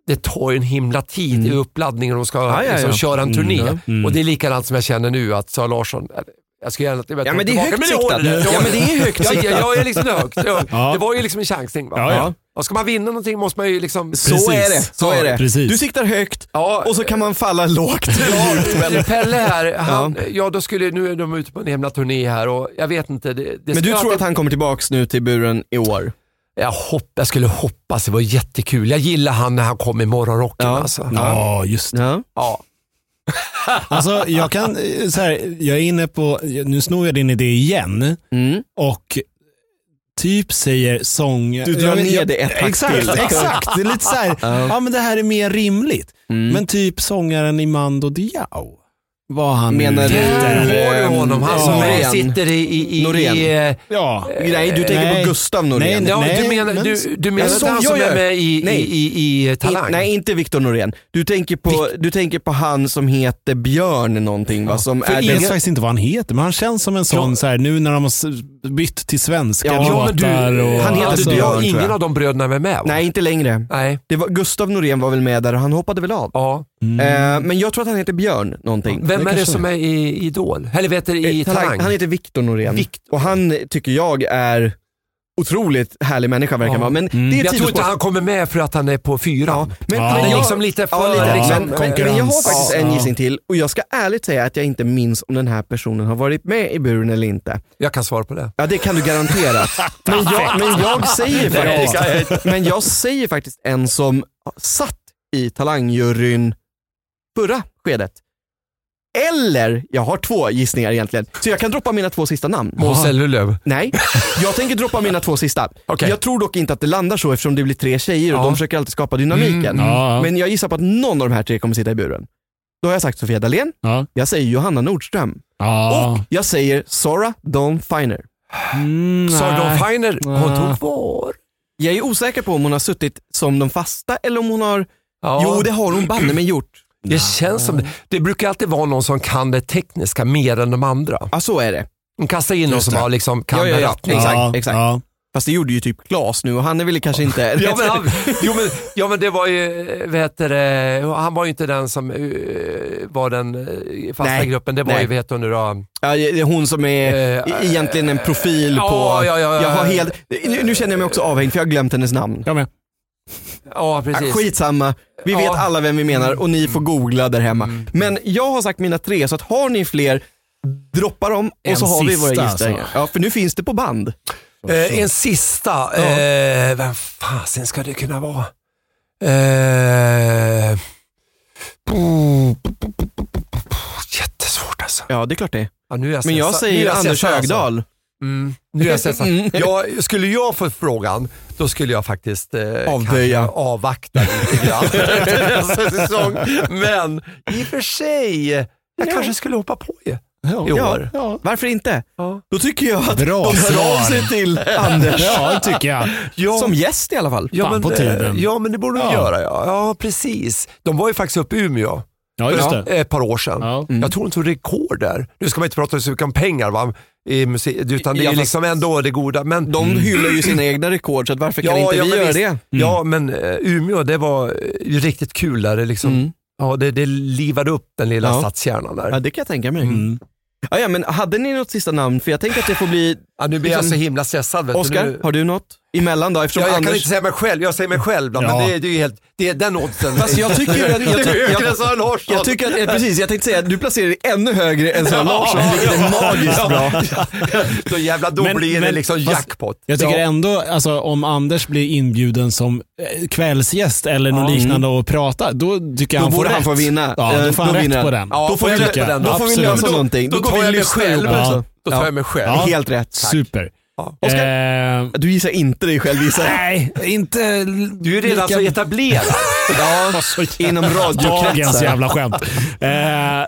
C: det tar ju en himla tid i uppladdningen om de ska
B: Mm. Ja, ja,
C: liksom,
B: ja.
C: köra en turné.
B: Mm,
A: ja. Mm.
C: Och det är likadant som jag känner nu att Sara Larsson, eller, jag skulle gärna jag
B: Ja
C: tar
B: men det är
C: tillbaka,
B: högt
C: jag
B: siktat.
C: håller det. Jag
B: Ja men det är högt
C: Jag,
B: siktat.
C: jag, jag är liksom det är högt. Det, är högt.
A: Ja.
C: det var ju liksom en chansning. Va?
A: Ja, ja.
C: Och ska man vinna någonting måste man ju liksom...
B: Så är det.
A: Precis.
B: Så är det.
A: Precis.
B: Du siktar högt
C: Ja,
B: och så kan man falla lågt.
C: Ja, Pelle här, han, ja. då skulle, nu är de ute på en himla turné här och jag vet inte. Det, det
B: Men du
C: skulle
B: tror att
C: alltid-
B: han kommer tillbaks nu till buren i år?
C: jag, hopp, jag skulle hoppas, det var jättekul. Jag gillar han när han kom i morgonrocken
B: Ja.
C: alltså.
A: Ja, just det.
B: Ja.
C: Ja.
A: Alltså, jag kan, eh, så här, jag är inne på, nu snor jag din idé igen
B: Mm.
A: och typ säger sång...
B: Du drar
A: Jag vet-
B: ner
A: jag-
B: det ett hack
A: Exakt,
B: till.
A: exakt. Det är lite så här, ja men det här är mer rimligt.
B: Mm.
A: Men typ sångaren i Mando Diao. Vad han nu
B: Menar du-
A: heter.
B: Eller,
C: Där har du honom, han
A: ja.
C: som
B: Norén.
C: sitter i... i, i,
B: Norén.
C: i eh,
A: Ja.
B: Nej, du tänker
A: Nej.
B: på Gustav Norén.
A: Nej,
C: ja,
A: nej,
C: du menar,
A: men-
C: du, du
B: Ja,
C: menar inte
B: som
C: han
B: jag
C: som
B: gör.
C: är med i,
B: Nej.
C: i, i, i Talang?
B: In, nej, inte Viktor Norén. Du tänker, på, du tänker på han som heter Björn någonting va? Som
A: Jag
B: är
A: vet
B: den,
A: faktiskt inte vad han heter, men han känns som en sån,
C: Ja.
A: så här, nu när de har s- bytt till svenska
B: Ja,
C: ja, men du,
A: låtar. och,
B: han heter
C: alltså,
B: Björn, tror jag.
C: Ingen av de bröderna är med va?
B: Nej, inte längre.
C: Nej.
B: Det var, Gustav Norén var väl med där och han hoppade väl av.
C: Ja.
B: Eh, men jag tror att han heter Björn någonting.
C: Vem
A: det
C: är det
A: kanske
C: som är i i Idol? Eller vet du, i
B: Eh, Talang.
C: Talang?
B: Han heter Viktor Norén.
C: Viktor.
B: Och han tycker jag är otroligt härlig människa verkar han
C: Ja. Mm.
B: vara. Men det är
C: Jag tror inte
B: tidsspår.
C: han kommer med för att han är på fyran.
B: Men,
A: Ja.
C: Det
B: men
C: är
B: jag,
C: liksom lite för...
B: ja, lite,
A: Ja,
B: liksom,
A: men-
B: men, men jag har
A: konkurrens.
B: faktiskt en
A: Ja.
B: gissning till och jag ska ärligt säga att jag inte minns om den här personen har varit med i buren eller inte.
C: Jag kan svara på det.
B: Ja det kan du garantera. men, jag, men jag säger faktiskt Men jag säger faktiskt en som satt i talangjuryn förra skedet. Eller, jag har två gissningar egentligen, så jag kan droppa mina två sista namn.
C: Måns Zelmerlöw.
B: Nej, jag tänker droppa mina två sista.
C: Okej.
B: Jag tror dock inte att det landar så eftersom det blir tre tjejer och
C: Ja.
B: de försöker alltid skapa dynamiken.
C: Mm,
A: Ja,
B: Men jag gissar på att någon av de här tre kommer sitta i buren. Då har jag sagt Sofia Dalén,
A: ja,
B: jag säger Johanna Nordström
A: ja.
B: och jag säger Sara Dawn Finer.
A: Mm,
C: Sa
A: nej.
C: Don Finer, hon
A: Nej.
C: tog var.
B: Jag är osäker på om hon har suttit som de fasta eller om hon har...
C: Ja.
B: Jo, det har hon banne mig gjort.
C: det känns som det. Det brukar alltid vara någon som kan det tekniska mer än de andra.
B: Ja, så är det.
C: De kastar in någon
A: Just
C: som
A: det.
C: har liksom kan
B: Ja, ja,
C: det
B: ja.
C: rätt.
B: Exakt,
A: ja,
B: exakt.
A: Ja.
B: Fast det gjorde ju typ Klas nu och han är väl kanske inte...
C: Ja men, han, jo, men, ja men det var ju, vet du, det, han var ju inte den som eh, var den eh, fasta
B: Nej.
C: gruppen. Det var
B: Nej.
C: ju, vet du nu då,
B: Ja, det är hon som är
C: Eh,
B: e- egentligen en profil
C: ja,
B: på...
C: ja, ja, ja.
B: jag har helt... nu, nu känner jag mig också avhängd för jag har glömt hennes namn.
A: Jag med.
C: Ja,
B: Ja,
C: precis.
B: skitsamma, vi vet
C: Ja.
B: alla vem vi menar och ni får googla där hemma.
C: Mm.
B: Men jag har sagt mina tre, så att har ni fler, droppa dem och
A: En
B: så har vi våra
A: sista,
B: gissningar.
A: alltså.
B: Ja, för nu finns det på band.
C: Eh, en sista. Eh, vem fasen ska det kunna vara? Eh, bo- bo- bo- bo- bo- bo- bo- jättesvårt alltså.
B: Ja, det är klart det är.
C: Ja, nu är
B: Men jag
C: stressad. Nu är
B: säger Anders
C: stressad, alltså.
B: Högdahl.
C: Mm, nu är jag stressad. Jag, skulle jag få frågan, då skulle jag faktiskt eh,
B: Avböja.
C: kanske avvakta lite grann efter nästa säsong. Men i och för sig, jag kanske skulle hoppa på ju. i år.
A: Ja.
B: Varför inte?
C: Ja.
B: Då tycker jag att
A: Bra
B: de hör av
A: svar.
B: sig till Anders.
A: ja, det tycker jag.
B: Som gäst i alla fall.
C: Ja,
A: Fan
C: men,
A: på
C: eh,
A: tiden.
C: ja, men det borde de
A: Ja.
C: göra. Ja. ja, precis. De var ju faktiskt uppe i Umeå
A: Ja, just
C: för
A: det.
C: ett par år sedan.
A: Ja.
C: Jag tror de tog rekord där. Nu ska man inte prata så mycket om pengar, va? I musik, utan det är
B: Ja, fast-
C: ju liksom ändå det goda. Men
B: De hyllar ju sina egna rekord, så att varför kan Mm. inte vi
C: Mm. men
B: göra
C: visst.
B: det?
C: Ja, men eh, Umeå, det var eh, ju riktigt kul där. Det, liksom,
B: Mm.
C: ja, det, det livade upp den lilla
B: Ja.
C: stadskärnan där.
B: Ja, det kan jag tänka mig. Ja, ja, men hade ni något sista namn? För jag tänker att det får bli...
C: Ja, nu blir Mm. jag så himla stressad. Vet
B: Mm. Oskar,
C: du. Nu,
B: har du något emellan då? Eftersom
C: jag, jag kan
B: Anders...
C: inte säga mig själv, jag säger mig själv då,
A: Ja.
C: men det, är- det är ju helt, det är den oddsen.
B: Fast jag tycker ju att... Jag,
C: Det är
B: ty-
C: högre
B: jag,
C: än Sara Larsson.
B: jag tycker att, eh, precis, jag tänkte säga att du placerar dig ännu högre än Sara Larsson, vilket är magiskt bra.
C: då jävla, då
A: Men-
C: blir det
A: men-
C: liksom
A: fast-
C: jackpot.
A: Jag tycker
C: ja.
A: ändå, alltså, om Anders blir inbjuden som eh, kvällsgäst eller något
C: Ja.
A: liknande och prata, då tycker jag
B: Då
A: han får
B: borde
A: rätt.
B: han få vinna.
A: Ja,
B: Eh,
A: då får han
B: då
A: rätt
B: vinner
A: på
B: han.
A: den.
C: Ja,
B: Då får
C: får
B: vi
C: jag rätt
A: tycker
C: på
A: jag.
C: den.
B: Då får vi
A: Absolut.
B: lösa någonting.
C: då,
B: Då
C: tar
B: får vi
C: jag mig
B: lyssna
C: själv
B: ihop
A: Ja.
B: också.
C: Då tar jag mig själv.
A: Ja.
B: Helt rätt.
A: Super.
B: Oskar,
A: Eh,
B: du gissar inte dig själv gissar jag.
A: nej, inte
C: Du är redan så etablerad.
B: Ja, inom
A: dagens
B: radiokretsar.
A: jävla skämt. Eh,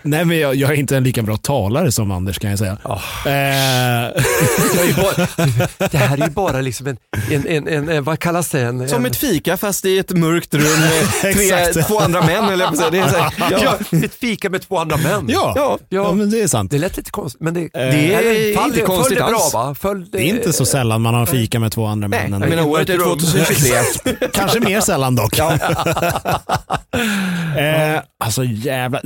A: nej, men jag, jag är inte en lika bra talare som Anders kan jag säga. Eh,
C: Jag är ju bara, det här är ju bara liksom en, en, en, en, en vad kallas det? En,
B: Som
C: en,
B: ett fika fast i ett mörkt rum med tre,
A: Exakt.
B: två andra män eller jag på att säga. Det är så här, ja.
C: ja, ett fika med två andra män.
A: ja.
B: Ja.
A: Ja.
C: Ja.
A: men det är sant.
C: Det lät lite konstigt, men det,
A: Det
B: Eh, är
C: eller
B: inte konstigt
C: föll det
B: alls.
C: bra va? Föll,
A: Det är inte så sällan man har fika med två andra
B: Nej,
A: män.
B: jag menar året är 2023.
A: Kanske mer sällan dock. eh, alltså jävla,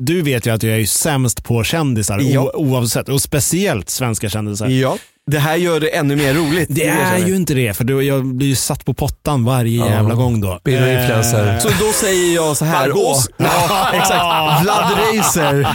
A: du vet ju att jag är ju sämst på kändisar
B: Ja.
A: o- oavsett och speciellt svenska kändisar.
B: Ja, det här gör det ännu mer roligt.
A: Det är ju inte det för då, jag blir ju satt på pottan varje jävla gång då. Eh,
C: Blir du influencer?
B: Så då säger jag så här.
C: Margot.
B: Os- ja, exakt. Vlad Reiser.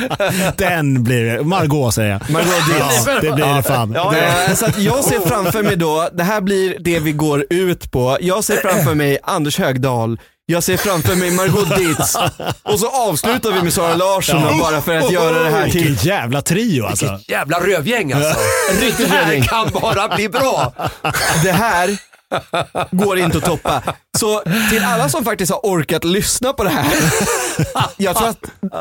A: Den blir det. Margot säger jag.
B: Margot Dietz.
A: Ja, det blir det fan.
B: Ja, eh, Så att jag ser framför mig då, det här blir det vi går ut på. Jag ser framför mig Anders Högdahl, jag ser framför mig Margot Dietz och så avslutar vi med Sara Larsson
A: Ja.
B: bara för att göra det här till
A: Vilken jävla trio alltså.
C: Vilket jävla rövgäng alltså.
B: riktigt
C: Det här
B: räddning.
C: kan bara bli bra.
B: Det här går inte att toppa. Så till alla som faktiskt har orkat lyssna på det här. Jag tror att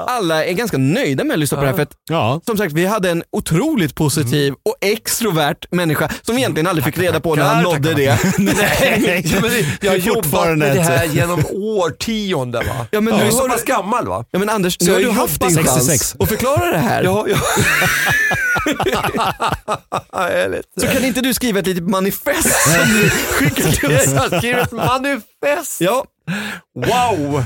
B: alla är ganska nöjda med att lyssna på det här för att
A: Ja.
B: som sagt, vi hade en otroligt positiv och extrovert människa som egentligen aldrig fick reda på när han
C: Tackar,
B: nådde det.
C: tackar. Nej, men det- jag har jobbat
A: Fortfarande
C: med det
A: inte.
C: här genom årtionden va.
B: Ja, men
C: du
B: nu
C: är
B: har
C: så
B: du-
C: pass gammal va?
B: Ja men Anders, nu
C: jag
B: har du
C: har
B: haft
C: jobbat
B: din chans
A: 66.
B: att förklara det här.
C: Ja, ja. Härligt.
B: Så kan inte du skriva ett litet manifest som du skickar till oss?
C: Jag skriver ett manifest.
B: Ja,
C: Wow!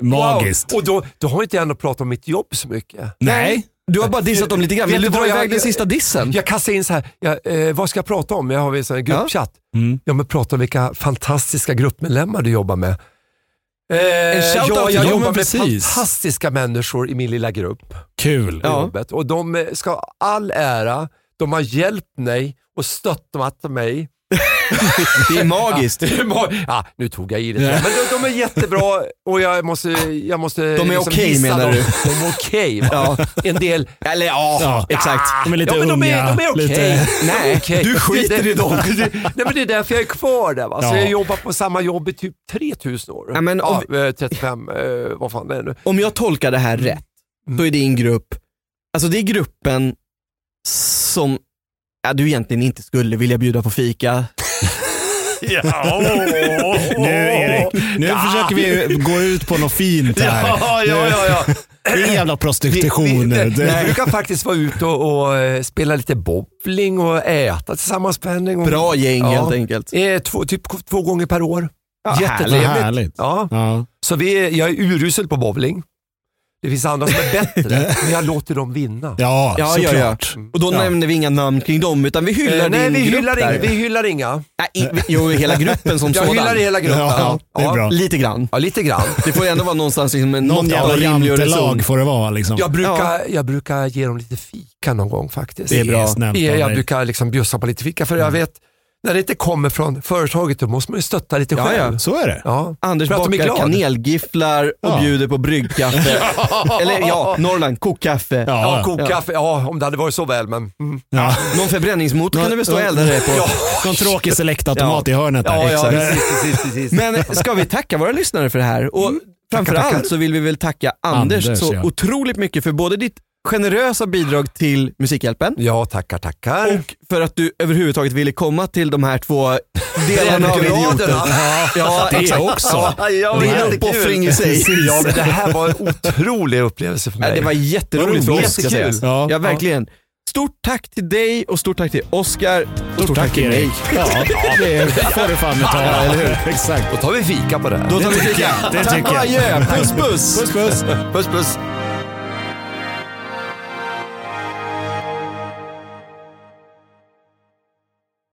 A: Magiskt.
C: Wow. Och då, då har inte jag ändå pratat om mitt jobb så mycket.
A: Nej.
B: du har bara dissat dem lite grann. Vill
C: Vet
B: du
C: du
B: dra
C: vad jag-
B: iväg den
C: jag-
B: sista dissen?
C: Jag kastar in så här, jag, eh, vad ska jag prata om? Jag har en sån här gruppchatt. Ja.
B: Mm.
C: men prata om vilka fantastiska gruppmedlemmar du jobbar med. Eh,
B: shoutout
C: ja,
B: till
C: jag
A: dem,
C: jobbar
A: men
C: med
A: precis.
C: fantastiska människor i min lilla grupp. på
A: Kul.
B: Ja.
C: Jobbet. Och de eh, ska ha all ära, de har hjälpt mig och stöttat mig.
B: Det är magiskt.
C: Det är ma- ja, nu tog jag i det. Men de, de är jättebra och jag måste... Jag måste liksom
B: De är okej,
C: gissa
B: menar
C: dem.
B: du?
C: De är okej. va?
B: Ja.
C: En del...
B: Eller ja,
A: Ja.
B: exakt.
A: De är lite
C: ja, men de är,
A: unga.
C: de är okej.
A: lite-
B: Nej,
C: Okej.
B: du skiter
C: Det-
B: i dem.
C: Det- Nej, men det är därför jag är kvar där. Va? Så
A: Ja.
C: jag jobbar på samma jobb i typ 3000 år.
B: Ja, men om-
C: eh, 35, eh, vad fan det är nu.
B: Om jag tolkar det här rätt, då är din grupp, alltså det är gruppen som ja, du egentligen inte skulle vilja bjuda på fika.
A: Nu Erik, nu försöker vi gå ut på något fint här.
C: ja.
A: Det är jävla
C: Vi,
A: prostitution
C: vi,
A: nu.
C: vi
A: Det-
C: brukar faktiskt vara ute och, och eh, spela lite bowling och äta tillsammans på en gång.
B: Bra gäng
C: Ja.
B: helt enkelt.
C: Eh, två, typ k- två gånger per år.
B: Ja,
A: Vad
C: Jättetrevligt.
A: härligt.
C: Ja.
A: Ja.
C: Så vi är, jag är urusel på bowling. Det finns andra som är bättre, men jag låter dem vinna.
A: Ja,
B: Ja, ja, ja.
A: såklart.
B: Och då
A: Ja.
B: nämner vi inga namn kring dem, utan vi hyllar
C: Eh,
B: din
C: Nej, vi
B: grupp
C: hyllar,
B: där.
C: inga, vi hyllar inga.
B: Nej, i- vi- jo, hela gruppen som
C: Jag
B: sådan.
C: hyllar hela gruppen.
A: Ja, det är bra.
B: Lite grann.
C: Ja, lite grann.
B: Det får ändå vara någonstans, liksom, en- någon
A: Något
B: jävla
A: jävla
B: rimlig och reson.
A: jantelag får det vara. Liksom.
C: Jag brukar, jag brukar ge dem lite fika någon gång faktiskt.
A: Det är bra. snällt av
C: Jag, jag
A: dig. Mm.
C: brukar liksom bjussa på lite fika för jag vet, när det inte kommer från företaget då måste man ju stötta lite
B: Ja,
C: själv.
B: ja.
A: Så är det.
C: Ja.
B: Anders
C: För att de är
B: bakar
C: glad.
B: kanelgifflar och
A: Ja.
B: bjuder på bryggkaffe. Eller ja, Norrland, kokkaffe.
C: Ja,
A: Ja,
C: kokkaffe, ja om det hade varit så väl men. Mm.
A: ja.
B: Någon förbränningsmotor kan du väl stå och elda dig på?
C: Ja,
A: Någon tråkig selektaautomat
B: Ja.
A: i hörnet där.
B: Ja, ja,
A: Exakt.
B: precis. Mm.
C: precis, precis.
B: Men ska vi tacka våra lyssnare för det här? Och framförallt så vill vi väl tacka Anders,
A: Anders,
B: så
A: ja.
B: otroligt mycket för både ditt generösa bidrag till Musikhjälpen
C: Ja, tackar, tackar.
B: och för att du överhuvudtaget ville komma till de här två delarna av idioter. Ja,
A: Det också.
B: Ja, ja,
A: Det
B: det
A: är
B: är en
A: jättekul.
B: uppoffring i sig.
C: Ja, men det här var en otrolig upplevelse för
B: Nej,
C: mig.
B: det var jätteroligt för
A: Vad roligt.
B: oss. ska sägas.
A: Jättekul. Ja.
B: Ja, verkligen. Stort tack till dig och stort tack till Oscar. Och
A: Stort tack Erik. Ja, det får du fan med ta. eller hur? Exakt.
C: Då tar vi fika på det här.
B: Då tar vi fika.
A: Det tycker jag.
B: Adjö, puss puss.
A: Puss puss.
C: Puss puss.